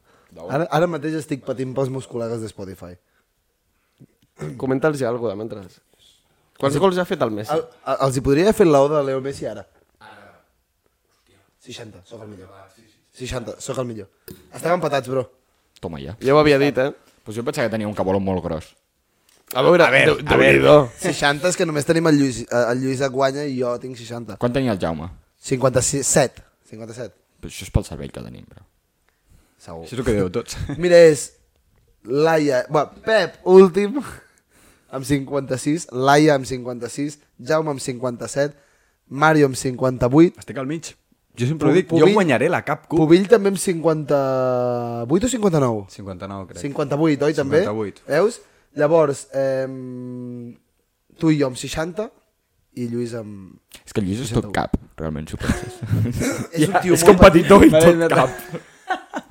Speaker 3: Ara, ara mateix estic patint pels meus col·legues de Spotify.
Speaker 7: Comenta'ls ja alguna cosa mentre... Quants gols ha fet el Messi?
Speaker 3: El, el, els hi podria haver fet la oda de Leo Messi ara? Ara. 60, sóc el millor. 60, sóc el millor. Estem empatats, bro.
Speaker 6: Toma ja.
Speaker 7: Ja ho havia dit, eh?
Speaker 6: Pues jo pensava que tenia un caboló molt gros.
Speaker 7: A veure, a veure, a veure.
Speaker 3: 60 és que només tenim el Lluís, eh, el Lluís et guanya i jo tinc 60.
Speaker 6: Quan tenia el Jaume?
Speaker 3: 56, 7. 57.
Speaker 6: Però això és pel cervell que tenim, bro.
Speaker 3: Segur.
Speaker 1: Això és el que diu tots.
Speaker 3: Mira, és Laia... Bé, Pep, últim, amb 56. Laia amb 56. Jaume amb 57. Mario amb 58.
Speaker 1: Estic al mig. Jo sempre ho
Speaker 3: Pu-
Speaker 1: dic, jo
Speaker 3: Pubill-
Speaker 1: guanyaré la cap cup.
Speaker 3: Pubill també amb 58 o 59?
Speaker 1: 59, crec.
Speaker 3: 58, oi, també?
Speaker 1: 58.
Speaker 3: Veus? Llavors, ehm, tu i jo amb 60 i Lluís amb...
Speaker 6: És que el Lluís és tot cap, realment, si ho penses.
Speaker 3: És un tio
Speaker 6: és com petitó i
Speaker 1: Vale,
Speaker 6: tot
Speaker 1: no-
Speaker 6: cap.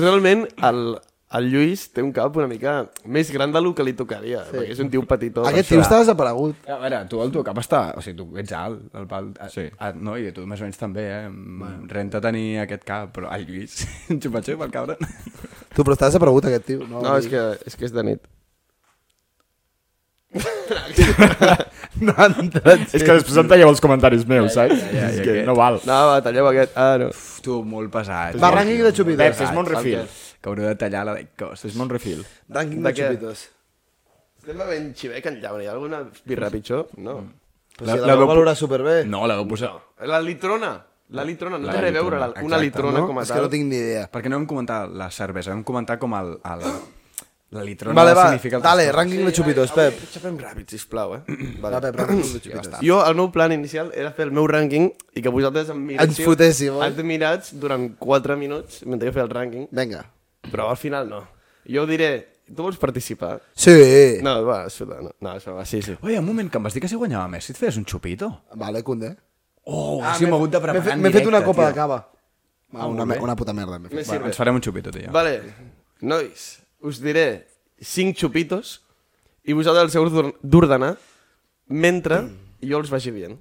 Speaker 7: Realment, el, el Lluís té un cap una mica més gran del que li tocaria, sí. perquè és un tio petitó.
Speaker 3: Aquest tio està desaparegut.
Speaker 1: A veure, tu el teu cap està... O sigui, tu ets alt, el pal... Sí.
Speaker 6: Sí.
Speaker 1: A, no, i tu més o menys també, eh? Bueno. Renta tenir aquest cap, però el Lluís, *laughs* un xupa-xup, el cabron.
Speaker 3: Tu, però està desaparegut aquest tio. No,
Speaker 7: No, és que, és que és de nit.
Speaker 3: *laughs* No ha entrat.
Speaker 6: És que després em talleu els comentaris meus, saps?
Speaker 1: ja,
Speaker 6: És
Speaker 1: ja,
Speaker 6: que
Speaker 1: aquest.
Speaker 6: no val.
Speaker 7: No, va, talleu aquest. Ah, no.
Speaker 1: Uf, tu, molt pesat.
Speaker 3: Va, rànquing de xupitos.
Speaker 6: Pep, és mon refil.
Speaker 1: Que hauré de tallar la de cos.
Speaker 6: És mon refil.
Speaker 3: Rànquing
Speaker 7: De
Speaker 3: de
Speaker 7: què?
Speaker 3: xupitos.
Speaker 7: Estem bevent xivec en llauna. Hi ha alguna birra pitjor? No.
Speaker 3: Però si la, la vau valorar superbé.
Speaker 1: No, la vau posar...
Speaker 7: La litrona. La litrona, no
Speaker 1: La
Speaker 7: té res a veure la,
Speaker 1: litrona,
Speaker 7: una
Speaker 1: exacte,
Speaker 7: litrona
Speaker 1: no?
Speaker 7: com a
Speaker 3: És
Speaker 7: tal.
Speaker 3: que no tinc ni idea.
Speaker 1: Perquè no hem comentat la cervesa, hem comentat com el... el la litrona
Speaker 3: Vale, va,
Speaker 1: significa... altres
Speaker 3: dale,
Speaker 1: coses.
Speaker 3: ranking de xupitos, Pep.
Speaker 7: Xapem ràpid, sisplau, *clears throat* eh?
Speaker 3: Va, Pep, ranking de xupitos.
Speaker 7: Jo, el meu plan inicial era fer el meu rànquing i que vosaltres em miréssiu
Speaker 3: Ens fotéssiu, oi?
Speaker 7: admirats durant 4 minuts mentre jo feia el rànquing,
Speaker 3: Vinga.
Speaker 7: però al final no. Jo diré, tu vols participar?
Speaker 3: Sí.
Speaker 7: No, va, suda, no, no, això va, sí, sí.
Speaker 1: Oi, un moment, que em vas dir que si guanyava Messi et feies un xupito.
Speaker 3: Vale, Cundé.
Speaker 1: Oh, ah, m'he hagut de
Speaker 3: M'he
Speaker 1: preparar
Speaker 3: fet,
Speaker 1: en
Speaker 3: m'he fet
Speaker 1: directe,
Speaker 3: una copa
Speaker 1: tio.
Speaker 3: de cava. Ah, una,
Speaker 1: molt bé.
Speaker 3: una puta merda. m'he fet.
Speaker 7: Me
Speaker 1: Bueno,
Speaker 7: sirve.
Speaker 1: ens farem un xupito, tu i jo.
Speaker 7: Vale, nois, us diré 5 xupitos i vosaltres els heu d'or- d'ordenar mentre jo els vagi dient.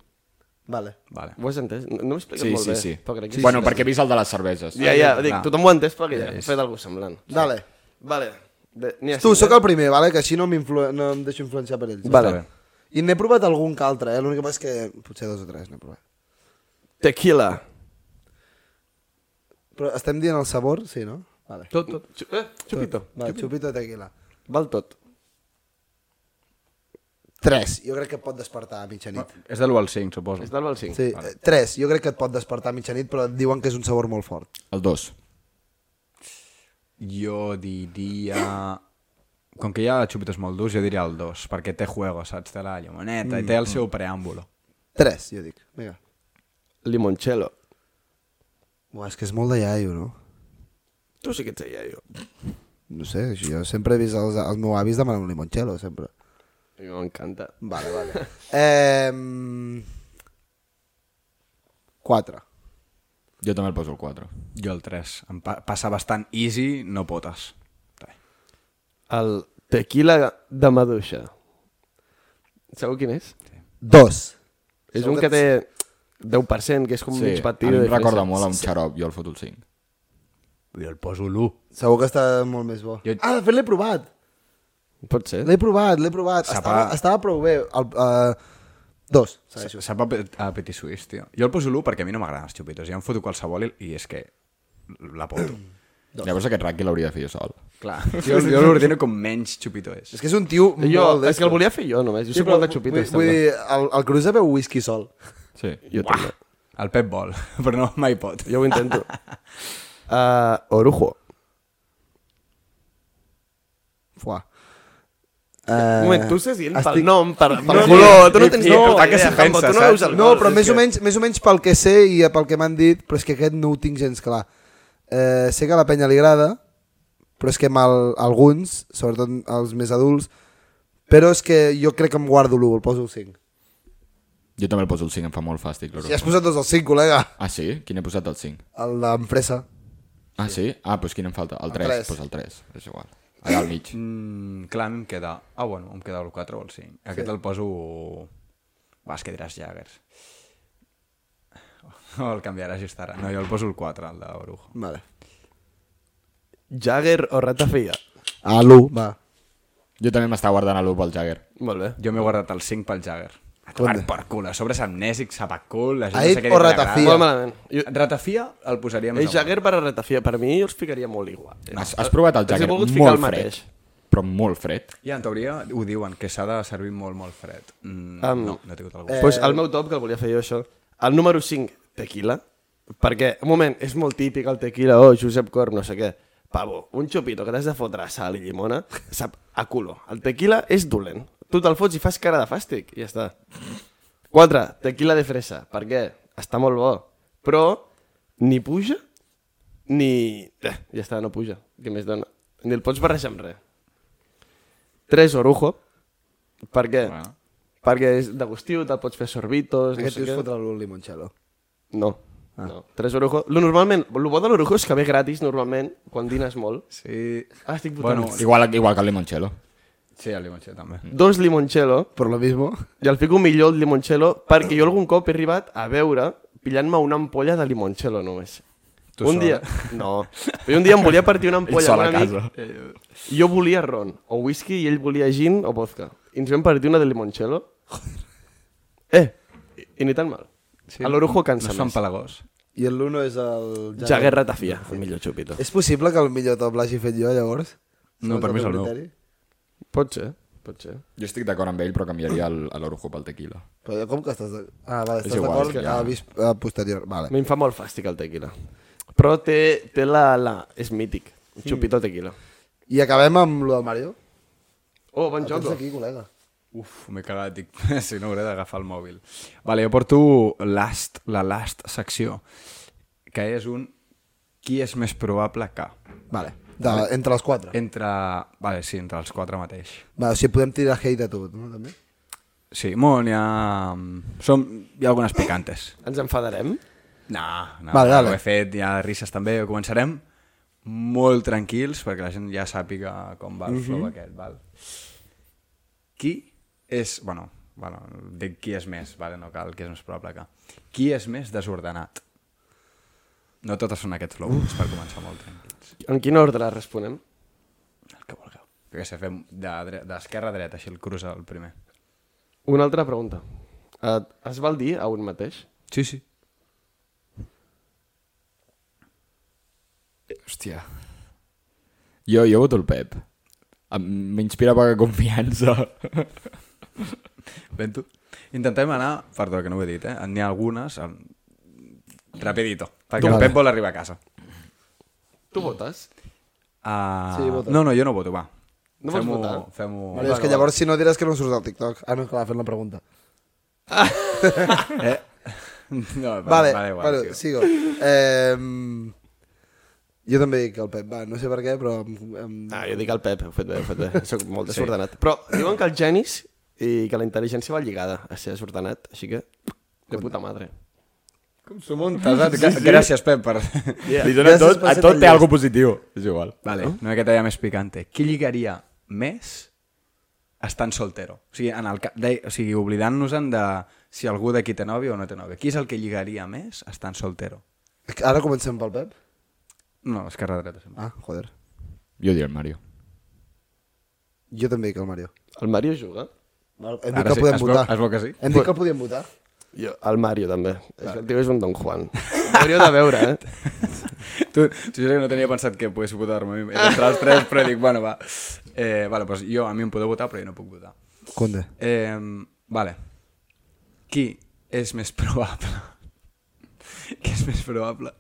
Speaker 3: Vale.
Speaker 1: Vale.
Speaker 7: Ho has entès? No, no m'ho expliques
Speaker 6: Sí,
Speaker 7: molt
Speaker 6: sí,
Speaker 7: bé.
Speaker 6: sí.
Speaker 7: però crec que
Speaker 6: Bueno, perquè he vist el de les cerveses.
Speaker 7: Ja, ja, dic,
Speaker 1: Va.
Speaker 7: tothom ho ha entès perquè ja,
Speaker 1: Ja
Speaker 7: he
Speaker 1: és.
Speaker 7: fet alguna cosa semblant.
Speaker 3: Dale.
Speaker 7: Vale. De, n'hi ha
Speaker 3: Tu,
Speaker 7: cinc,
Speaker 3: sóc
Speaker 7: eh?
Speaker 3: el primer, vale? que així no, m'influ- no em deixo influenciar per ells.
Speaker 7: Vale.
Speaker 1: Està bé.
Speaker 3: I n'he provat algun que altre, eh? L'únic que passa és que potser dos o tres n'he provat.
Speaker 7: Tequila.
Speaker 3: Però estem dient el sabor, sí, no? Vale.
Speaker 7: Tot, tot. Xup, eh, xupito.
Speaker 3: Vale, xupito de tequila.
Speaker 7: Val tot.
Speaker 3: Tres. Jo crec que et pot despertar a mitjanit.
Speaker 1: És de l'1 al 5, suposo.
Speaker 7: És del val 5.
Speaker 3: Sí, eh, tres. Jo crec que et pot despertar a mitjanit, però et diuen que és un sabor molt fort.
Speaker 6: El 2.
Speaker 1: Jo diria... Com que hi ha xupitos molt durs, jo diria el 2, perquè té juego, saps? Té la llimoneta mm. i té el seu preàmbulo.
Speaker 3: Tres, jo dic. Vinga.
Speaker 7: Limoncello.
Speaker 3: Buah, és que és molt de iaio, no?
Speaker 7: Tu sí que ets allà, jo.
Speaker 3: No sé, jo sempre he vist els, els meus avis demanar un limoncello, sempre.
Speaker 7: A mi m'encanta.
Speaker 3: Vale, vale. eh, quatre.
Speaker 6: Jo també el poso el 4.
Speaker 1: Jo el 3. Em pa passa bastant easy, no potes. Està bé.
Speaker 7: El tequila de maduixa. Sabeu quin és?
Speaker 3: Dos.
Speaker 7: És
Speaker 3: Segur
Speaker 7: un
Speaker 3: que
Speaker 7: que té 10%, que és com
Speaker 6: Sí,
Speaker 7: mig
Speaker 6: a mi
Speaker 7: partido.
Speaker 6: em recorda molt a un xarop, jo el foto el 5.
Speaker 1: Jo el poso l'1.
Speaker 3: Segur que està molt més bo. Jo...
Speaker 1: Jo-
Speaker 3: Ah, de fet l'he provat.
Speaker 7: Pot ser.
Speaker 3: L'he provat, l'he provat.
Speaker 1: Sapa.
Speaker 3: Estava, estava prou bé. El, uh, dos, segueixo.
Speaker 1: Sap a, pe- a Petit Suís, tio. Jo el poso l'1 perquè a mi no m'agraden els xupitos. Jo em foto qualsevol i, i és que la poto.
Speaker 6: Llavors aquest ranking l'hauria de fer jo sol.
Speaker 1: Clar. Jo, jo l'ordeno com menys xupito és.
Speaker 3: És que és un tio
Speaker 7: Jo,
Speaker 3: molt
Speaker 7: és que el volia fer jo només, jo sí, soc molt de xupitos.
Speaker 3: Vull, vull dir, el, el Cruz beu whisky sol.
Speaker 6: Sí.
Speaker 7: jo també.
Speaker 1: El Pep vol, *laughs* però no mai pot.
Speaker 7: Jo ho
Speaker 3: *laughs*
Speaker 7: intento. Uh, Orujo.
Speaker 3: Fuà.
Speaker 7: Uh,
Speaker 3: Uh,
Speaker 7: moment, tu estàs dient estic...
Speaker 3: estic-
Speaker 7: pel nom, per, per
Speaker 1: No,
Speaker 7: no, color, tu no
Speaker 1: ni-
Speaker 7: tens
Speaker 1: ni
Speaker 7: ni puta
Speaker 1: puta que
Speaker 7: idea,
Speaker 1: se
Speaker 7: Jambo,
Speaker 1: pensa,
Speaker 7: tu no veus el
Speaker 1: saps?
Speaker 3: No,
Speaker 7: gol,
Speaker 3: però
Speaker 7: és
Speaker 3: més
Speaker 7: que-
Speaker 3: o, menys, més o menys pel que sé i pel que m'han dit, però és que aquest no ho tinc gens clar. Eh, sé que a la penya li agrada, però és que mal, alguns, sobretot els més adults, però és que jo crec que em guardo l'1, el poso el 5.
Speaker 6: Jo també el poso el 5, em fa molt fàstic. l'Oro.
Speaker 3: Si has posat dos al 5, col·lega.
Speaker 6: Ah, sí? Quin he posat el 5?
Speaker 3: El d'empresa.
Speaker 6: Ah, sí? Ah, doncs quin em falta? El 3.
Speaker 3: tres.
Speaker 6: Doncs pues el 3,
Speaker 3: *laughs*
Speaker 6: és igual. Allà al mig.
Speaker 1: Mm, clar, a mi em queda... Ah, bueno, em queda el 4 o el 5. Aquest sí. el poso... Va, és que diràs Jaggers. O *laughs* el canviaràs just ara. No, jo el poso el 4, el d'Orujo.
Speaker 3: Vale.
Speaker 7: Jagger o Ratafia.
Speaker 3: A l'1, va.
Speaker 6: Jo també m'està guardant l'1 pel Jagger.
Speaker 7: Molt bé.
Speaker 1: Jo m'he guardat el 5 pel Jagger. A tomar
Speaker 3: Compte.
Speaker 1: per cul, a sobre és amnèsic, sapacul... La gent
Speaker 3: Ait
Speaker 1: no sé què
Speaker 3: o
Speaker 1: li
Speaker 3: ratafia?
Speaker 1: agrada.
Speaker 7: Molt malament. Jo,
Speaker 1: Ratafia el posaria més
Speaker 7: és Jagger per a Ratafia. Per mi jo els ficaria molt igual.
Speaker 6: Has, has provat el
Speaker 7: Els he
Speaker 6: Jagger
Speaker 7: volgut
Speaker 6: molt
Speaker 7: ficar el
Speaker 6: fred,
Speaker 7: mateix.
Speaker 6: però molt fred.
Speaker 1: Ja, en teoria ho diuen, que s'ha de servir molt, molt fred. Mm,
Speaker 7: Am-
Speaker 1: no, no he tingut algú.
Speaker 7: Doncs
Speaker 1: Eh,
Speaker 7: pues el meu top, que el volia fer jo, això. El número 5, tequila. Perquè, un moment, és molt típic el tequila, oh, Josep Corb, no sé què. Pavo, un xupito que t'has de fotre a sal i llimona, sap, a culo. El tequila és dolent. Tu te'l fots i fas cara de fàstic, i ja està. 4. Tequila de fresa. Per què? Està molt bo. Però ni puja, ni... Eh, ja està, no puja. Què més dona? Ni el pots barrejar amb res. 3. Orujo. Per què?
Speaker 6: Bueno.
Speaker 7: Perquè és degustiu, te'l pots fer sorbitos...
Speaker 3: Aquest tio
Speaker 7: no
Speaker 3: es
Speaker 7: sé
Speaker 3: fotrà l'1 limoncello.
Speaker 7: què. No. Ah. no. 3 Orujo. Lo, normalment, el bo de l'Orujo és que ve gratis, normalment, quan dines molt.
Speaker 1: Sí...
Speaker 7: Ah, estic votant.
Speaker 1: Bueno,
Speaker 6: Igual, igual que el Limoncello.
Speaker 1: sí, el limonxer també.
Speaker 7: Dos limoncello.
Speaker 3: Per lo mismo.
Speaker 7: I el fico millor el limoncello perquè jo algun cop he arribat a veure pillant-me una ampolla de limoncello només.
Speaker 1: Tu
Speaker 7: un
Speaker 1: sola?
Speaker 7: dia... No. Però un dia em volia partir una ampolla
Speaker 6: sol
Speaker 7: amb un
Speaker 6: a
Speaker 7: amic. i Jo volia ron o whisky i ell volia gin o vodka. I ens vam partir una de limoncello. Eh, i, i ni tan mal. Sí, a l'orujo cansa
Speaker 1: No són
Speaker 7: més.
Speaker 1: pelagós.
Speaker 3: I el 1 és el...
Speaker 7: Jagger Ratafia, el millor xupito.
Speaker 3: És possible que el millor top l'hagi fet jo, llavors?
Speaker 1: No, per mi és el meu.
Speaker 3: criteri?
Speaker 7: Pot ser. potser.
Speaker 6: Jo estic d'acord amb ell, però canviaria el- l'orujo pel tequila.
Speaker 3: Però com que estàs... de- Ah, vale,
Speaker 6: És
Speaker 3: estàs
Speaker 6: igual,
Speaker 3: d'acord?
Speaker 6: és que
Speaker 3: Ja...
Speaker 6: ja-
Speaker 3: Ah, vist ah, posterior, vale.
Speaker 7: Me'n fa molt fàstic el tequila. Però té, té la, la... És mític. Un Xupito tequila.
Speaker 3: I acabem amb lo del Mario.
Speaker 7: Oh, bon
Speaker 3: El tens
Speaker 7: joc.
Speaker 3: aquí, col·lega.
Speaker 1: Uf, m'he cagat, dic, *laughs* si no hauré d'agafar el mòbil. Vale, jo porto last, la last secció, que és un qui és més probable que.
Speaker 3: Vale. De, entre les quatre.
Speaker 1: Entre... Vale, sí, entre els quatre mateix.
Speaker 3: Vale, o sigui, podem tirar hate a tot, no? També?
Speaker 1: Sí, molt, hi ha... mm, Som... Hi ha algunes picantes.
Speaker 7: Ens enfadarem?
Speaker 1: No, no,
Speaker 3: Vale,
Speaker 1: vale,
Speaker 3: dale.
Speaker 1: ho he fet, hi ha risses també. Començarem molt tranquils perquè la gent ja sàpiga com va el flow aquest. Val? Qui és... Bueno, bueno, dic qui és més, vale? no cal, qui és més probable que... Qui és més desordenat? No totes són aquests flows, per començar molt tranquils.
Speaker 7: En quin ordre responem?
Speaker 1: El que vulgueu. Jo què sé, fem de dre- d'esquerra a dreta, així el cruza el primer.
Speaker 7: Una altra pregunta. Et, es val dir a un mateix?
Speaker 1: Sí, sí. Hòstia.
Speaker 6: Jo, jo voto el Pep. Em- M'inspira poca confiança.
Speaker 1: Vento. Intentem anar, perdó que no ho he dit, eh? n'hi ha algunes, en... rapidito, perquè el
Speaker 3: Vale.
Speaker 1: Pep vol arribar a casa.
Speaker 7: Tu votes?
Speaker 1: Uh...
Speaker 3: Sí, vota.
Speaker 1: No, no, jo no voto, va.
Speaker 7: No vols
Speaker 1: Fem-ho-
Speaker 7: votar?
Speaker 1: Fem-ho...
Speaker 3: Mario, és que llavors si no diràs que no surts al TikTok. Ah, no, clar, fent la pregunta.
Speaker 1: Eh? No,
Speaker 3: Vale,
Speaker 1: vale,
Speaker 3: vale,
Speaker 1: igual,
Speaker 3: bueno,
Speaker 1: tio.
Speaker 3: sigo. Eh, jo també dic el Pep, va, no sé per què, però... Em, em...
Speaker 7: Ah, jo dic el Pep, ho he fet bé, ho he fet bé. Soc molt desordenat. Sí. Però diuen que el genis i que la intel·ligència va lligada a ser desordenat, així que... De puta madre.
Speaker 1: Com s'ho muntes, eh? Sí, sí. Gràcies, Pep, per...
Speaker 6: Yeah. Li dona
Speaker 3: Gràcies
Speaker 6: tot,
Speaker 3: per
Speaker 6: a
Speaker 3: ser
Speaker 6: tot
Speaker 3: tan
Speaker 6: té
Speaker 3: llest.
Speaker 6: alguna positiu. És igual.
Speaker 1: Vale, una miqueta ja més picante. Qui lligaria més estant soltero? O sigui, en el ca... de... o sigui oblidant-nos-en de si algú d'aquí té nòvia o no té nòvia. Qui és el que lligaria més estant soltero?
Speaker 3: Ara comencem pel Pep?
Speaker 1: No, esquerra dreta. sempre.
Speaker 3: Ah, joder.
Speaker 6: Jo diré el Mario.
Speaker 3: Jo també dic el Mario.
Speaker 7: El Mario juga?
Speaker 3: Hem dit
Speaker 1: Ara
Speaker 3: que
Speaker 1: sí,
Speaker 3: podem
Speaker 1: es veu-
Speaker 3: votar.
Speaker 1: es veu que sí.
Speaker 3: Hem dit que el podíem votar.
Speaker 7: Jo, el Mario també. Clar. El tio és un Don Juan. Hauríeu de veure, eh?
Speaker 1: *laughs* Tu, tu jo no tenia pensat que pogués votar-me a mi. Era Entre els tres, però dic, bueno, va. Eh, vale, pues jo, a mi em podeu votar, però jo no puc votar.
Speaker 3: Conde.
Speaker 1: Eh, vale. Qui és més probable... *laughs* Qui és més probable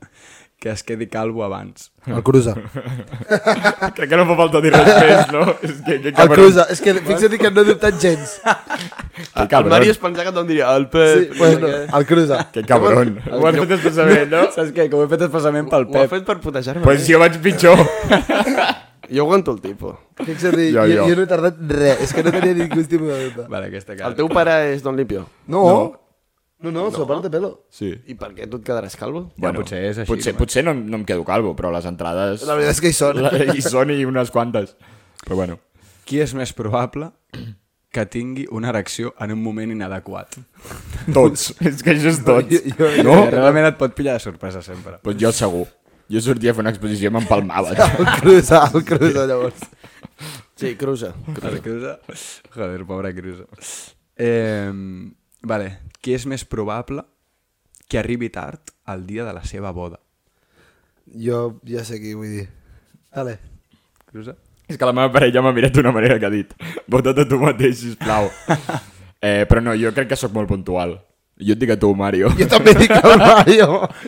Speaker 1: que es quedi calvo abans?
Speaker 3: El
Speaker 1: *laughs*
Speaker 3: Cruza.
Speaker 6: Ah, Crec que no fa falta dir res més, no? *laughs* És que, que
Speaker 3: El Cruza. És que fixa't que no he dubtat gens.
Speaker 6: Que
Speaker 7: el
Speaker 6: cabron.
Speaker 7: Ah, Mario es pensava que tothom diria el Pep...
Speaker 3: Sí, bueno, el Cruza.
Speaker 6: Que cabron. Ho has fet després saber, no?
Speaker 1: Saps què? Com he fet expressament pel
Speaker 7: Ho ha
Speaker 1: Pep.
Speaker 7: fet per putejar-me.
Speaker 6: Pues jo vaig pitjor.
Speaker 7: eh? Jo aguanto el tipo.
Speaker 3: Fixa't, jo,
Speaker 6: Jo,
Speaker 3: jo.
Speaker 6: jo.
Speaker 3: jo no he tardat res. És que no tenia ni tipus de dubte.
Speaker 1: Vale, aquesta cara.
Speaker 7: El teu pare és Don Limpio.
Speaker 3: No. No, no, no. sopar de pelo.
Speaker 6: Sí.
Speaker 7: I per què tu et quedaràs calvo?
Speaker 1: Ja, potser és així,
Speaker 6: Potser,
Speaker 1: home.
Speaker 6: potser no, no em quedo calvo, però les entrades...
Speaker 3: La veritat és que hi són.
Speaker 6: La, hi són i unes quantes. Però bueno.
Speaker 1: Qui és més probable que tingui una erecció en un moment inadequat?
Speaker 6: Tots. *laughs* és que això és tots.
Speaker 3: Jo- jo-
Speaker 6: no?
Speaker 1: Eh, realment et pot pillar de sorpresa sempre.
Speaker 6: Pues jo segur. Jo sortia a fer una exposició i m'empalmava. *laughs*
Speaker 3: El Cruza, el Cruza, llavors.
Speaker 7: Sí, cruza.
Speaker 1: Cruza. Cruza. Joder, pobre Cruza. Eh, vale, qui és més probable que arribi tard al dia de la seva boda?
Speaker 3: Jo ja sé qui vull dir. Vale.
Speaker 1: Cruza?
Speaker 6: És que la meva parella m'ha mirat d'una manera que ha dit vota't a tu mateix, *laughs* sisplau. eh, però no, jo crec que sóc molt puntual. Jo et dic a tu, Mario.
Speaker 3: Jo també dic el Mario.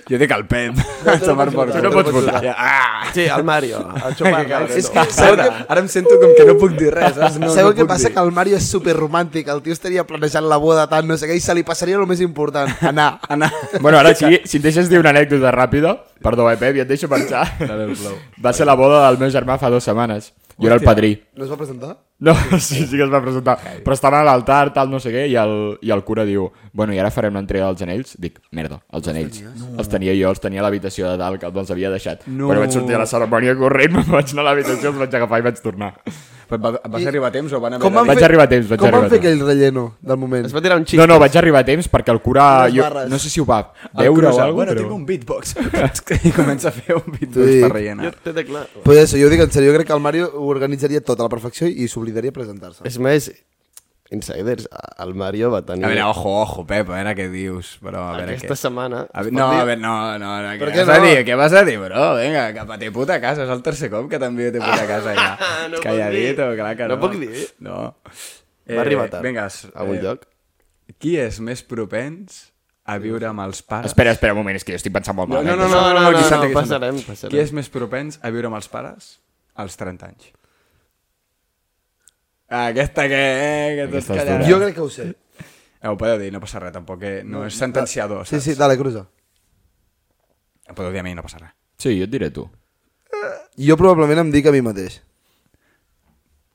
Speaker 1: Jo dic el Pep. *laughs*
Speaker 3: no pots votar, no
Speaker 6: Tu no pots
Speaker 3: pots
Speaker 6: votar. Ah!
Speaker 7: Sí, el Mario. *laughs* El xupar.
Speaker 1: És que, sabeu que ara em sento com que no puc dir res. saps? No,
Speaker 3: Sabeu
Speaker 1: no
Speaker 3: què
Speaker 1: puc
Speaker 3: passa?
Speaker 1: dir.
Speaker 3: Que el Mario és superromàntic, el tio estaria planejant la boda tant, no sé què, i se li passaria el més important, anar.
Speaker 1: Anar.
Speaker 6: Bueno, ara sí, si em deixes dir una anècdota ràpida, perdó, eh, Pep, i et deixo marxar.
Speaker 1: Dale el flow.
Speaker 6: Va ser la boda del meu germà fa dues setmanes. Jo era el padrí.
Speaker 3: No es va presentar?
Speaker 6: No, sí, sí que es va presentar. Però estava a l'altar, tal, no sé què, i el, i el cura diu, bueno, i ara farem l'entrega dels anells? Dic, merda, els anells. Els tenia jo, els tenia a l'habitació de dalt, que els havia deixat.
Speaker 1: No.
Speaker 6: Però vaig sortir a la cerimònia corrent, *laughs* me'n vaig anar a l'habitació, els vaig agafar i vaig tornar.
Speaker 1: Però va, vas arribar a temps o van haver
Speaker 3: Com
Speaker 1: de
Speaker 3: van
Speaker 1: dir-
Speaker 6: Vaig
Speaker 3: fer-
Speaker 6: arribar a temps, vaig
Speaker 3: Com
Speaker 6: arribar
Speaker 3: van
Speaker 6: a
Speaker 3: fer
Speaker 6: temps.
Speaker 3: aquell relleno del moment?
Speaker 7: Es va tirar un xistes.
Speaker 6: No, no, vaig arribar a temps perquè el cura...
Speaker 3: Unes
Speaker 6: Jo,
Speaker 3: barres.
Speaker 6: no sé si ho va
Speaker 1: El
Speaker 6: veure o
Speaker 1: Cruza, Bueno,
Speaker 6: alguna cosa,
Speaker 1: tinc
Speaker 6: però...
Speaker 1: un *laughs* beatbox. I comença a fer un beatbox
Speaker 3: Sí.
Speaker 1: per
Speaker 7: Jo
Speaker 1: rellenar.
Speaker 7: t'he de clar.
Speaker 3: Però tota això, jo ho dic en sèrio, jo crec que el Mario ho organitzaria tot a la perfecció i s'oblidaria a presentar-se.
Speaker 7: És més, insiders, a- el Mario va tenir...
Speaker 1: A veure, ojo, ojo, Pep, a veure què dius, però a veure
Speaker 7: aquesta
Speaker 1: què...
Speaker 7: setmana...
Speaker 1: A
Speaker 7: es
Speaker 1: veure,
Speaker 7: pot
Speaker 1: no,
Speaker 7: dir?
Speaker 1: a veure, no, no, no, què
Speaker 3: Per què
Speaker 1: vas a
Speaker 3: no?
Speaker 1: dir? Què vas a dir, bro? Vinga, cap a te puta casa, és el tercer cop que també te puta casa ja.
Speaker 7: *laughs* no puc
Speaker 1: Calladito,
Speaker 7: dir.
Speaker 1: clar que
Speaker 7: No
Speaker 1: no.
Speaker 7: puc dir.
Speaker 1: No. Eh,
Speaker 7: Va arribar tard,
Speaker 1: Vinga,
Speaker 7: a algun lloc.
Speaker 1: Qui és més propens a viure amb els pares?
Speaker 6: Espera, espera un moment, és que jo estic pensant molt
Speaker 1: No,
Speaker 6: malament.
Speaker 1: no, no, no, no,
Speaker 7: No, no,
Speaker 1: no,
Speaker 7: no,
Speaker 1: aquí
Speaker 7: no,
Speaker 1: s'entén, aquí s'entén.
Speaker 7: passarem, passarem.
Speaker 1: Qui és més propens a viure amb els pares? Als 30 anys.
Speaker 6: Ah,
Speaker 1: Aquesta que... Eh, que tots
Speaker 6: Aquesta és
Speaker 1: callaràs.
Speaker 6: dura.
Speaker 3: Jo crec que ho sé.
Speaker 1: Eh, ho podeu dir, no passa res, tampoc. Eh? No, és sentenciador,
Speaker 3: Sí,
Speaker 1: saps?
Speaker 3: sí, dale, cruza.
Speaker 1: Em podeu dir a mi, no passa res.
Speaker 6: Sí, jo et diré tu.
Speaker 3: Jo probablement em dic a mi mateix.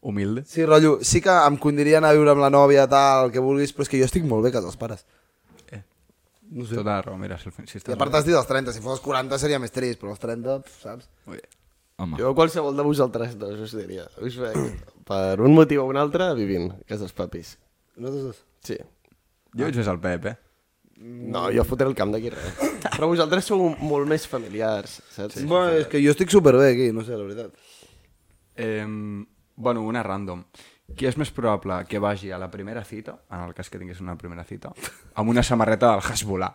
Speaker 1: Humilde.
Speaker 3: Sí, rotllo, sí que em condiria a anar a viure amb la nòvia, tal, el que vulguis, però és que jo estic molt bé a casa dels pares.
Speaker 1: No sé. Tota la raó, Eh, mira, si, el- si
Speaker 3: I
Speaker 1: estàs...
Speaker 3: a part t'has dit els 30, si fos els 40 seria més trist, però els 30, pf, saps?
Speaker 1: Molt bé.
Speaker 6: Home.
Speaker 7: Jo qualsevol de vosaltres dos us diria. Us veig, per un motiu o un altre, vivint a casa dels papis.
Speaker 3: Nosaltres dos.
Speaker 7: Sí.
Speaker 1: Jo ets més el Pep, eh?
Speaker 7: No, jo fotré el camp
Speaker 1: *laughs*
Speaker 7: d'aquí res. Però vosaltres sou molt més familiars, saps?
Speaker 3: Sí, bueno, és que jo estic superbé aquí, no sé, la veritat.
Speaker 1: eh? Bueno, una random. Qui és més probable que vagi a la primera cita, en el cas que tinguis una primera cita, amb una samarreta del Hasbulà?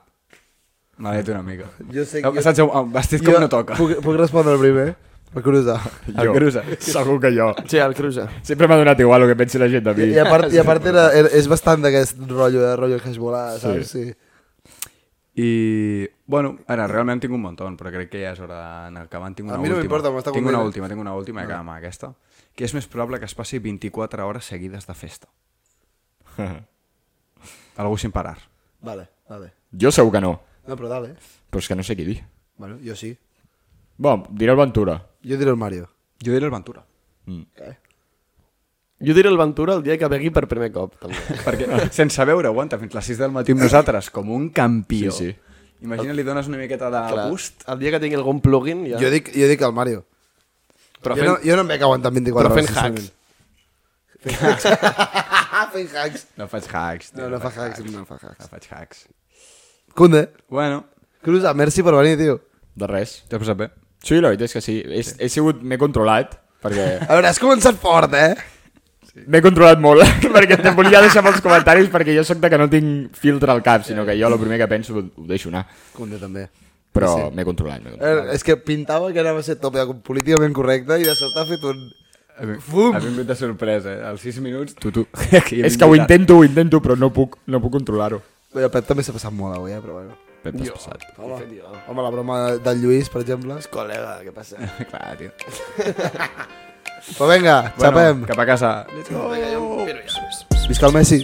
Speaker 1: M'ha dit una mica. Eh,
Speaker 3: Jo sé
Speaker 1: que...
Speaker 3: que-
Speaker 1: Saps, el Ah, vestit com no toca.
Speaker 3: Puc, puc respondre el primer? Per curiosar.
Speaker 1: El *laughs* cruza.
Speaker 6: Segur que jo.
Speaker 7: Sí, el cruza.
Speaker 6: Sempre m'ha donat igual el que pensi la gent de mi.
Speaker 3: I a part, i a part era, era, és bastant d'aquest rotllo, de rotllo hashbolà, saps? Sí.
Speaker 1: I, bueno, ara, realment tinc un munt, però crec que ja és hora d'anar acabant. Tinc
Speaker 3: A
Speaker 1: una
Speaker 3: mi no
Speaker 1: última.
Speaker 3: m'importa, m'està Ah.
Speaker 1: Tinc una
Speaker 3: content.
Speaker 1: última, tinc una última, que amb aquesta. Que és més probable que es passi 24 hores seguides de *laughs* festa. Algú sin parar.
Speaker 3: Vale, vale.
Speaker 6: Jo segur que no,
Speaker 3: No, però dale.
Speaker 6: però és que no sé qui dir.
Speaker 3: Bueno, jo sí.
Speaker 6: Bon, diré el Ventura.
Speaker 3: Jo diré el Mario.
Speaker 1: Jo diré el Ventura.
Speaker 7: Jo diré el Ventura el dia que vegui per primer cop, també.
Speaker 1: Perquè sense veure aguanta fins les 6 del matí amb nosaltres, com un campió.
Speaker 6: Sí, sí.
Speaker 1: Imagina, li dones una miqueta de
Speaker 7: Clar,
Speaker 1: gust.
Speaker 7: el dia que tingui algun plugin, ja...
Speaker 3: Jo dic, jo dic el Mario. jo,
Speaker 7: Però fent,
Speaker 3: no, jo no em veig aguantant 24
Speaker 7: però fent
Speaker 3: hores.
Speaker 7: hacks.
Speaker 3: Ah, *laughs* fent hacks.
Speaker 1: No faig hacks. tio,
Speaker 3: No, no fa
Speaker 1: faig
Speaker 3: hacks, no fa hacks.
Speaker 1: No faig hacks.
Speaker 3: Cunde,
Speaker 1: Bueno,
Speaker 3: Cruza, merci per venir, tio.
Speaker 6: De res.
Speaker 1: t'ho has posat bé.
Speaker 6: Sí, la veritat és que sí. He, he sigut... M'he controlat, perquè...
Speaker 3: A veure, has començat fort, eh?
Speaker 6: *laughs* M'he controlat molt, *laughs* perquè te volia deixar molts comentaris, perquè jo sóc de que no tinc filtre al cap, sinó que jo el primer que penso ho ho deixo anar.
Speaker 3: Cunde també.
Speaker 6: Però m'he controlat, m'he
Speaker 3: A
Speaker 6: controlat.
Speaker 3: veure, és que pintava que anava a ser top de políticament correcte i de sobte ha fet un...
Speaker 1: Ha vin-
Speaker 3: Fum!
Speaker 1: Ha vingut de sorpresa, eh? Als 6 minuts... Tu, *laughs* tu.
Speaker 6: És que ho intento, ho intento, però no puc, no puc controlar-ho.
Speaker 3: Bé, el Pep també s'ha passat molt avui, eh? Però bueno.
Speaker 6: Pep, t'has passat. *laughs*
Speaker 3: Home, home, la broma del Lluís, per exemple.
Speaker 7: Col·lega, què passa?
Speaker 1: Clar, tio.
Speaker 3: Però vinga, xapem.
Speaker 1: Bueno, cap a casa.
Speaker 3: Visca el Messi.